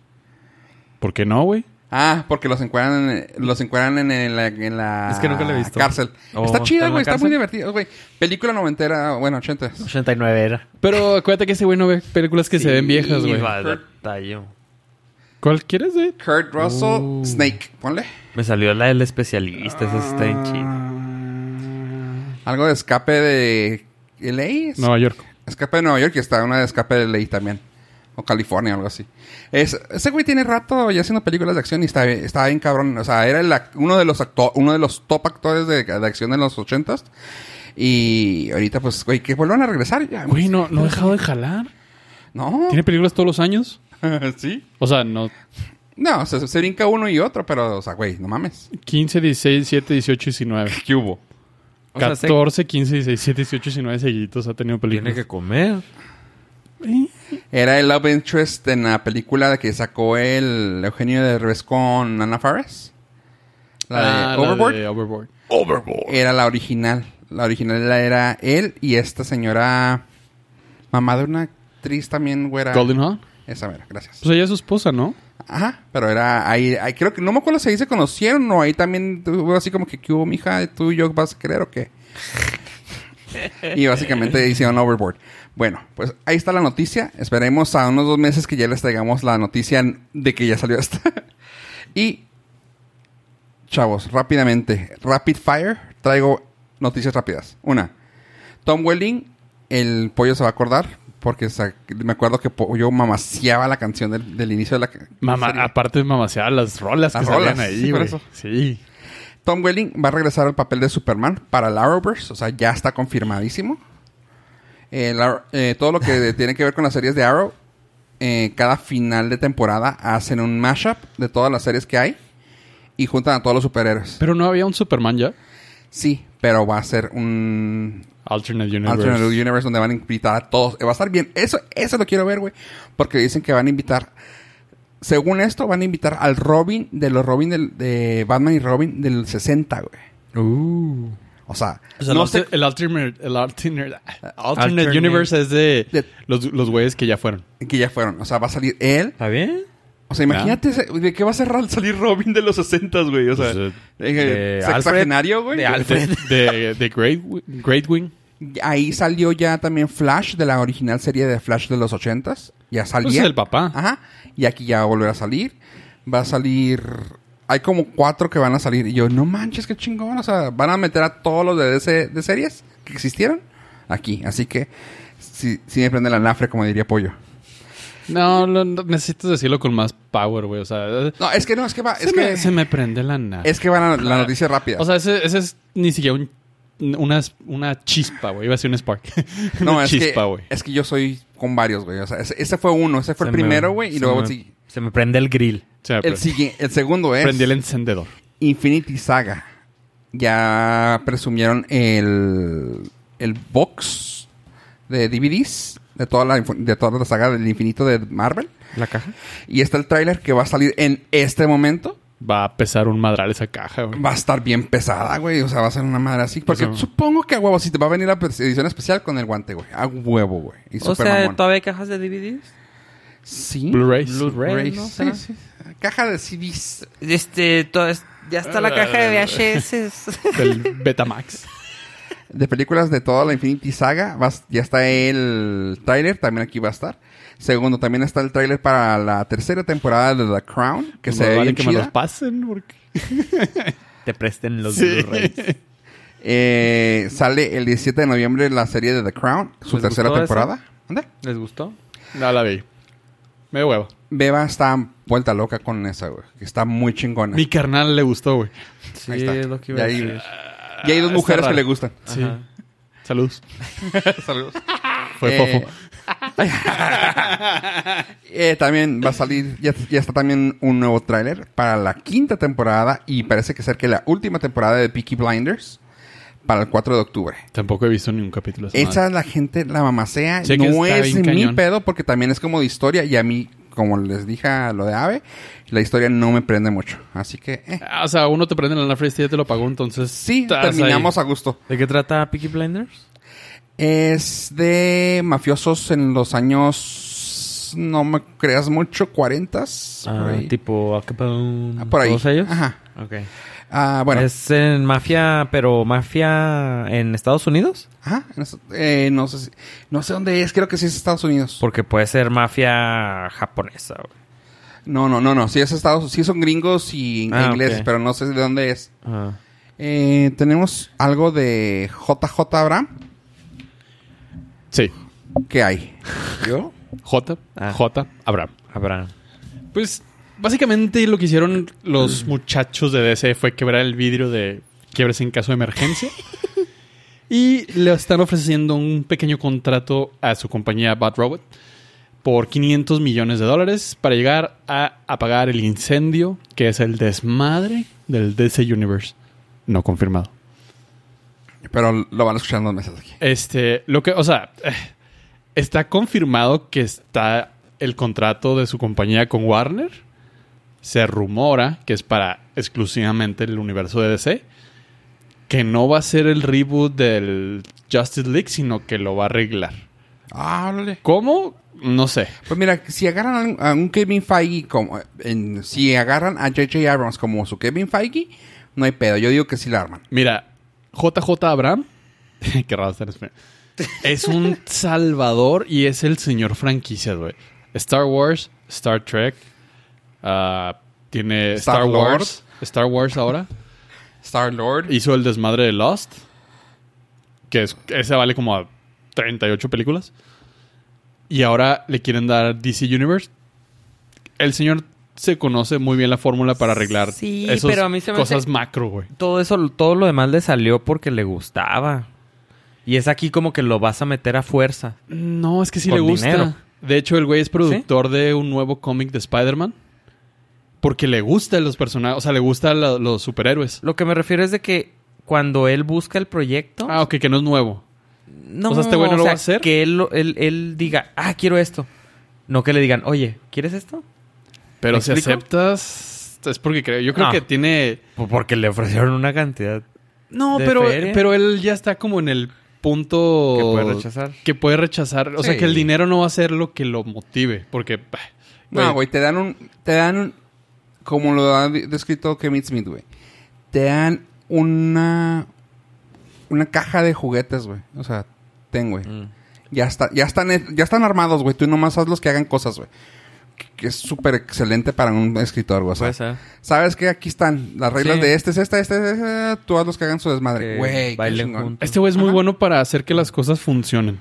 Speaker 2: ¿Por qué no, güey?
Speaker 1: Ah, porque los encuentran en, los encuentran en, el- en la
Speaker 3: Es que nunca la he visto.
Speaker 1: cárcel.
Speaker 3: Oh,
Speaker 1: está chida,
Speaker 3: ¿está
Speaker 1: güey.
Speaker 3: en la
Speaker 1: Está
Speaker 3: cárcel?
Speaker 1: muy divertido, güey. Película noventera, bueno, ochenta.
Speaker 3: 89 era.
Speaker 2: Pero acuérdate que ese güey no ve películas que se ven viejas, güey. ¿Cuál quieres, güey?
Speaker 1: Kurt Russell,
Speaker 3: Oh.
Speaker 1: Snake. Ponle.
Speaker 3: Me salió la del especialista, esa está bien chida.
Speaker 1: Algo de escape de LA.
Speaker 2: Nueva York.
Speaker 1: Escape de Nueva York y está una de Escape de Ley también. O California, algo así. Es- ese güey tiene rato ya haciendo películas de acción y está, bien- está bien cabrón. O sea, era el ac- uno, de los acto- uno de los top actores de, de acción de los ochentas. Y ahorita, pues, güey, que vuelvan a regresar. ya. pues,
Speaker 2: Güey, no, no ha dejado de jalar.
Speaker 1: No.
Speaker 2: Tiene películas todos los años.
Speaker 1: [LAUGHS] ¿Sí?
Speaker 2: O sea, no.
Speaker 1: No, se, se brinca uno y otro, pero, o sea, güey, no mames.
Speaker 2: 15, 16, 17, 18, 19.
Speaker 1: ¿Qué hubo?
Speaker 3: O sea, se-
Speaker 2: 14, 15, 16, 17, 18, 19 seguiditos ha tenido
Speaker 3: Tiene
Speaker 2: películas.
Speaker 3: que comer.
Speaker 1: Era el love interest en la película que sacó el Eugenio de Revés con Ana Fares. La
Speaker 2: Ah,
Speaker 1: de Overboard.
Speaker 2: La de Overboard.
Speaker 1: era la original. La original era él y esta señora, mamá de una actriz también, güera.
Speaker 2: Golden Hawn.
Speaker 1: Esa mera, gracias.
Speaker 2: Pues ella es su esposa, ¿no?
Speaker 1: Ajá, pero era ahí, ahí creo que, no me acuerdo si ahí se conocieron o ahí también tuvo así como que, ¿qué hubo, mija? ¿Tú y yo vas a querer o qué? [LAUGHS] y básicamente hicieron Overboard. Bueno, pues ahí está la noticia. Esperemos a unos dos meses que ya les traigamos la noticia de que ya salió esta. [LAUGHS] y chavos, rápidamente. Rapid fire. Traigo noticias rápidas. Una. Tom Welling, el pollo se va a acordar. Porque sa- me acuerdo que po- yo mamaciaba la canción del, del inicio de la ca-
Speaker 2: Mamá,
Speaker 1: serie.
Speaker 2: aparte mamaseaba las rolas
Speaker 1: Las
Speaker 2: que salían
Speaker 1: rolas,
Speaker 2: ahí,
Speaker 1: sí, por
Speaker 2: güey.
Speaker 1: eso.
Speaker 2: Sí.
Speaker 1: Tom Welling va a regresar al papel de Superman para la Arrowverse, o sea, ya está confirmadísimo. Eh, la- eh, todo lo que tiene que ver con las series de Arrow, eh, cada final de temporada hacen un mashup de todas las series que hay y juntan a todos los superhéroes.
Speaker 2: Pero no había un Superman ya.
Speaker 1: Sí, pero va a ser un
Speaker 2: Alternate Universe.
Speaker 1: Alternate Universe donde van a invitar a todos. Eh, Va a estar bien. Eso, eso lo quiero ver, güey. Porque dicen que van a invitar. Según esto, van a invitar al Robin de los Robin del- de Batman y Robin del 60, güey.
Speaker 3: Uh.
Speaker 1: O sea,
Speaker 2: O sea,
Speaker 1: no
Speaker 2: el,
Speaker 1: sé-
Speaker 2: alter- el alternate, el alternate, alternate
Speaker 3: Alternate.
Speaker 2: universe es
Speaker 1: De-
Speaker 2: de los, los güeyes que ya fueron.
Speaker 1: que ya fueron. O sea, va a salir él.
Speaker 3: ¿Está bien?
Speaker 1: O sea, imagínate ese- de qué va a ser ra- salir Robin de los 60, güey. O sea,
Speaker 2: Pues, eh,
Speaker 1: eh,
Speaker 3: de
Speaker 1: sexagenario, güey.
Speaker 3: de Alfred.
Speaker 2: De, de, de Great, Wi- Great Wing.
Speaker 1: Ahí salió ya también Flash de la original serie de Flash de los 80s. Ya salía.
Speaker 2: Pues es el papá.
Speaker 1: Ajá. Y aquí ya va a volver a salir. Va a salir. Hay como cuatro que van a salir. Y yo, no manches, qué chingón. O sea, van a meter a todos los de, DC de series que existieron aquí. Así que, si, si me prende la anafre, como diría Pollo.
Speaker 2: No, lo- no, necesitas decirlo con más power, güey. O sea, eh,
Speaker 1: No, es que no, es que va.
Speaker 2: se,
Speaker 1: Es
Speaker 2: me,
Speaker 1: que,
Speaker 2: se me prende la nada.
Speaker 1: es que van a la noticia rápida.
Speaker 2: o sea, ese, ese es ni siquiera un- una, una chispa, güey. Iba a ser un spark.
Speaker 1: [LAUGHS] no,
Speaker 2: una
Speaker 1: es,
Speaker 2: chispa,
Speaker 1: que,
Speaker 2: güey.
Speaker 1: es que yo soy con varios, güey. O sea, ese, ese fue uno. Ese fue el primero, güey. Y luego sí.
Speaker 3: Se me prende el grill.
Speaker 2: O sea,
Speaker 1: El,
Speaker 2: pre-
Speaker 1: sigue- el segundo es.
Speaker 2: Ah, prendí el encendedor.
Speaker 1: Infinity Saga. Ya presumieron el, el box de DVDs de toda la inf- de toda la saga del infinito de Marvel.
Speaker 3: ¿La caja?
Speaker 1: Y está el tráiler que va a salir en este momento.
Speaker 2: Va a pesar un madral esa caja, güey.
Speaker 1: Va a estar bien pesada, güey. O sea, va a ser una madre así. Porque
Speaker 2: Eso.
Speaker 1: supongo que a huevo, si te va a venir la edición especial con el guante, güey. A huevo, güey. Y
Speaker 3: O
Speaker 1: super
Speaker 3: sea,
Speaker 1: mamón.
Speaker 3: ¿todavía hay cajas de DVDs?
Speaker 1: Sí.
Speaker 2: Blu-rays.
Speaker 3: Blu-ray,
Speaker 1: Blu-rays,
Speaker 3: ¿no?
Speaker 1: sí,
Speaker 3: ¿Será?
Speaker 1: sí. Caja de CDs.
Speaker 3: Este, todo es- ya está la caja de VHS.
Speaker 2: del Betamax.
Speaker 1: de películas de toda la Infinity Saga. Vas- ya está el tráiler, también aquí va a estar. Segundo, también está el tráiler para la tercera temporada de The Crown, que
Speaker 2: Pues
Speaker 1: se
Speaker 2: más
Speaker 1: ve
Speaker 2: vale
Speaker 1: bien
Speaker 2: que me los
Speaker 1: chida.
Speaker 2: pasen porque...
Speaker 3: [LAUGHS] Te presten los
Speaker 2: Sí.
Speaker 3: Blu-rays.
Speaker 1: Eh, sale el 17 de noviembre la serie de The Crown, su
Speaker 3: ¿Les
Speaker 1: tercera
Speaker 3: gustó
Speaker 1: temporada. Anda.
Speaker 3: ¿Les gustó?
Speaker 2: [LAUGHS] No la vi. Me dio huevo.
Speaker 1: Beba está vuelta loca con esa, güey. que Está muy chingona.
Speaker 2: Mi carnal le gustó, güey.
Speaker 3: Sí,
Speaker 1: Ahí está.
Speaker 3: es lo que iba
Speaker 1: Y
Speaker 3: a
Speaker 1: ahí-
Speaker 3: decir.
Speaker 1: Y hay dos
Speaker 2: Ah,
Speaker 1: mujeres
Speaker 2: está
Speaker 1: que
Speaker 2: raro.
Speaker 1: le
Speaker 2: [LAUGHS]
Speaker 1: gustan.
Speaker 2: Sí.
Speaker 3: Ajá.
Speaker 2: Saludos.
Speaker 1: Saludos.
Speaker 2: Fue
Speaker 1: Eh,
Speaker 2: fofo.
Speaker 1: [LAUGHS] Eh, también va a salir, ya, ya está también un nuevo tráiler para la quinta temporada y parece que ser que la última temporada de Peaky Blinders para el 4 de octubre.
Speaker 2: Tampoco he visto ningún capítulo. de esa
Speaker 1: Esa
Speaker 2: madre.
Speaker 1: la gente la mamacea.
Speaker 2: Sí, que
Speaker 1: no
Speaker 2: está
Speaker 1: es mi
Speaker 2: bien cañón.
Speaker 1: pedo porque también es como de historia y a mí, como les dije a lo de Ave, la historia no me prende mucho. Así que, eh,
Speaker 2: Ah, o sea, uno te prende la Ana y ya te lo pagó, entonces...
Speaker 1: sí,
Speaker 2: estás ahí.
Speaker 1: terminamos a gusto.
Speaker 3: ¿De qué trata Peaky Blinders?
Speaker 1: Es de mafiosos en los años, no me creas mucho, 40
Speaker 3: Ah, tipo Al Capone.
Speaker 1: Ah, por ahí.
Speaker 3: ¿Todos ellos?
Speaker 1: Ajá.
Speaker 3: Ok.
Speaker 1: Ah, bueno.
Speaker 3: Es en mafia, pero mafia en Estados Unidos.
Speaker 1: Ajá. en eso- eh, no, sé si- no sé dónde es. Creo que sí es Estados Unidos.
Speaker 3: Porque puede ser mafia japonesa. güey.
Speaker 1: No, no, no, no. Sí es Estados Sí son gringos y
Speaker 3: Ah,
Speaker 1: ingleses,
Speaker 3: ok.
Speaker 1: pero no sé de dónde es. Eh, tenemos algo de JJ Abraham.
Speaker 2: Sí.
Speaker 1: ¿Qué hay?
Speaker 3: ¿Yo?
Speaker 2: J.
Speaker 3: Ah.
Speaker 2: J. Abraham.
Speaker 3: Habrá.
Speaker 2: Pues, básicamente lo que hicieron los muchachos de DC fue quebrar el vidrio de quiebres en caso de emergencia. y le están ofreciendo un pequeño contrato a su compañía Bad Robot por 500 millones de dólares para llegar a apagar el incendio que es el desmadre del DC Universe. No confirmado.
Speaker 1: Pero lo van a escuchar en dos meses aquí.
Speaker 2: Este, lo que, o sea, eh, está confirmado que está el contrato de su compañía con Warner. Se rumora que es para exclusivamente el universo de DC. Que no va a ser el reboot del Justice League, sino que lo va a arreglar.
Speaker 1: Ah, órale.
Speaker 2: ¿Cómo? No sé.
Speaker 1: Pues mira, si agarran a un Kevin Feige como... en- si agarran a J.J. Abrams como su Kevin Feige, no hay pedo. Yo digo que sí la arman.
Speaker 2: Mira, JJ Abraham. [LAUGHS] Qué raro estar en español. Es un salvador y es el señor franquicia, güey. Star Wars, Star Trek. ah, tiene Star
Speaker 1: Star-Lord.
Speaker 2: Wars. Star Wars ahora.
Speaker 1: Star Lord.
Speaker 2: Hizo el desmadre de Lost. Que es, ese vale como a 38 películas. Y ahora le quieren dar DC Universe. El señor se conoce muy bien la fórmula para arreglar
Speaker 3: Sí,
Speaker 2: esas
Speaker 3: pero a mí se me
Speaker 2: cosas
Speaker 3: hace-
Speaker 2: macro, güey.
Speaker 3: Todo eso, todo lo demás le salió porque le gustaba. Y es aquí como que lo vas a meter a fuerza.
Speaker 2: No, es que sí
Speaker 3: Con
Speaker 2: le gusta.
Speaker 3: dinero.
Speaker 2: De hecho, el güey es productor de un nuevo cómic de Spider-Man. Porque le gustan los personajes, o sea, le gustan la- los superhéroes.
Speaker 3: Lo que me refiero es de que cuando él busca el proyecto,
Speaker 2: Ah, ok, que no es nuevo.
Speaker 3: no,
Speaker 2: o sea, este güey no
Speaker 3: o
Speaker 2: lo va
Speaker 3: sea,
Speaker 2: a hacer.
Speaker 3: Que él, lo- él, él diga, ah, quiero esto. No que le digan, oye, ¿quieres esto?
Speaker 2: Pero
Speaker 3: ¿Me
Speaker 2: si
Speaker 3: explico?
Speaker 2: aceptas, es porque creo. Yo creo
Speaker 3: Ah.
Speaker 2: que tiene.
Speaker 3: Porque le ofrecieron una cantidad
Speaker 2: No,
Speaker 3: ¿De
Speaker 2: pero,
Speaker 3: feria?
Speaker 2: pero él ya está como en el punto.
Speaker 3: que puede rechazar.
Speaker 2: que puede rechazar. O sea,
Speaker 1: Sí.
Speaker 2: que el dinero no va a ser lo que lo motive. Porque. bah,
Speaker 1: No, güey, te dan un... Te dan un- Como lo ha de- descrito Kevin Smith, güey. Te dan una... Una caja de juguetes, güey. O sea, ten, güey.
Speaker 3: Mm.
Speaker 1: Ya, está, ya, están, ya están armados, güey. Tú nomás haz los que hagan cosas, güey. Que- Que es súper excelente para un escritor, güey. O sea,
Speaker 3: Puede ser.
Speaker 1: Sabes que aquí están las reglas
Speaker 3: Sí.
Speaker 1: de este, es esta, este, es esta. Tú haz los que hagan su
Speaker 3: Que
Speaker 1: desmadre. Güey, qué
Speaker 3: bailen
Speaker 1: chingón.
Speaker 3: juntos.
Speaker 2: Este güey es muy
Speaker 1: Ajá.
Speaker 2: bueno para hacer que las cosas funcionen.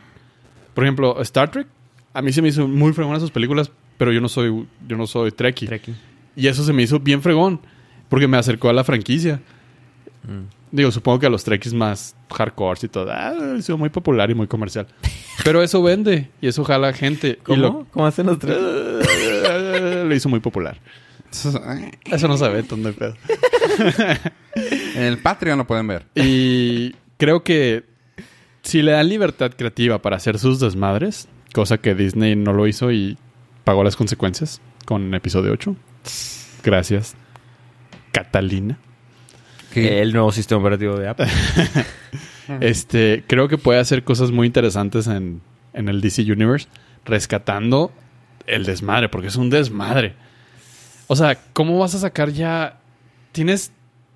Speaker 2: Por ejemplo, Star Trek. A mí se me hizo muy fregón sus películas, pero yo no soy, yo no soy Trekkie.
Speaker 3: Trekkie.
Speaker 2: Y eso se me hizo bien fregón. Porque me acercó a la franquicia.
Speaker 3: Mm.
Speaker 2: Digo, supongo que a los Trekkies más hardcore y todo. Ah, hizo muy popular y muy comercial. Pero eso vende y eso jala gente. Y
Speaker 3: ¿Cómo?
Speaker 2: lo,
Speaker 3: ¿Cómo hacen los tres?
Speaker 2: [LAUGHS] lo hizo muy popular. Eso no sabe dónde pedo.
Speaker 1: En el Patreon lo pueden ver.
Speaker 2: Y creo que si le dan libertad creativa para hacer sus desmadres, cosa que Disney no lo hizo y pagó las consecuencias con episodio 8. Gracias, Catalina.
Speaker 1: Que-
Speaker 3: El nuevo sistema operativo de Apple.
Speaker 2: Este, creo que puede hacer cosas muy interesantes en, en el DC Universe, rescatando el desmadre, porque es un desmadre. O sea, ¿cómo vas a sacar ya? Tienes.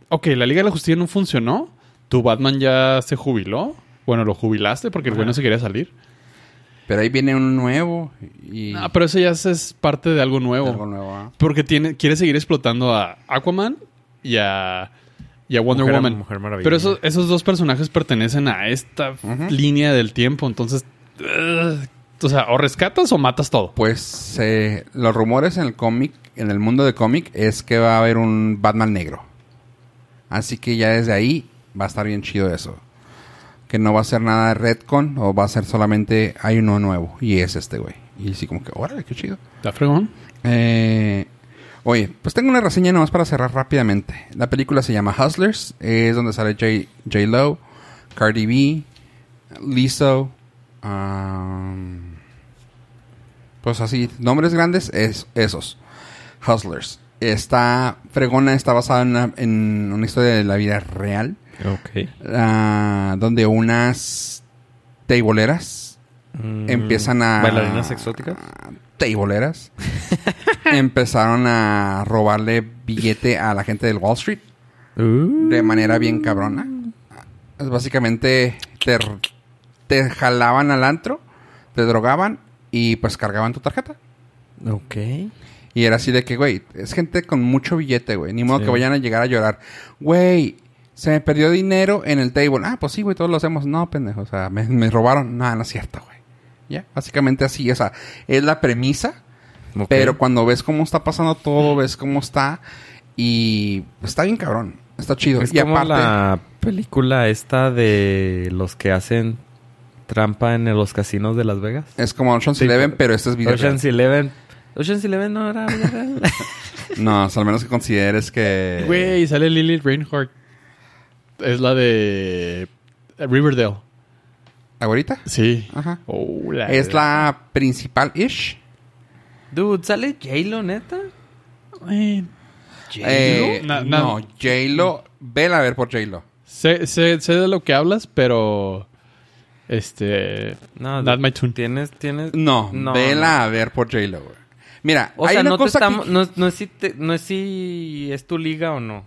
Speaker 2: Ok, la Liga de la Justicia no funcionó. Tu Batman ya se jubiló. Bueno, lo jubilaste porque el güey no se quería salir.
Speaker 1: Pero ahí viene un nuevo. Y
Speaker 3: Ah,
Speaker 2: No, pero eso ya es- es parte de algo nuevo.
Speaker 1: algo nuevo. ¿ah?
Speaker 2: Porque tiene, quiere seguir explotando a Aquaman y a, y a Wonder
Speaker 3: Mujer-
Speaker 2: Woman.
Speaker 3: Mujer Maravilla.
Speaker 2: Pero esos, esos dos personajes pertenecen a esta
Speaker 1: Ujú.
Speaker 2: línea del tiempo, entonces... ugh, o sea, o rescatas o matas todo.
Speaker 1: Pues eh, los rumores en el cómic, en el mundo de cómic, es que va a haber un Batman negro. Así que ya desde ahí va a estar bien chido eso. Que no va a ser nada de Redcon o va a ser solamente hay uno nuevo. Y es este, güey. Y así como que, órale, qué chido.
Speaker 2: ¿Está fregón?
Speaker 1: Eh, oye, pues tengo una reseña nomás para cerrar rápidamente. La película se llama Hustlers. Es donde sale J, J. Lo, Cardi B, Lizzo. um, pues así, nombres grandes, es, esos. Hustlers. Está fregona, está basada en una, en una historia de la vida real.
Speaker 3: [LAUGHS] Ok.
Speaker 1: ah, donde unas teiboleras
Speaker 3: Mm.
Speaker 1: empiezan a...
Speaker 3: ¿Bailarinas exóticas?
Speaker 1: Teiboleras. [LAUGHS] empezaron a robarle billete a la gente del Wall Street
Speaker 3: Uh.
Speaker 1: de manera bien cabrona. Es básicamente te, te jalaban al antro, te drogaban y pues cargaban tu tarjeta.
Speaker 3: Ok.
Speaker 1: Y era así de que, güey, es gente con mucho billete, güey. Ni modo
Speaker 3: Sí.
Speaker 1: que vayan a llegar a llorar. Güey, se me perdió dinero en el table. Ah, pues sí, güey, todos lo hacemos. No, pendejo. O sea, me, me robaron. No, no es cierto, güey. Ya, básicamente así. O sea, es la premisa.
Speaker 3: Ok.
Speaker 1: Pero cuando ves cómo está pasando todo, ves cómo está. Y está bien cabrón. Está chido.
Speaker 3: Es
Speaker 1: y
Speaker 3: como
Speaker 1: aparte,
Speaker 3: la película esta de los que hacen trampa en los casinos de Las Vegas.
Speaker 1: es como Ocean's
Speaker 2: Sí,
Speaker 1: Eleven, pero este es video.
Speaker 3: Ocean's Eleven. Ocean's Eleven no era... vida real. [LAUGHS]
Speaker 1: No, o sea, al menos que consideres que.
Speaker 2: Güey, sale Lily Reinhardt. Es la de Riverdale.
Speaker 1: ¿Ahorita?
Speaker 2: Sí.
Speaker 1: Ajá.
Speaker 2: Oh, la-
Speaker 1: Ah. Es la principal-ish.
Speaker 3: Dude, ¿sale J-Lo, neta?
Speaker 2: Eh,
Speaker 1: Eh,
Speaker 2: Na- na-
Speaker 1: no, J-Lo. Vela a ver por J-Lo.
Speaker 2: sé, sé- sé de lo que hablas, pero... Este...
Speaker 3: No,
Speaker 2: not
Speaker 3: dude,
Speaker 2: my tune.
Speaker 3: Tienes, tienes...
Speaker 1: No,
Speaker 3: No,
Speaker 1: vela a ver por J-Lo, güey. Mira,
Speaker 3: O
Speaker 1: hay
Speaker 3: sea,
Speaker 1: una
Speaker 3: no, te
Speaker 1: cosa que-
Speaker 3: estamos- no, no es si te- no es si es tu liga o no.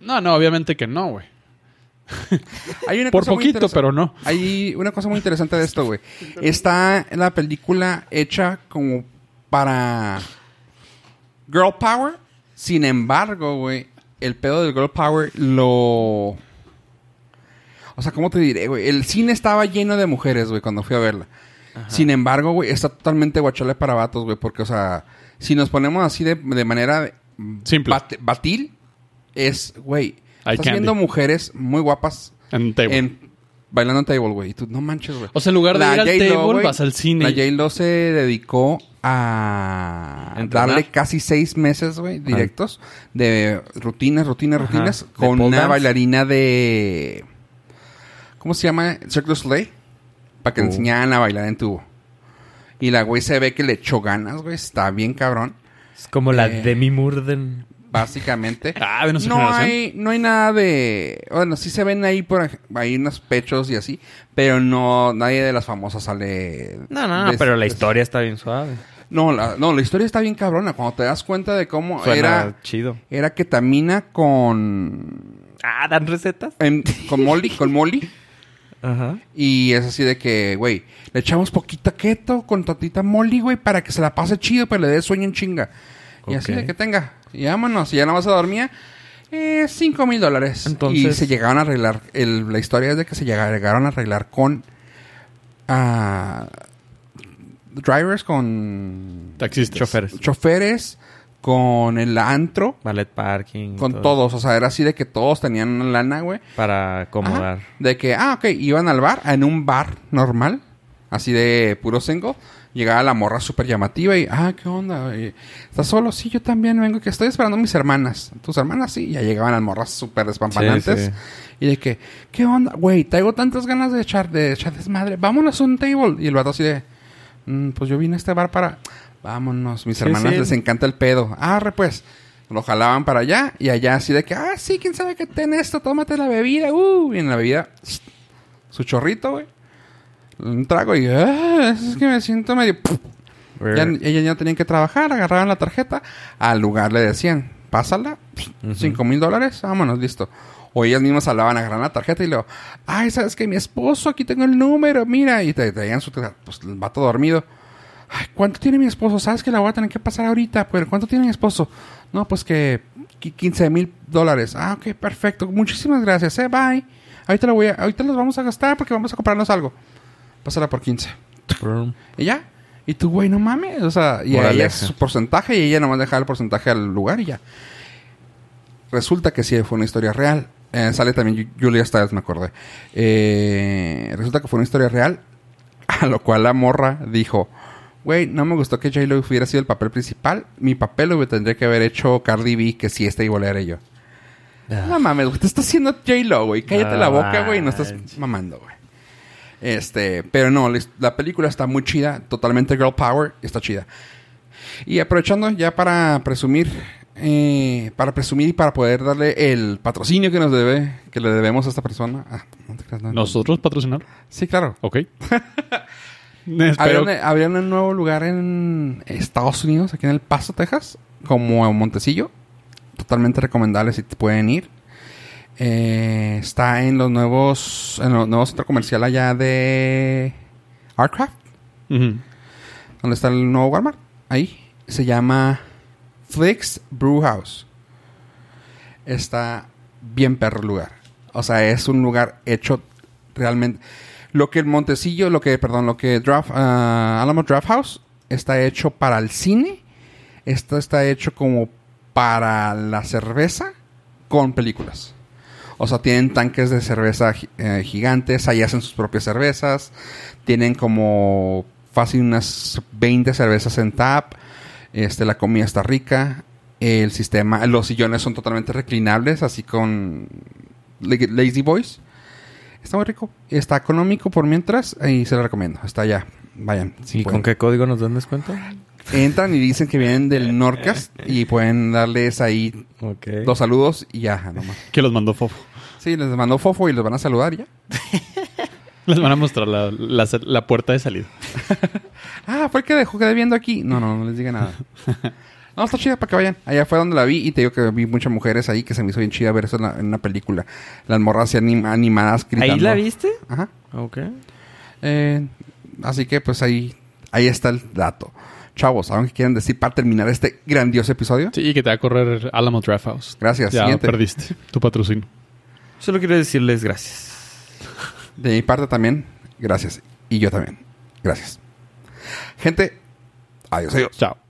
Speaker 2: No, no, obviamente que no, güey.
Speaker 1: hay una
Speaker 2: Por
Speaker 1: cosa muy
Speaker 2: poquito,
Speaker 1: interesante.
Speaker 2: pero no.
Speaker 1: Hay una cosa muy interesante de esto, güey. Está la película hecha como para girl power. Sin embargo, güey, el pedo del Girl Power lo. O sea, ¿cómo te diré, güey? El cine estaba lleno de mujeres, güey, cuando fui a verla. Sin embargo, güey, está totalmente guachale para vatos, güey, porque, o sea, si nos ponemos así de, de manera
Speaker 2: Simple.
Speaker 1: bat- batil, es, güey,
Speaker 2: Hay
Speaker 1: estás
Speaker 2: candy.
Speaker 1: viendo mujeres muy guapas
Speaker 2: En table.
Speaker 1: en- bailando en table, güey. Y tú, no manches, güey.
Speaker 2: O sea, en lugar de ir al
Speaker 1: J.Lo,
Speaker 2: table,
Speaker 1: güey,
Speaker 2: vas al cine.
Speaker 1: La J-Lo se dedicó a
Speaker 3: Entrenar.
Speaker 1: darle casi seis meses, güey, directos de rutinas, rutinas,
Speaker 3: Ajá.
Speaker 1: rutinas
Speaker 3: De
Speaker 1: con
Speaker 3: pole
Speaker 1: una
Speaker 3: dance.
Speaker 1: bailarina de... ¿Cómo se llama? Cirque du Soleil. Para
Speaker 2: Uh.
Speaker 1: que le
Speaker 3: Oh.
Speaker 1: enseñaran a bailar en tubo. Y la güey se ve que le echó ganas, güey. Está bien cabrón.
Speaker 3: Es como la
Speaker 1: Eh.
Speaker 3: Demi Murden.
Speaker 1: Básicamente.
Speaker 2: Ah, de nuestra
Speaker 1: no
Speaker 2: generación.
Speaker 1: hay, no hay nada de. Bueno, sí se ven ahí por ej- ahí unos pechos y así. Pero no, nadie de las famosas sale.
Speaker 3: No, no, no,
Speaker 1: de-
Speaker 3: pero la
Speaker 1: de-
Speaker 3: historia está bien suave.
Speaker 1: No la, no, la historia está bien cabrona. Cuando te das cuenta de cómo
Speaker 3: Suena
Speaker 1: era.
Speaker 3: [LAUGHS] chido.
Speaker 1: Era que Tamina con.
Speaker 3: Ah, ¿dan recetas?
Speaker 1: en- con Molly. Con Molly.
Speaker 3: Ajá.
Speaker 1: Y es así de que, güey, le echamos poquita keto con tantita Molly, güey, para que se la pase chido, pero le dé sueño en chinga. Y así
Speaker 3: Ok.
Speaker 1: de que tenga. Y vámonos. Y ya nada más se dormía. Eh, cinco mil dólares.
Speaker 3: Entonces-
Speaker 1: Y se llegaron a arreglar. el- la historia es de que se llega- llegaron a arreglar con. ah, drivers, con.
Speaker 2: Taxistas.
Speaker 3: Choferes.
Speaker 1: Choferes, con el antro,
Speaker 3: Ballet parking.
Speaker 1: con
Speaker 3: todo.
Speaker 1: todos. O sea, era así de que todos tenían lana, güey.
Speaker 3: Para acomodar.
Speaker 1: Ajá. De que, ah, ok, iban al bar, en un bar normal, así de puro single. Llegaba la morra súper llamativa y, ah, ¿qué onda? Eh, ¿Estás solo? Sí, yo también vengo, que estoy esperando a mis hermanas. Tus hermanas, sí, ya llegaban las morras súper despampanantes.
Speaker 3: Sí, sí.
Speaker 1: Y de que, ¿qué onda? Güey, traigo tantas ganas de echar, de echar desmadre. Vámonos a un table. Y el vato así de, "Mm, pues yo vine a este bar para... Vámonos, mis
Speaker 3: Sí,
Speaker 1: hermanas
Speaker 3: sí.
Speaker 1: les encanta el pedo. Arre, pues. Lo jalaban para allá y allá así de que, ah, sí, quién sabe qué ten esto, tómate la bebida, uh, y en la bebida, su chorrito, güey. Un trago y, ah, es que me siento medio. Ya, ellas ya no tenían que trabajar, agarraban la tarjeta, al lugar le decían, pásala, cinco mil dólares, vámonos, listo. O ellas mismas hablaban, agarraban la tarjeta y luego, ay, ¿sabes que Mi esposo, aquí tengo el número, mira, y te traían su tarjeta, pues el vato dormido. Ay, ¿cuánto tiene mi esposo? ¿Sabes que la voy a tener que pasar ahorita? Pero ¿cuánto tiene mi esposo? No, pues que qui- 15 mil dólares. Ah, ok, perfecto. Muchísimas gracias, eh, bye. Ahorita, lo voy a, ahorita los vamos a gastar porque vamos a comprarnos algo. Pásala por 15. Y ya. Y tú, güey, no mames. O sea, y a ella es
Speaker 3: Moraleja.
Speaker 1: su porcentaje y ella nomás dejaba el porcentaje al lugar y ya. Resulta que sí fue una historia real. Eh, sale también Ju- Julia Stiles, me acordé. Eh, resulta que fue una historia real. [LAUGHS] A lo cual la morra dijo: Güey, no me gustó que J-Lo hubiera sido el papel principal. Mi papel lo tendría que haber hecho Cardi B, que si esta igual era yo. No mames, güey. Te está haciendo J-Lo, güey. Cállate
Speaker 3: No
Speaker 1: la boca, güey. y No estás
Speaker 3: manches.
Speaker 1: mamando, güey. Este, pero no, la his- la película está muy chida. Totalmente girl power. y Está chida. Y aprovechando ya para presumir, eh, para presumir y para poder darle el patrocinio que nos debe, que le debemos a esta persona. Ah, no te creas, no.
Speaker 2: ¿Nosotros patrocinar?
Speaker 1: Sí, claro.
Speaker 2: Ok.
Speaker 1: [LAUGHS]
Speaker 2: Espero. [LAUGHS]
Speaker 1: Abrieron, abrieron e, un nuevo lugar en Estados Unidos, aquí en El Paso, Texas, como en Montecillo. Totalmente recomendable si te pueden ir. Eh, está en los nuevos, en los nuevos centro comercial allá de Artcraft,
Speaker 2: Ujú.
Speaker 1: donde está el nuevo Walmart. Ahí se llama Flix Brew House. Está bien perro el lugar. O sea, es un lugar hecho realmente. Lo que el Montecillo, lo que, perdón, lo que Draft, ah, Alamo Draft House está hecho para el cine. Esto está hecho como para la cerveza con películas. O sea, tienen tanques de cerveza gi- eh, gigantes, ahí hacen sus propias cervezas. Tienen como fácil unas 20 cervezas en tap. Este, la comida está rica. El sistema, los sillones son totalmente reclinables, así con la- Lazy Boys. Está muy rico. Está económico por mientras y se lo recomiendo. Está allá. Vayan. si
Speaker 3: ¿Y
Speaker 1: pueden.
Speaker 3: con qué código nos dan descuento?
Speaker 1: Entran y dicen que vienen del Norcast y pueden darles ahí
Speaker 3: Ok.
Speaker 1: los saludos y ya, nomás.
Speaker 2: Que los mandó Fofo.
Speaker 1: Sí, les mandó fofo y los van a saludar y ya.
Speaker 2: Les van a mostrar la, la sa- la puerta de salida.
Speaker 1: Ah, fue el que dejó quedé viendo aquí. No, no, no les diga
Speaker 3: [LAUGHS]
Speaker 1: nada. No, está chida para que vayan. Allá fue donde la vi y te digo que vi muchas mujeres ahí que se me hizo bien chida ver eso en, la- en una película. Las morras así anim- animadas gritando.
Speaker 3: ¿Ahí la viste?
Speaker 1: Ajá.
Speaker 3: Ok.
Speaker 1: Eh, así que pues ahí, ahí está el dato. Chavos, ¿algo que quieran decir para terminar este grandioso episodio?
Speaker 2: Sí, y que te va a correr Alamo Draft House.
Speaker 1: Gracias.
Speaker 2: Ya
Speaker 1: Siguiente.
Speaker 2: perdiste tu patrocinio.
Speaker 3: Solo quiero decirles gracias.
Speaker 1: De mi parte también, gracias. Y yo también. Gracias. Gente, adiós, adiós.
Speaker 2: Chao.